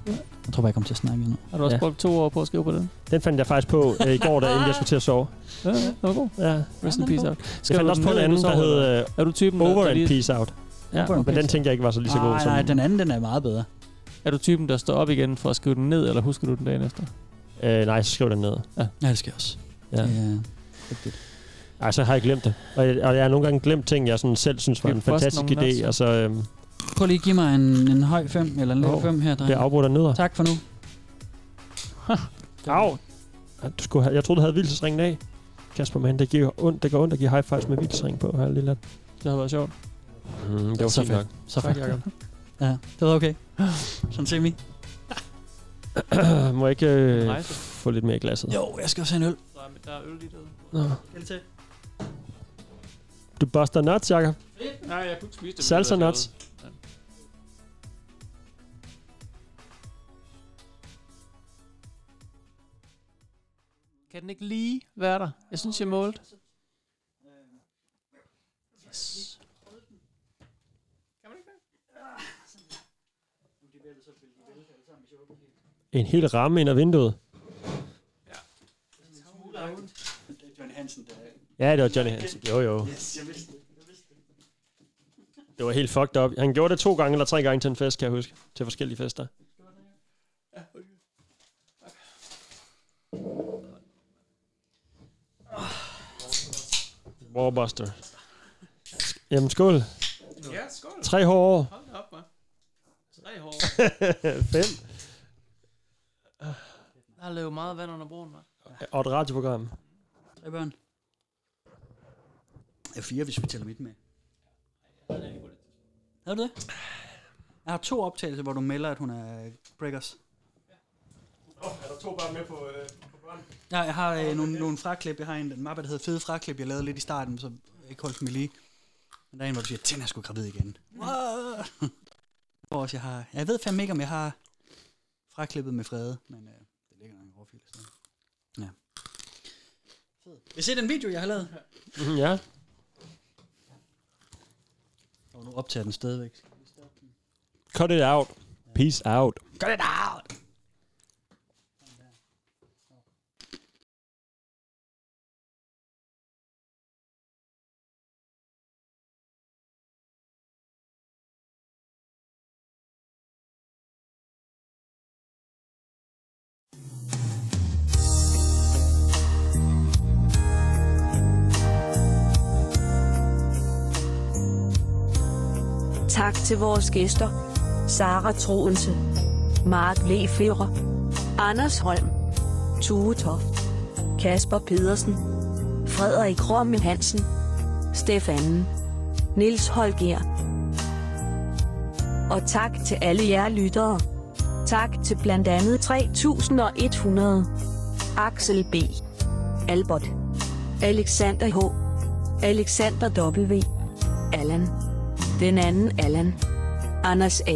Speaker 3: Jeg tror bare, jeg kommer til at snakke endnu.
Speaker 5: Har du også
Speaker 4: Ja.
Speaker 5: ja. brugt to år på at skrive på den?
Speaker 4: Den fandt jeg faktisk på øh, i går, da inden jeg skulle til at sove.
Speaker 5: Ja, ja, det var god.
Speaker 4: Ja.
Speaker 5: Rest
Speaker 4: Ja,
Speaker 5: in
Speaker 4: den
Speaker 5: peace
Speaker 4: er
Speaker 5: out.
Speaker 4: god. Jeg fandt også på en anden, der hed
Speaker 5: Er du typen, der-
Speaker 4: Over
Speaker 5: der
Speaker 4: and
Speaker 5: lige-
Speaker 4: Peace Out.
Speaker 5: Ja,
Speaker 3: Over and
Speaker 4: Men
Speaker 3: Peace
Speaker 4: den tænkte jeg ikke var så lige så god
Speaker 3: Nej,
Speaker 4: som...
Speaker 3: nej, den anden den er meget bedre.
Speaker 5: Er du typen, der står op igen for at skrive den ned, eller husker du den dagen efter?
Speaker 4: Øh, nej, så skriv den ned.
Speaker 5: Ja.
Speaker 3: Ja, det skal jeg også. Øh,
Speaker 4: Ja.
Speaker 3: ja.
Speaker 4: Ej, så har jeg glemt det. Og jeg, og jeg har nogle gange glemt ting, jeg sådan selv synes var
Speaker 5: Skal
Speaker 4: en
Speaker 5: vi poste
Speaker 4: fantastisk
Speaker 5: nogen også?
Speaker 4: idé. Og så, øhm,
Speaker 3: Prøv lige at give mig en, en høj 5 eller en lav
Speaker 4: Åh,
Speaker 3: 5 her, dreng.
Speaker 4: det afbrudt af nødder.
Speaker 3: Tak for nu.
Speaker 4: Au! Ej, Du skulle have, jeg troede, du havde vildelsringen af. Kasper, man, det, giver ondt, det gør ondt at give high fives med vildelsring på her, lille.
Speaker 5: Det havde været sjovt.
Speaker 4: Mm, det var
Speaker 3: Så
Speaker 4: fint
Speaker 3: fedt.
Speaker 4: nok.
Speaker 3: Så
Speaker 4: Tak,
Speaker 3: fedt.
Speaker 4: Jacob.
Speaker 3: Ja, det var okay. Sådan til mig.
Speaker 4: Må jeg ikke øh,
Speaker 5: Rejse.
Speaker 4: få lidt mere i glasset?
Speaker 3: Jo, jeg skal også have en øl.
Speaker 5: Der er, der er øl lige derude.
Speaker 4: Nå.
Speaker 5: Held til.
Speaker 4: Du buster nuts, Jacob.
Speaker 5: Nej, jeg kunne ikke spise det.
Speaker 4: Salsa nuts.
Speaker 5: Kan den ikke lige være der? Jeg synes, jeg målte. Yes.
Speaker 4: En hel ramme ind ad vinduet.
Speaker 3: Johnny Hansen, der
Speaker 4: Ja, det var Johnny Hansen. Jo, jo.
Speaker 3: Yes, jeg vidste det.
Speaker 4: Det var helt fucked up. Han gjorde det to gange eller tre gange til en fest, kan jeg huske. Til forskellige fester. Warbuster. Jamen, skål.
Speaker 1: Ja, skål.
Speaker 4: Tre hårde år.
Speaker 1: Hold da op, man. Tre hår.
Speaker 4: Fem.
Speaker 1: Der har løbet meget vand under broen, man.
Speaker 4: Og et radioprogram.
Speaker 22: Tre børn. Ja, fire, hvis vi tæller mit med. Er du det? Jeg har to optagelser, hvor du melder, at hun er breakers.
Speaker 1: Oh, er der to børn med på, øh, på børn?
Speaker 22: Ja, jeg har øh, nogle, nogle fraklip. Jeg har en, en mappe, der hedder Fede Fraklip, jeg lavede lidt i starten, så jeg ikke holdt mig lige. Men der er en, hvor du siger, tænd, jeg skulle gravid igen. Hvor også jeg har... Jeg ved fandme ikke, om jeg har fraklippet med Frede, men øh, det ligger nok i råfil. Ja. Vil I se den video, jeg har lavet?
Speaker 4: Ja.
Speaker 22: Og nu optager den stadigvæk.
Speaker 4: Cut it out. Peace out.
Speaker 22: Cut it out!
Speaker 2: Tak til vores gæster. Sara Troense, Mark Leferer, Anders Holm, Tue Toft, Kasper Pedersen, Frederik Romme Hansen, Stefanen, Nils Holger. Og tak til alle jer lyttere. Tak til blandt andet 3100, Axel B, Albert, Alexander H, Alexander W, Allan. Den anden Allan. Anders A.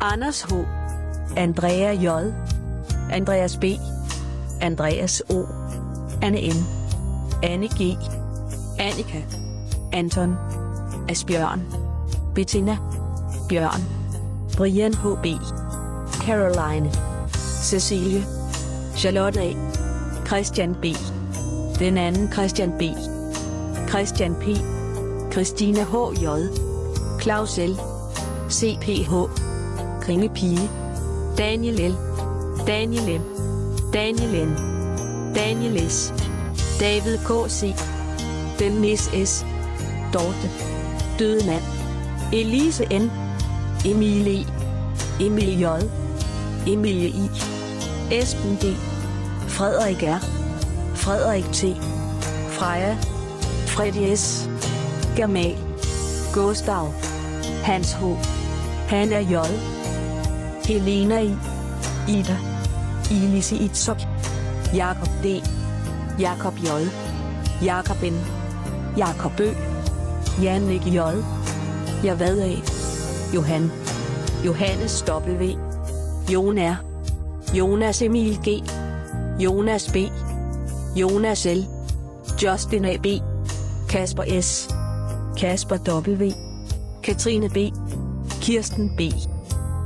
Speaker 2: Anders H. Andrea J. Andreas B. Andreas O. Anne N. Anne G. Annika. Anton. Asbjørn. Bettina. Bjørn. Brian H.B. Caroline. Cecilie. Charlotte A. Christian B. Den anden Christian B. Christian P. Christina H.J. Claus L. CPH. Kringe Pige. Daniel L. Daniel M. Daniel N. Daniel S. David K.C. Dennis S. Dorte. Døde mand. Elise N. Emilie E. Emil J. Emilie I. Esben D. Frederik R. Frederik T. Freja. Freddy S. Germal. Gustav. Hans H. Hanna J. Helena I. Ida. Elise Itzok. Jakob D. Jakob J. Jakob N. Jakob Bø. Jannik J. Jeg hvad af. Johan. Johannes W. Jon R. Jonas Emil G. Jonas B. Jonas L. Justin A.B. Kasper S. Kasper W. Katrine B. Kirsten B.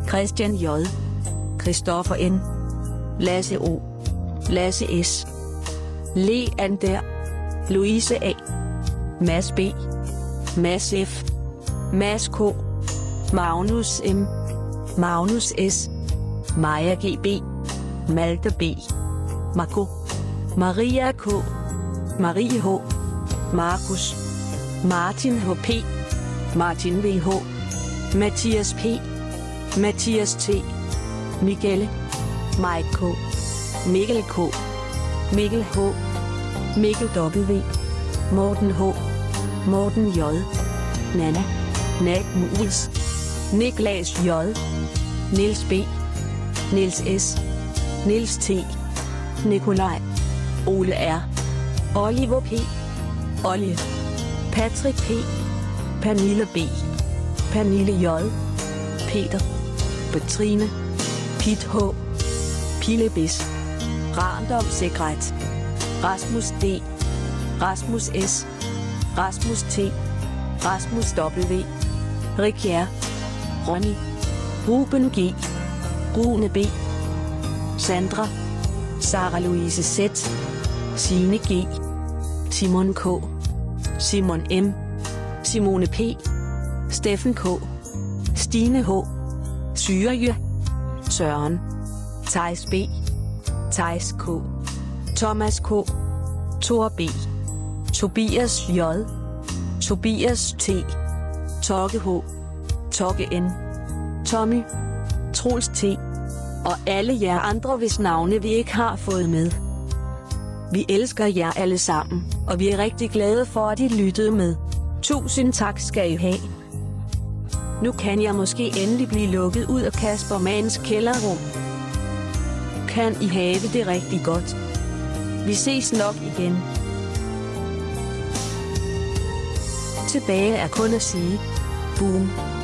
Speaker 2: Christian J. Christoffer N. Lasse O. Lasse S. Leander. Louise A. Mads B. Mads F. Mads K. Magnus M. Magnus S. Maja GB. Malte B. Marco. Maria K. Marie H. Markus. Martin HP, Martin VH, Mathias P, Mathias T, Michele, Mike K, Mikkel K, Mikkel H, Mikkel W, Morten H, Morten J, Nana, Nat Mules, Niklas J, Nils B, Nils S, Nils T, Nikolaj, Ole R, Oliver P, Olje. Patrick P. Pernille B. Pernille J. Peter. Petrine. Pit H. Pille Bis. Random Sekret. Rasmus D. Rasmus S. Rasmus T. Rasmus W. Rikjær. Ronny. Ruben G. Rune B. Sandra. Sara Louise Z. Signe G. Simon K. Simon M. Simone P. Steffen K. Stine H. Syrje. Søren. Thijs B. Thijs K. Thomas K. Thor B. Tobias J. Tobias T. Tokke H. Tokke N. Tommy. Troels T. Og alle jer andre, hvis navne vi ikke har fået med. Vi elsker jer alle sammen, og vi er rigtig glade for, at I lyttede med. Tusind tak skal I have. Nu kan jeg måske endelig blive lukket ud af Kasper Mans kælderrum. Kan I have det rigtig godt. Vi ses nok igen. Tilbage er kun at sige, boom.